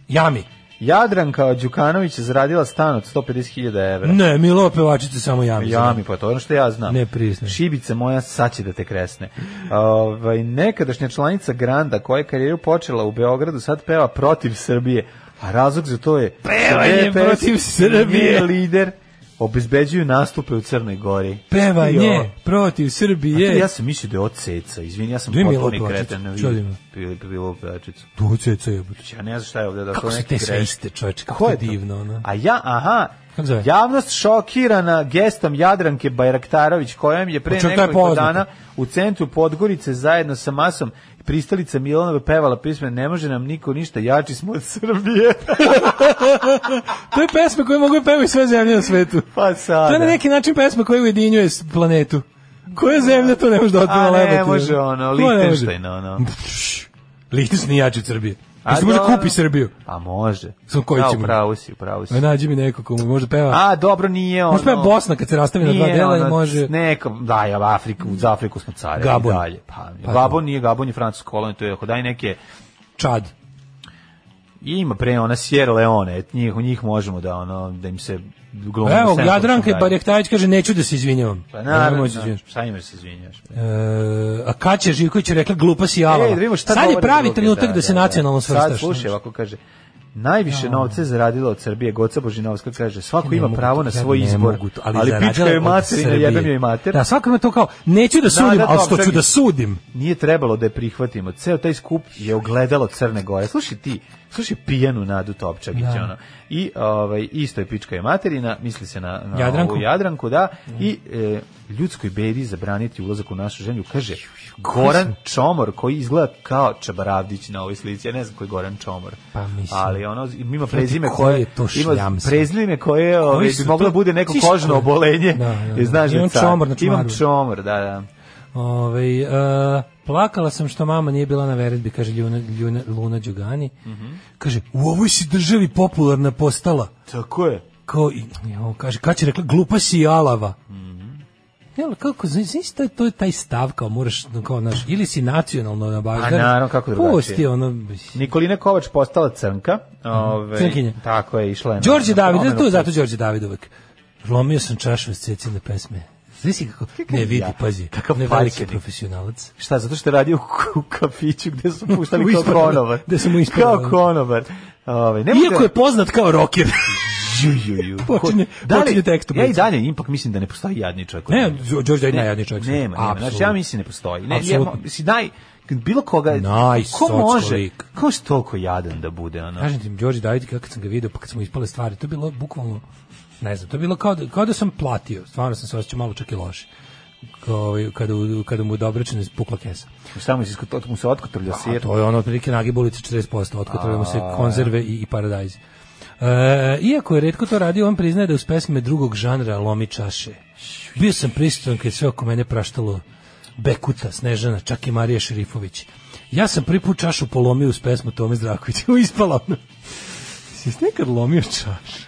S6: Jami.
S7: Jadranka Đukanović je zaradila stan od 150.000 evra.
S6: Ne, Milo pevačice samo jami.
S7: Jami, pa to je ono što ja znam.
S6: Ne priznaj.
S7: Šibica moja, sad će da te kresne. Ovaj, nekadašnja članica Granda, koja je karijeru počela u Beogradu, sad peva protiv Srbije. A razlog za to je...
S6: Pevanje
S7: DPS
S6: protiv Srbije.
S7: nije lider obezbeđuju nastupe u Crnoj Gori. Jo.
S6: Pevanje protiv
S7: Znate,
S6: Srbije.
S7: Ja sam mislio da je od ceca, izvini, ja sam
S6: Gde je Milo
S7: potpuni
S6: Kovačić?
S7: kretan.
S6: Šta ima?
S7: Bilo pevačicu.
S6: Tu ceca jebote.
S7: Ja ne znam šta je ovde. Da
S6: Kako
S7: to
S6: su
S7: neki
S6: te sve
S7: greš.
S6: iste, čoveče,
S7: Ko
S6: kako
S7: je
S6: je
S7: to?
S6: divno, ono.
S7: A ja, aha,
S6: Kako zove?
S7: javnost šokirana gestom Jadranke Bajraktarović, kojom je pre
S6: Pa čak ta je
S7: nekoliko
S6: poznata.
S7: dana u centru Podgorice zajedno sa masom pristalica Milanove pevala pisme Ne može nam niko ništa, jači smo od Srbije. <laughs>
S6: To je pesma koju mogu pevati sve zemlje na svetu.
S7: pa sada.
S6: To je na neki način pesma koja ujedinjuje s- planetu. Koja zemlja to ne može da otpeva
S7: A
S6: lebati?
S7: ne, može ono,
S6: To ne može.
S7: Lichtenstein, ono.
S6: Lichtenstein nije jači od Srbije.
S7: A
S6: A se može
S7: dobro.
S6: kupi Srbiju.
S7: A može.
S6: Samo koji
S7: Da,
S6: ćemo?
S7: upravo si, upravo si.
S6: Aj, nađi mi neko ko mu može peva.
S7: A, dobro, nije ono...
S6: Može peva Bosna kad se rastavi na dva
S7: Nije
S6: dela i
S7: ono,
S6: može-
S7: Neka, daj, ali Afriku, za Afriku smo carevi.
S6: Gabon.
S7: Dalje. Pa,
S6: Pa
S7: Gabon nije, Gabon je francusko kolonija, to je, ako daj neke...
S6: Čad.
S7: Ima pre ona Sierra Leone, et njih, u njih možemo da ono da im se glumimo.
S6: Evo, Jadranka Barjehtajić kaže, neću da se izvinjavam.
S7: Pa
S6: Nemoj
S7: naravno,
S6: se izvinjavaš.
S7: šta imaš se izvinjaš?
S6: E, a Kaća Živković je rekla glupa si jala.
S7: Ej, da vidimo šta
S6: Sad je
S7: govore
S6: pravi
S7: drugi,
S6: trenutak da, se nacionalno svrstaš.
S7: Sad slušaj, ovako kaže. Najviše novca je zaradila od Srbije. Goca Božinovska kaže, svako
S6: Ne
S7: ima
S6: mogu
S7: pravo
S6: to,
S7: na
S6: ja
S7: svoj
S6: ne
S7: izbor,
S6: mogu to,
S7: ali,
S6: zarađala
S7: pička je
S6: od
S7: mater i ne
S6: Srbije.
S7: jebem joj mater.
S6: Da, svako ima to kao, neću da sudim,
S7: da,
S6: ali
S7: da,
S6: što ću
S7: čekaj.
S6: da sudim.
S7: Nije trebalo da je prihvatimo. Ceo taj skup je ogledalo Crne Gore. Slušaj ti, slušaj pijanu Nadu Topčagić.
S6: Da.
S7: Ono. I ovaj, isto je pička je materina, misli se na, na
S6: Jadranku.
S7: ovu Jadranku, da. I e, ljudskoj bedi zabraniti ulazak u našu zemlju. Kaže, Goran Čomor, koji izgleda kao Čabaravdić na ovoj slici. Ja ne znam koji je Goran Čomor.
S6: Pa mislim.
S7: Ali ono, ima prezime
S6: koji
S7: koje,
S6: je to
S7: ima
S6: šljamstvo?
S7: prezime koje ovaj,
S6: su
S7: bi moglo
S6: to-
S7: bude neko
S6: Ti šta-
S7: kožno obolenje. <laughs>
S6: Da, da, da.
S7: Jer Znaš, da
S6: Imam
S7: car.
S6: čomor na čmaru.
S7: Imam čomor, da, da.
S6: Ove, e, plakala sam što mama nije bila na veredbi, kaže Ljuna, Ljuna, Luna Đugani. Kaže, u ovoj si državi popularna postala.
S7: Tako je.
S6: Kao, i, jo, kaže, kad će rekla, glupa si i alava. Jel, kako, znaš, znaš, to je- to je taj stav, kao moraš, kao, naš, ili si nacionalno nabaždan.
S7: A naravno, kako drugačije.
S6: Pusti, ono,
S7: Nikolina Kovač postala crnka. Ove,
S6: Crnkinja.
S7: Tako je, išla je.
S6: Đorđe David,
S7: promenu
S6: to je zato
S7: kursa.
S6: Đorđe David uvek. Lomio sam čašu iz cecine pesme. Znaš si kako, ne vidi,
S7: ja.
S6: pazi,
S7: Kakav
S6: ne veliki
S7: paćenik.
S6: profesionalac.
S7: Šta, zato što je radio u- u kafiću gde
S6: <laughs>
S7: su puštali kao
S6: Ispravno,
S7: konobar.
S6: gde su mu ispravno.
S7: Kao konobar. Ove, ne
S6: Iako je poznat kao
S7: <laughs>
S6: rocker.
S7: Ju, ju, ju.
S6: <laughs> Počinje- počinje tekstom.
S7: Ja i dalje ipak mislim da ne postoji jadni čovjek. od
S6: Ne,
S7: njega.
S6: Đorđe David
S7: Ne,
S6: je najjadniji čovjek.
S7: Nema, nema.
S6: Apsolutno.
S7: Znači, ja mislim ne postoji. Ne, ja,
S6: Apsolutno.
S7: si naj, bilo koga, ko
S6: Najsocko
S7: može,
S6: lik.
S7: ko može toliko jadan da bude, ono.
S6: Kažem ti, Đorđe David, kako sam ga vidio, pa kad smo ispale stvari, to je bilo bukvalno, ne znam, to je bilo kao da, kao da sam platio. Stvarno sam se osjećao malo čak i loše. Kao, ovaj, kada, u- kada mu je dobročena pukla kesa.
S7: Samo se iskot- mu se otkotrlja
S6: A
S7: sir.
S6: to je ono otprilike nagib ulica 40%, otkotrujemo se konzerve i, i paradajzi. E, iako je redko to radio, on priznaje da uz pesme drugog žanra lomi čaše. Bio sam prisutan kad je sve oko mene praštalo Bekuta, Snežana, čak i Marija Šerifović. Ja sam prvi put čašu polomio uz pesmu Tome Zdravkovića. <laughs> Ispala ona. Si nekad lomio čašu?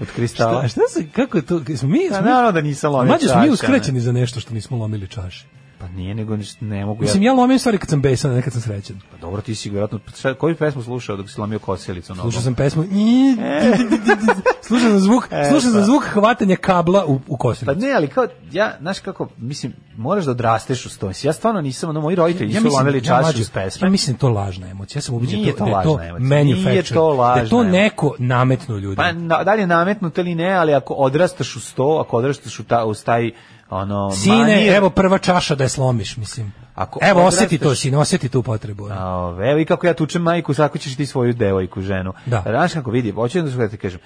S7: Od kristala.
S6: A šta se, kako je to? Smo mi,
S7: Pa
S6: smo mi-
S7: naravno da nisam lomio
S6: Mlađe, smo mi
S7: čaše,
S6: uskrećeni za nešto što nismo lomili čaše.
S7: Pa nije, nego niš- ne mogu
S6: Mislim,
S7: ja...
S6: ja lomim stvari kad sam besan, a ne kad sam srećan.
S7: Pa dobro, ti si vjerojatno... Šta, koju pesmu slušao dok si lomio kosilicu? na
S6: Slušao
S7: ovom?
S6: sam pesmu "Nji, di, di, di, di", Slušao sam zvuk,
S7: E,
S6: slušao sam
S7: pa.
S6: zvuk hvatanja kabla u, u kosinu.
S7: Pa ne, ali kao, ja, znaš kako, mislim, moraš da odrasteš uz to. Mislim, Ja stvarno nisam, ono, moji roditelji
S6: Ja
S7: su
S6: mislim-
S7: lomili
S6: ja
S7: čašu
S6: mlađe,
S7: uz pesme.
S6: Ja mislim da je to lažna emocija. Ja sam ubiđen
S7: Nije to
S6: da je to
S7: lažna emocija. Nije
S6: manufactured.
S7: to
S6: Da
S7: lažna
S6: je to
S7: emocija.
S6: neko nametno ljudi.
S7: Pa na, da li je nametnuto ili ne, ali ako odrastaš uz to, ako odrastaš u, ta, uz taj ono,
S6: Sine,
S7: manir,
S6: evo prva čaša da je slomiš, mislim.
S7: Ako
S6: evo, osjeti to,
S7: odrasteš-
S6: sine, osjeti tu potrebu. ono.
S7: Ove, evo i kako ja tučem majku, sako ćeš ti svoju devojku, ženu. Da. Znaš kako vidi, hoću da ti kažem,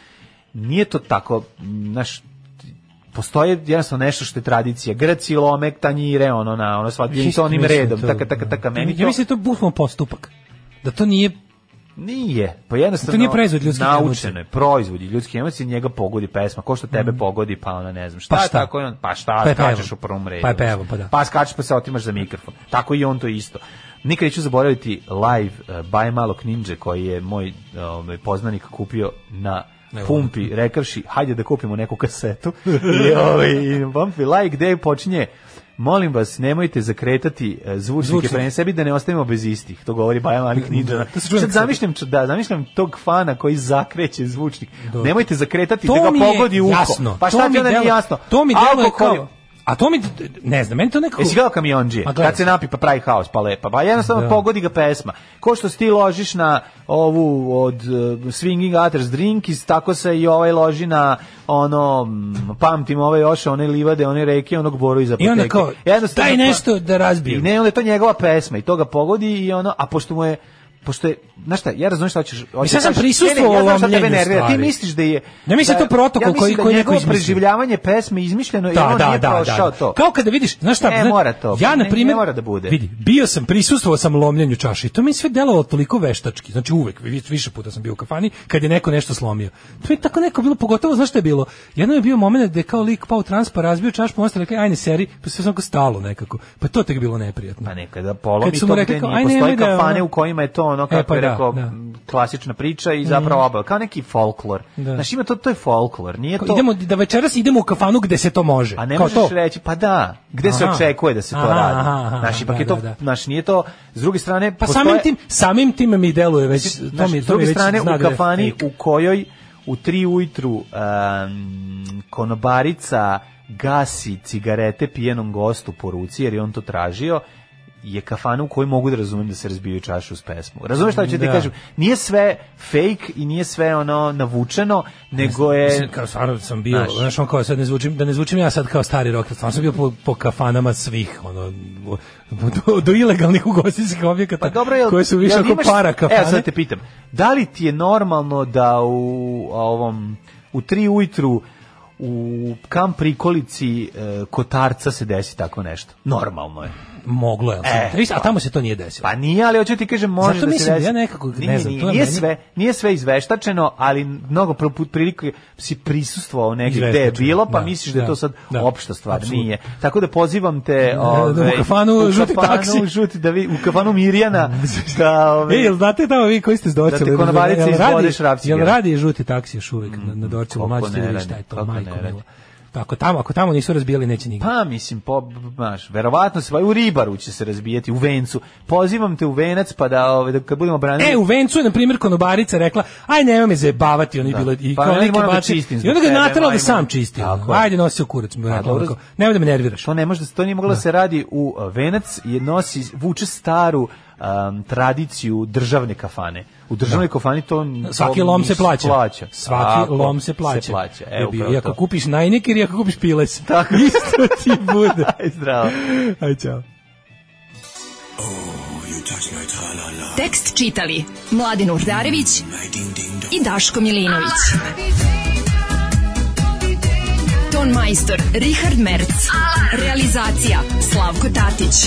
S7: nije to tako, m, znaš, postoje jednostavno nešto što je tradicija. Grci lome tanjire, ono, na, ono, svađim
S6: Isto
S7: to onim
S6: mislim
S7: redom,
S6: to,
S7: taka, taka, taka, meni
S6: Ja
S7: to...
S6: mislim da je to bukvalno postupak. Da to nije
S7: Nije, pa jednostavno...
S6: To nije proizvod ljudskih
S7: Naučeno
S6: emocija.
S7: je, proizvod je ljudskih emocija, njega pogodi pesma, ko što tebe pogodi, pa ona ne znam šta,
S6: Mhm. Pa šta?
S7: tako je on, pa šta,
S6: Pa je
S7: skačeš
S6: pevo.
S7: u prvom redu.
S6: Pa je pevo, pa da.
S7: Pa skačeš pa se otimaš za mikrofon. Tako i on to isto. Nikad neću zaboraviti live uh, Baj malog ninja koji je moj ovaj, poznanik kupio na
S6: Evo.
S7: pumpi, rekavši, hajde da kupimo neku kasetu. <laughs> I, ovaj, i pumpi like gde počinje Molim vas, nemojte zakretati eh, zvučnike,
S6: Zvučnike.
S7: zvučnike. pre sebi da ne ostavimo bez istih. To govori Baja Malik Ninja.
S6: To se čuje na
S7: Sad
S6: kaseti.
S7: zamišljam, č- da, zamišljam tog fana koji zakreće zvučnik. Nemojte zakretati
S6: to
S7: da
S6: mi
S7: ga pogodi
S6: je
S7: uho.
S6: jasno.
S7: pa
S6: to
S7: šta
S6: mi
S7: ti onda nije
S6: delo-
S7: jasno?
S6: To mi deluje
S7: Alkohol je-
S6: kao... A to mi, ne znam, meni to nekako...
S7: Jesi gledao kamionđije?
S6: Ma gledam.
S7: Kad se napi pa pravi haos, pa lepa. Pa jednostavno
S6: Da.
S7: pogodi ga pesma. Ko što si ti ložiš na ovu od uh, Swinging Otters Drinkies, tako se i ovaj loži na ono, mm, pamtim ovaj oša, one livade, one reke, onog boru iz apoteke.
S6: I onda kao,
S7: Jednostavno,
S6: daj
S7: pa-
S6: nešto da razbijem.
S7: I ne, onda je to njegova pesma i to ga pogodi i ono, a pošto mu je pošto je, znaš šta, ja razumijem šta hoćeš... hoćeš
S6: sad sam
S7: da kažeš.
S6: prisustvovao
S7: Ne, ne, ja znam šta tebe
S6: lomljenju
S7: nervira. Ti
S6: stvari.
S7: misliš da je...
S6: Ne mislim to protokol
S7: ja mislim
S6: koji-
S7: da
S6: koji neko
S7: njegovo
S6: izmislio.
S7: preživljavanje pesme je izmišljeno i on nije prošao to.
S6: Kao kada vidiš, znaš šta,
S7: Ne
S6: znaš,
S7: mora to,
S6: Ja
S7: ne-
S6: na
S7: ne
S6: primjer,
S7: mora da bude.
S6: Vidi, bio sam prisustvovao sam lomljenju čaše i to mi je sve delovalo toliko veštački. Znači uvek vi- više puta sam bio u kafani kad je neko nešto slomio. To je tako neko bilo pogotovo znaš šta je bilo. Jedno je bio momenat da je kao lik pao u trans pa razbio čašu, pa ostali rekli ajde seri, pa sve samo stalo nekako. Pa to je tek bilo neprijatno.
S7: Pa nekada polomi
S6: Kad su
S7: to
S6: mu
S7: gde
S6: rekli
S7: nije.
S6: kao, "Aj,
S7: Postoji
S6: nemoj da je
S7: kafane
S6: ono-
S7: u kojima je to ono,
S6: E,
S7: kako
S6: pa
S7: je
S6: da,
S7: rekao,
S6: da. Mhm.
S7: m, klasična priča i zapravo obava. Kao neki folklor.
S6: Da.
S7: Znaš, ima to, to je folklor. Nije
S6: Kao,
S7: to...
S6: idemo da večeras idemo u kafanu gde se to može.
S7: A ne
S6: kao
S7: možeš
S6: to.
S7: reći, pa da, gde se
S6: Aha.
S7: očekuje da se to
S6: Aha,
S7: radi?
S6: aha, aha,
S7: znaš, ipak
S6: da,
S7: je to,
S6: da, da.
S7: znaš, nije to, s druge strane,
S6: Pa
S7: postoje-
S6: samim tim, samim tim mi deluje već, to
S7: Znaš,
S6: mi,
S7: Znači, s
S6: to mi
S7: druge
S6: već
S7: strane,
S6: znak
S7: u
S6: da je E,
S7: kafani
S6: fake.
S7: u kojoj u tri ujutru um, konobarica gasi cigarete pijenom gostu po ruci, jer je on to tražio, je kafana u kojoj mogu da razumem da se razbiju čašu uz pesmu. Razumeš šta ću ti
S6: Da.
S7: kažem? Nije sve fake i nije sve ono navučeno, nego je...
S6: Mislim, kao stvarno sam bio,
S7: E, Znaš.
S6: znaš, on kao sad ne zvučim, da ne zvučim ja sad kao stari rok, stvarno sam bio po, po kafanama svih, ono, u- do, do ilegalnih ugostinskih objekata,
S7: Pa dobro, jel,
S6: koje su više
S7: jel
S6: oko
S7: imaš-
S6: para kafane.
S7: Evo sad te pitam, da li ti je normalno da u ovom u tri ujutru u kamp prikolici e, Kotarca se desi tako nešto? Normalno je.
S6: Moglo je, ali sam-
S7: E,
S6: tri- a tamo se to nije desilo.
S7: Pa nije, ali hoću ti kažem, može
S6: Zato
S7: da se
S6: mislim da
S7: desi.
S6: ja nekako, ne
S7: Nije,
S6: znam,
S7: nije,
S6: to je
S7: nije
S6: meni-
S7: sve, nije sve izveštačeno, ali mnogo pro- put prilike si prisustvovao negdje gde je
S6: Izveštačeno,
S7: bilo, pa
S6: da,
S7: misliš da je
S6: da,
S7: to sad
S6: da,
S7: opšta stvar.
S6: apsolutno.
S7: Nije. Tako da pozivam te...
S6: da, da,
S7: ovaj,
S6: u kafanu žuti
S7: kafanu
S6: taksi.
S7: žuti, da vi, u kafanu
S6: <laughs>
S7: Mirjana. da, ovaj,
S6: E, jel znate tamo vi koji ste s Dorčeva?
S7: Da te konobarice
S6: Jel
S7: izbode
S6: radi-
S7: šrafciger?
S6: Jel radi žuti taksi još uvijek na, na Dorčevu?
S7: kako
S6: Mlađe
S7: Mm, ne
S6: ste vidjeli
S7: radi,
S6: šta je to,
S7: kako
S6: majko
S7: ne radi.
S6: mila. Pa Ako tamo, ako tamo nisu razbijali, neće nigdje.
S7: Pa mislim, po, znaš, verovatno se, pa i u ribaru će se razbijati, u vencu. Pozivam te u venac, pa da, ovaj, da kad budemo branili...
S6: E, u vencu je, na primjer, konobarica rekla, aj nema me zajebavati, oni bilo, i,
S7: Pa
S6: kao
S7: ja
S6: neke
S7: moram da
S6: baci-
S7: čistim
S6: i onda ga
S7: zbog
S6: je
S7: tebe,
S6: natrala da
S7: majmun.
S6: sam čisti.
S7: Tako je.
S6: Ajde, nosi u kurac, mu je
S7: Pa,
S6: rekla,
S7: dobro.
S6: onako, nemoj da me nerviraš.
S7: To ne može da se- to nije moglo da se radi u uh, venac je nosi vuče staru um, tradiciju državne kafane. U državnoj kafani to
S6: Svaki
S7: to
S6: lom se
S7: ništa
S6: plaća.
S7: plaća.
S6: Svaki
S7: Tako,
S6: lom se plaća.
S7: Se plaća.
S6: Je
S7: Evo,
S6: bio.
S7: upravo
S6: I ako
S7: to.
S6: kupiš najneker i ako kupiš piles. <laughs> Isto ti bude.
S7: Aj, zdravo.
S6: Aj, čao.
S5: Tekst čitali Mladin Urdarević i Daško Milinović. Ton majstor Richard Merc. Realizacija Slavko Tatić.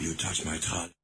S12: You touch my heart.